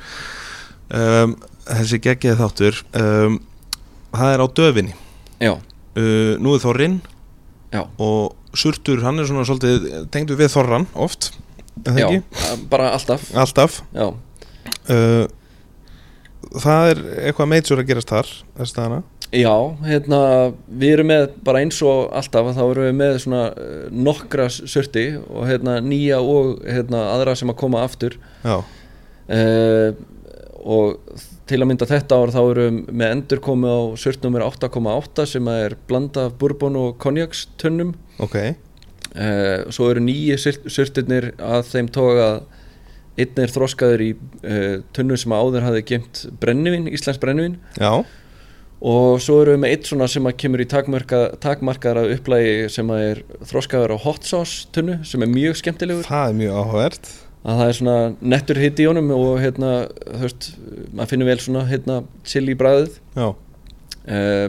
C: um, þessi geggjið þáttur um, það er á döfinni
A: já,
C: uh, nú er Þorrin
A: Já.
C: og surtur hann er svona svolítið tengdu við Þorran oft er það
A: já
C: ekki?
A: bara alltaf,
C: alltaf
A: já
C: uh, það er eitthvað meitsur að gerast þar þess dagana
A: Já, hérna, við erum með bara eins og alltaf þá erum við með svona eh, nokkra surti og hérna nýja og hérna aðra sem að koma aftur
C: já,
A: uh, og til að mynda þetta ár þá erum við með endurkomi á surtnumir 8.8 sem að er blanda af bourbon og konjakstunnum
C: ok
A: uh, svo eru nýju surtirnir að þeim toga að einn er þroskaður í uh, tunnu sem að áður hafði gemt brennivinn, íslensk brennivinn
C: já,
A: og svo erum við með eitt svona sem að kemur í takmarka, takmarkaðar af upplægi sem að er þroskaður á hot sauce tunnu sem er mjög skemmtilegur
C: það er mjög áhugavert
A: að það er svona nettur hitt í honum og hérna, þú veist, maður finnur vel svona hérna chili bræðið
C: já,
A: uh,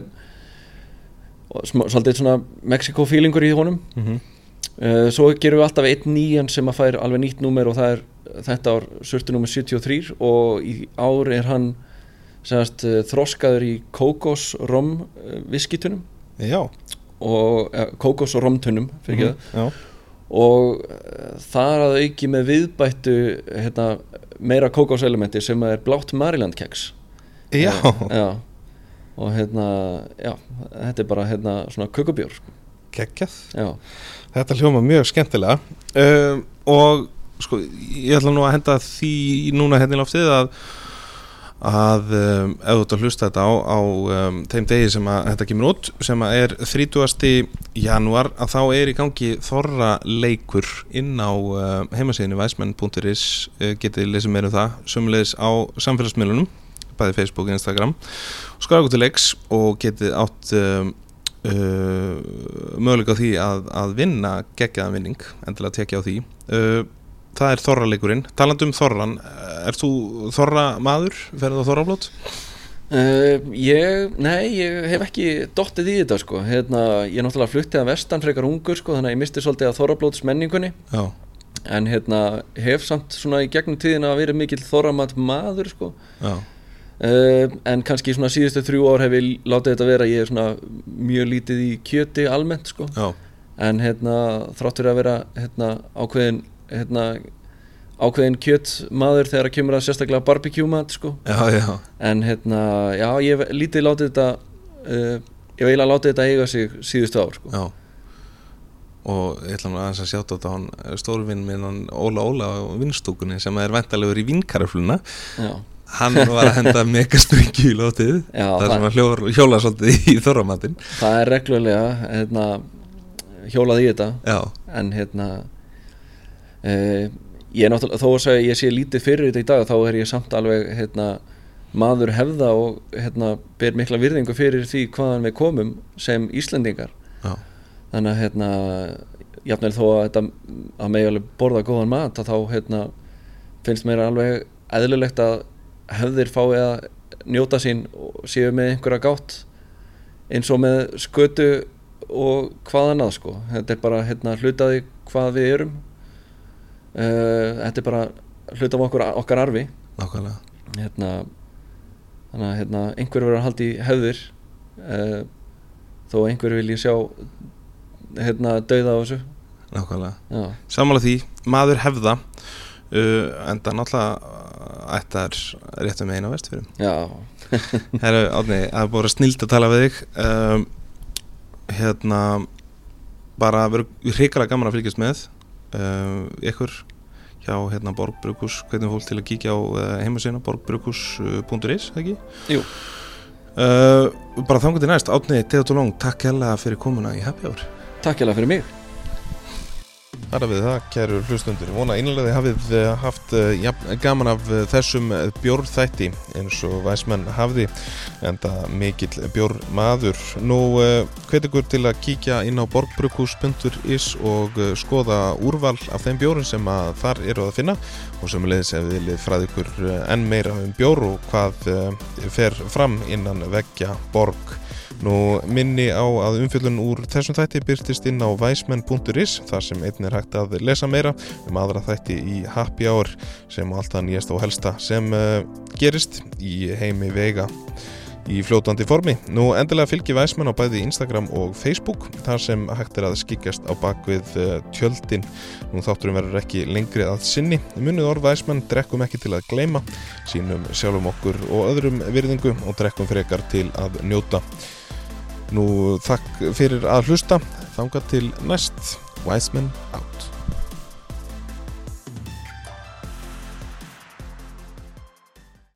A: og smá, svolítið svona Mexico feelingur í honum
C: mm -hmm.
A: uh, svo gerum við alltaf einn nýjan sem að fær alveg nýtt númer og það er þetta ár surtu númer 73 og í ár er hann semast, uh, þroskaður í kókos rom uh, viskitunum
C: Já,
A: og uh, kókos og romtunum fyrir ekki það
C: já,
A: og eh, þar að auki með viðbættu hérna, meira kókáselementi sem er blátt Maryland keks
C: já.
A: Eh, já. og hérna já, þetta er bara hérna, svona kökubjór sko.
C: geggjað
A: já.
C: Þetta hljóma mjög skemmtilega um, og sko, ég ætla nú að henda því núna hérna í loftið að að um, ef þú ert að hlusta þetta á, á um, þeim degi sem að þetta kemur út sem að er 30. janúar að þá er í gangi þorra leikur inn á um, heimasíðinu væsmenn.is uh, getið lesið meir um það sumleis á samfélagsmiðlunum bæði Facebook og Instagram skráðu ykkur til leiks og getið átt um, uh, möguleika á því að, að vinna geggjaðan vinning, endilega tekja á því uh, það er þorraleikurinn talandi um þorran, eh, ert þú þorra maður, ferðu á þorrablót?
A: Uh, ég, nei, ég hef ekki dottið í þetta sko. hérna, ég náttúrulega fluttið að vestan frekar ungur sko, þannig að ég misti svolítið að þorrablóts menningunni
C: Já,
A: en hérna, hef samt svona í gegnum tíðina að vera mikill þorramat maður sko.
C: já,
A: Uh, en kannski svona síðustu þrjú ár hef ég látið þetta vera, ég er svona mjög lítið í kjöti almennt sko
C: já,
A: en hérna þráttur að vera hérna ákveðin hérna ákveðin kjött maður þegar að kemur að sérstaklega barbecue mat sko
C: já, já,
A: en hérna já ég hef lítið látið þetta uh, ég hef eiginlega látið þetta eiga sig síðustu ár sko
C: já. og ég ætla nú aðeins að sjáta þetta hann stórvinn minn, hann Óla Óla á vinnstúkunni sem er vantalegur í vinnkarafluna
A: já,
C: hann var að henda megaspringi í lótið
A: Já,
C: þar sem
A: það-
C: hann hjólar, hjólar svolítið í þorramatinn
A: það er reglulega hérna hjólað í þetta
C: já,
A: en hérna uh, ég er náttúrulega þó að segja ég sé lítið fyrir þetta í dag þá er ég samt alveg hérna, maður hefða og hérna, ber mikla virðingu fyrir því hvaðan við komum sem Íslendingar
C: já,
A: þannig að hérna, jafnvel þó að þetta að megi alveg borða góðan mat að þá hérna, finnst mér alveg eðlilegt að hefðir fái að njóta sín og séu með einhverja gátt eins og með skötu og hvaðan að sko þetta er bara hérna, hlutaði hvað við erum uh, þetta er bara hlutaði okkur, okkar arfi
C: nákvæmlega
A: hérna, þannig að hérna, einhver verður að halda í hefðir uh, þó að einhver vilji sjá hérna, dauða á þessu
C: Nákvæmlega.
A: já,
C: Samanlega því, maður hefða uh, enda náttúrulega uh, ættar rétt um eina vestfyrum.
A: já,
C: Herru, Átni, það er bara snild að tala við þig. Um, hérna, bara verður hrikalega gaman að fylgjast með uh, ykkur hjá hérna, Borgbrukus, hvernig fólk til að kíkja á uh, heimasýna, borgbrukus.is, ekki?
A: Jú.
C: Uh, bara þangur til næst, Átni, Teodor Long, takk hella fyrir komuna í Happy Hour.
A: takk hérlega fyrir mig
B: Þar að við það, kæru hlustundur, vona einlega þið hafið eh, haft eh, jafn, gaman af eh, þessum bjórþætti eins og væsmenn hafði en það mikill bjórmaður. Nú eh, hvet ykkur til að kíkja inn á borgbrukus.is og eh, skoða úrval af þeim bjórum sem að þar eru að finna og sem leðis ef við viljið fræði ykkur eh, enn meira um bjór og hvað eh, fer fram innan veggja borg. Nú minni á að umfjöldun úr þessum þætti byrtist inn á væsmenn.is þar sem einn er hægt að lesa meira um aðra þætti í happy hour sem og alltaf nýjast og helsta sem uh, gerist í heimi vega í fljótandi formi. Nú endilega fylgi væsmenn á bæði Instagram og Facebook þar sem hægt er að skikjast á bakvið uh, tjöldin. Nú þátturum verður ekki lengri að sinni. Munið orð væsmenn drekkum ekki til að gleyma sínum sjálfum okkur og öðrum virðingu og drekkum frekar til að njóta. Nú þakk fyrir að hlusta, þanga til næst, Wiseman out.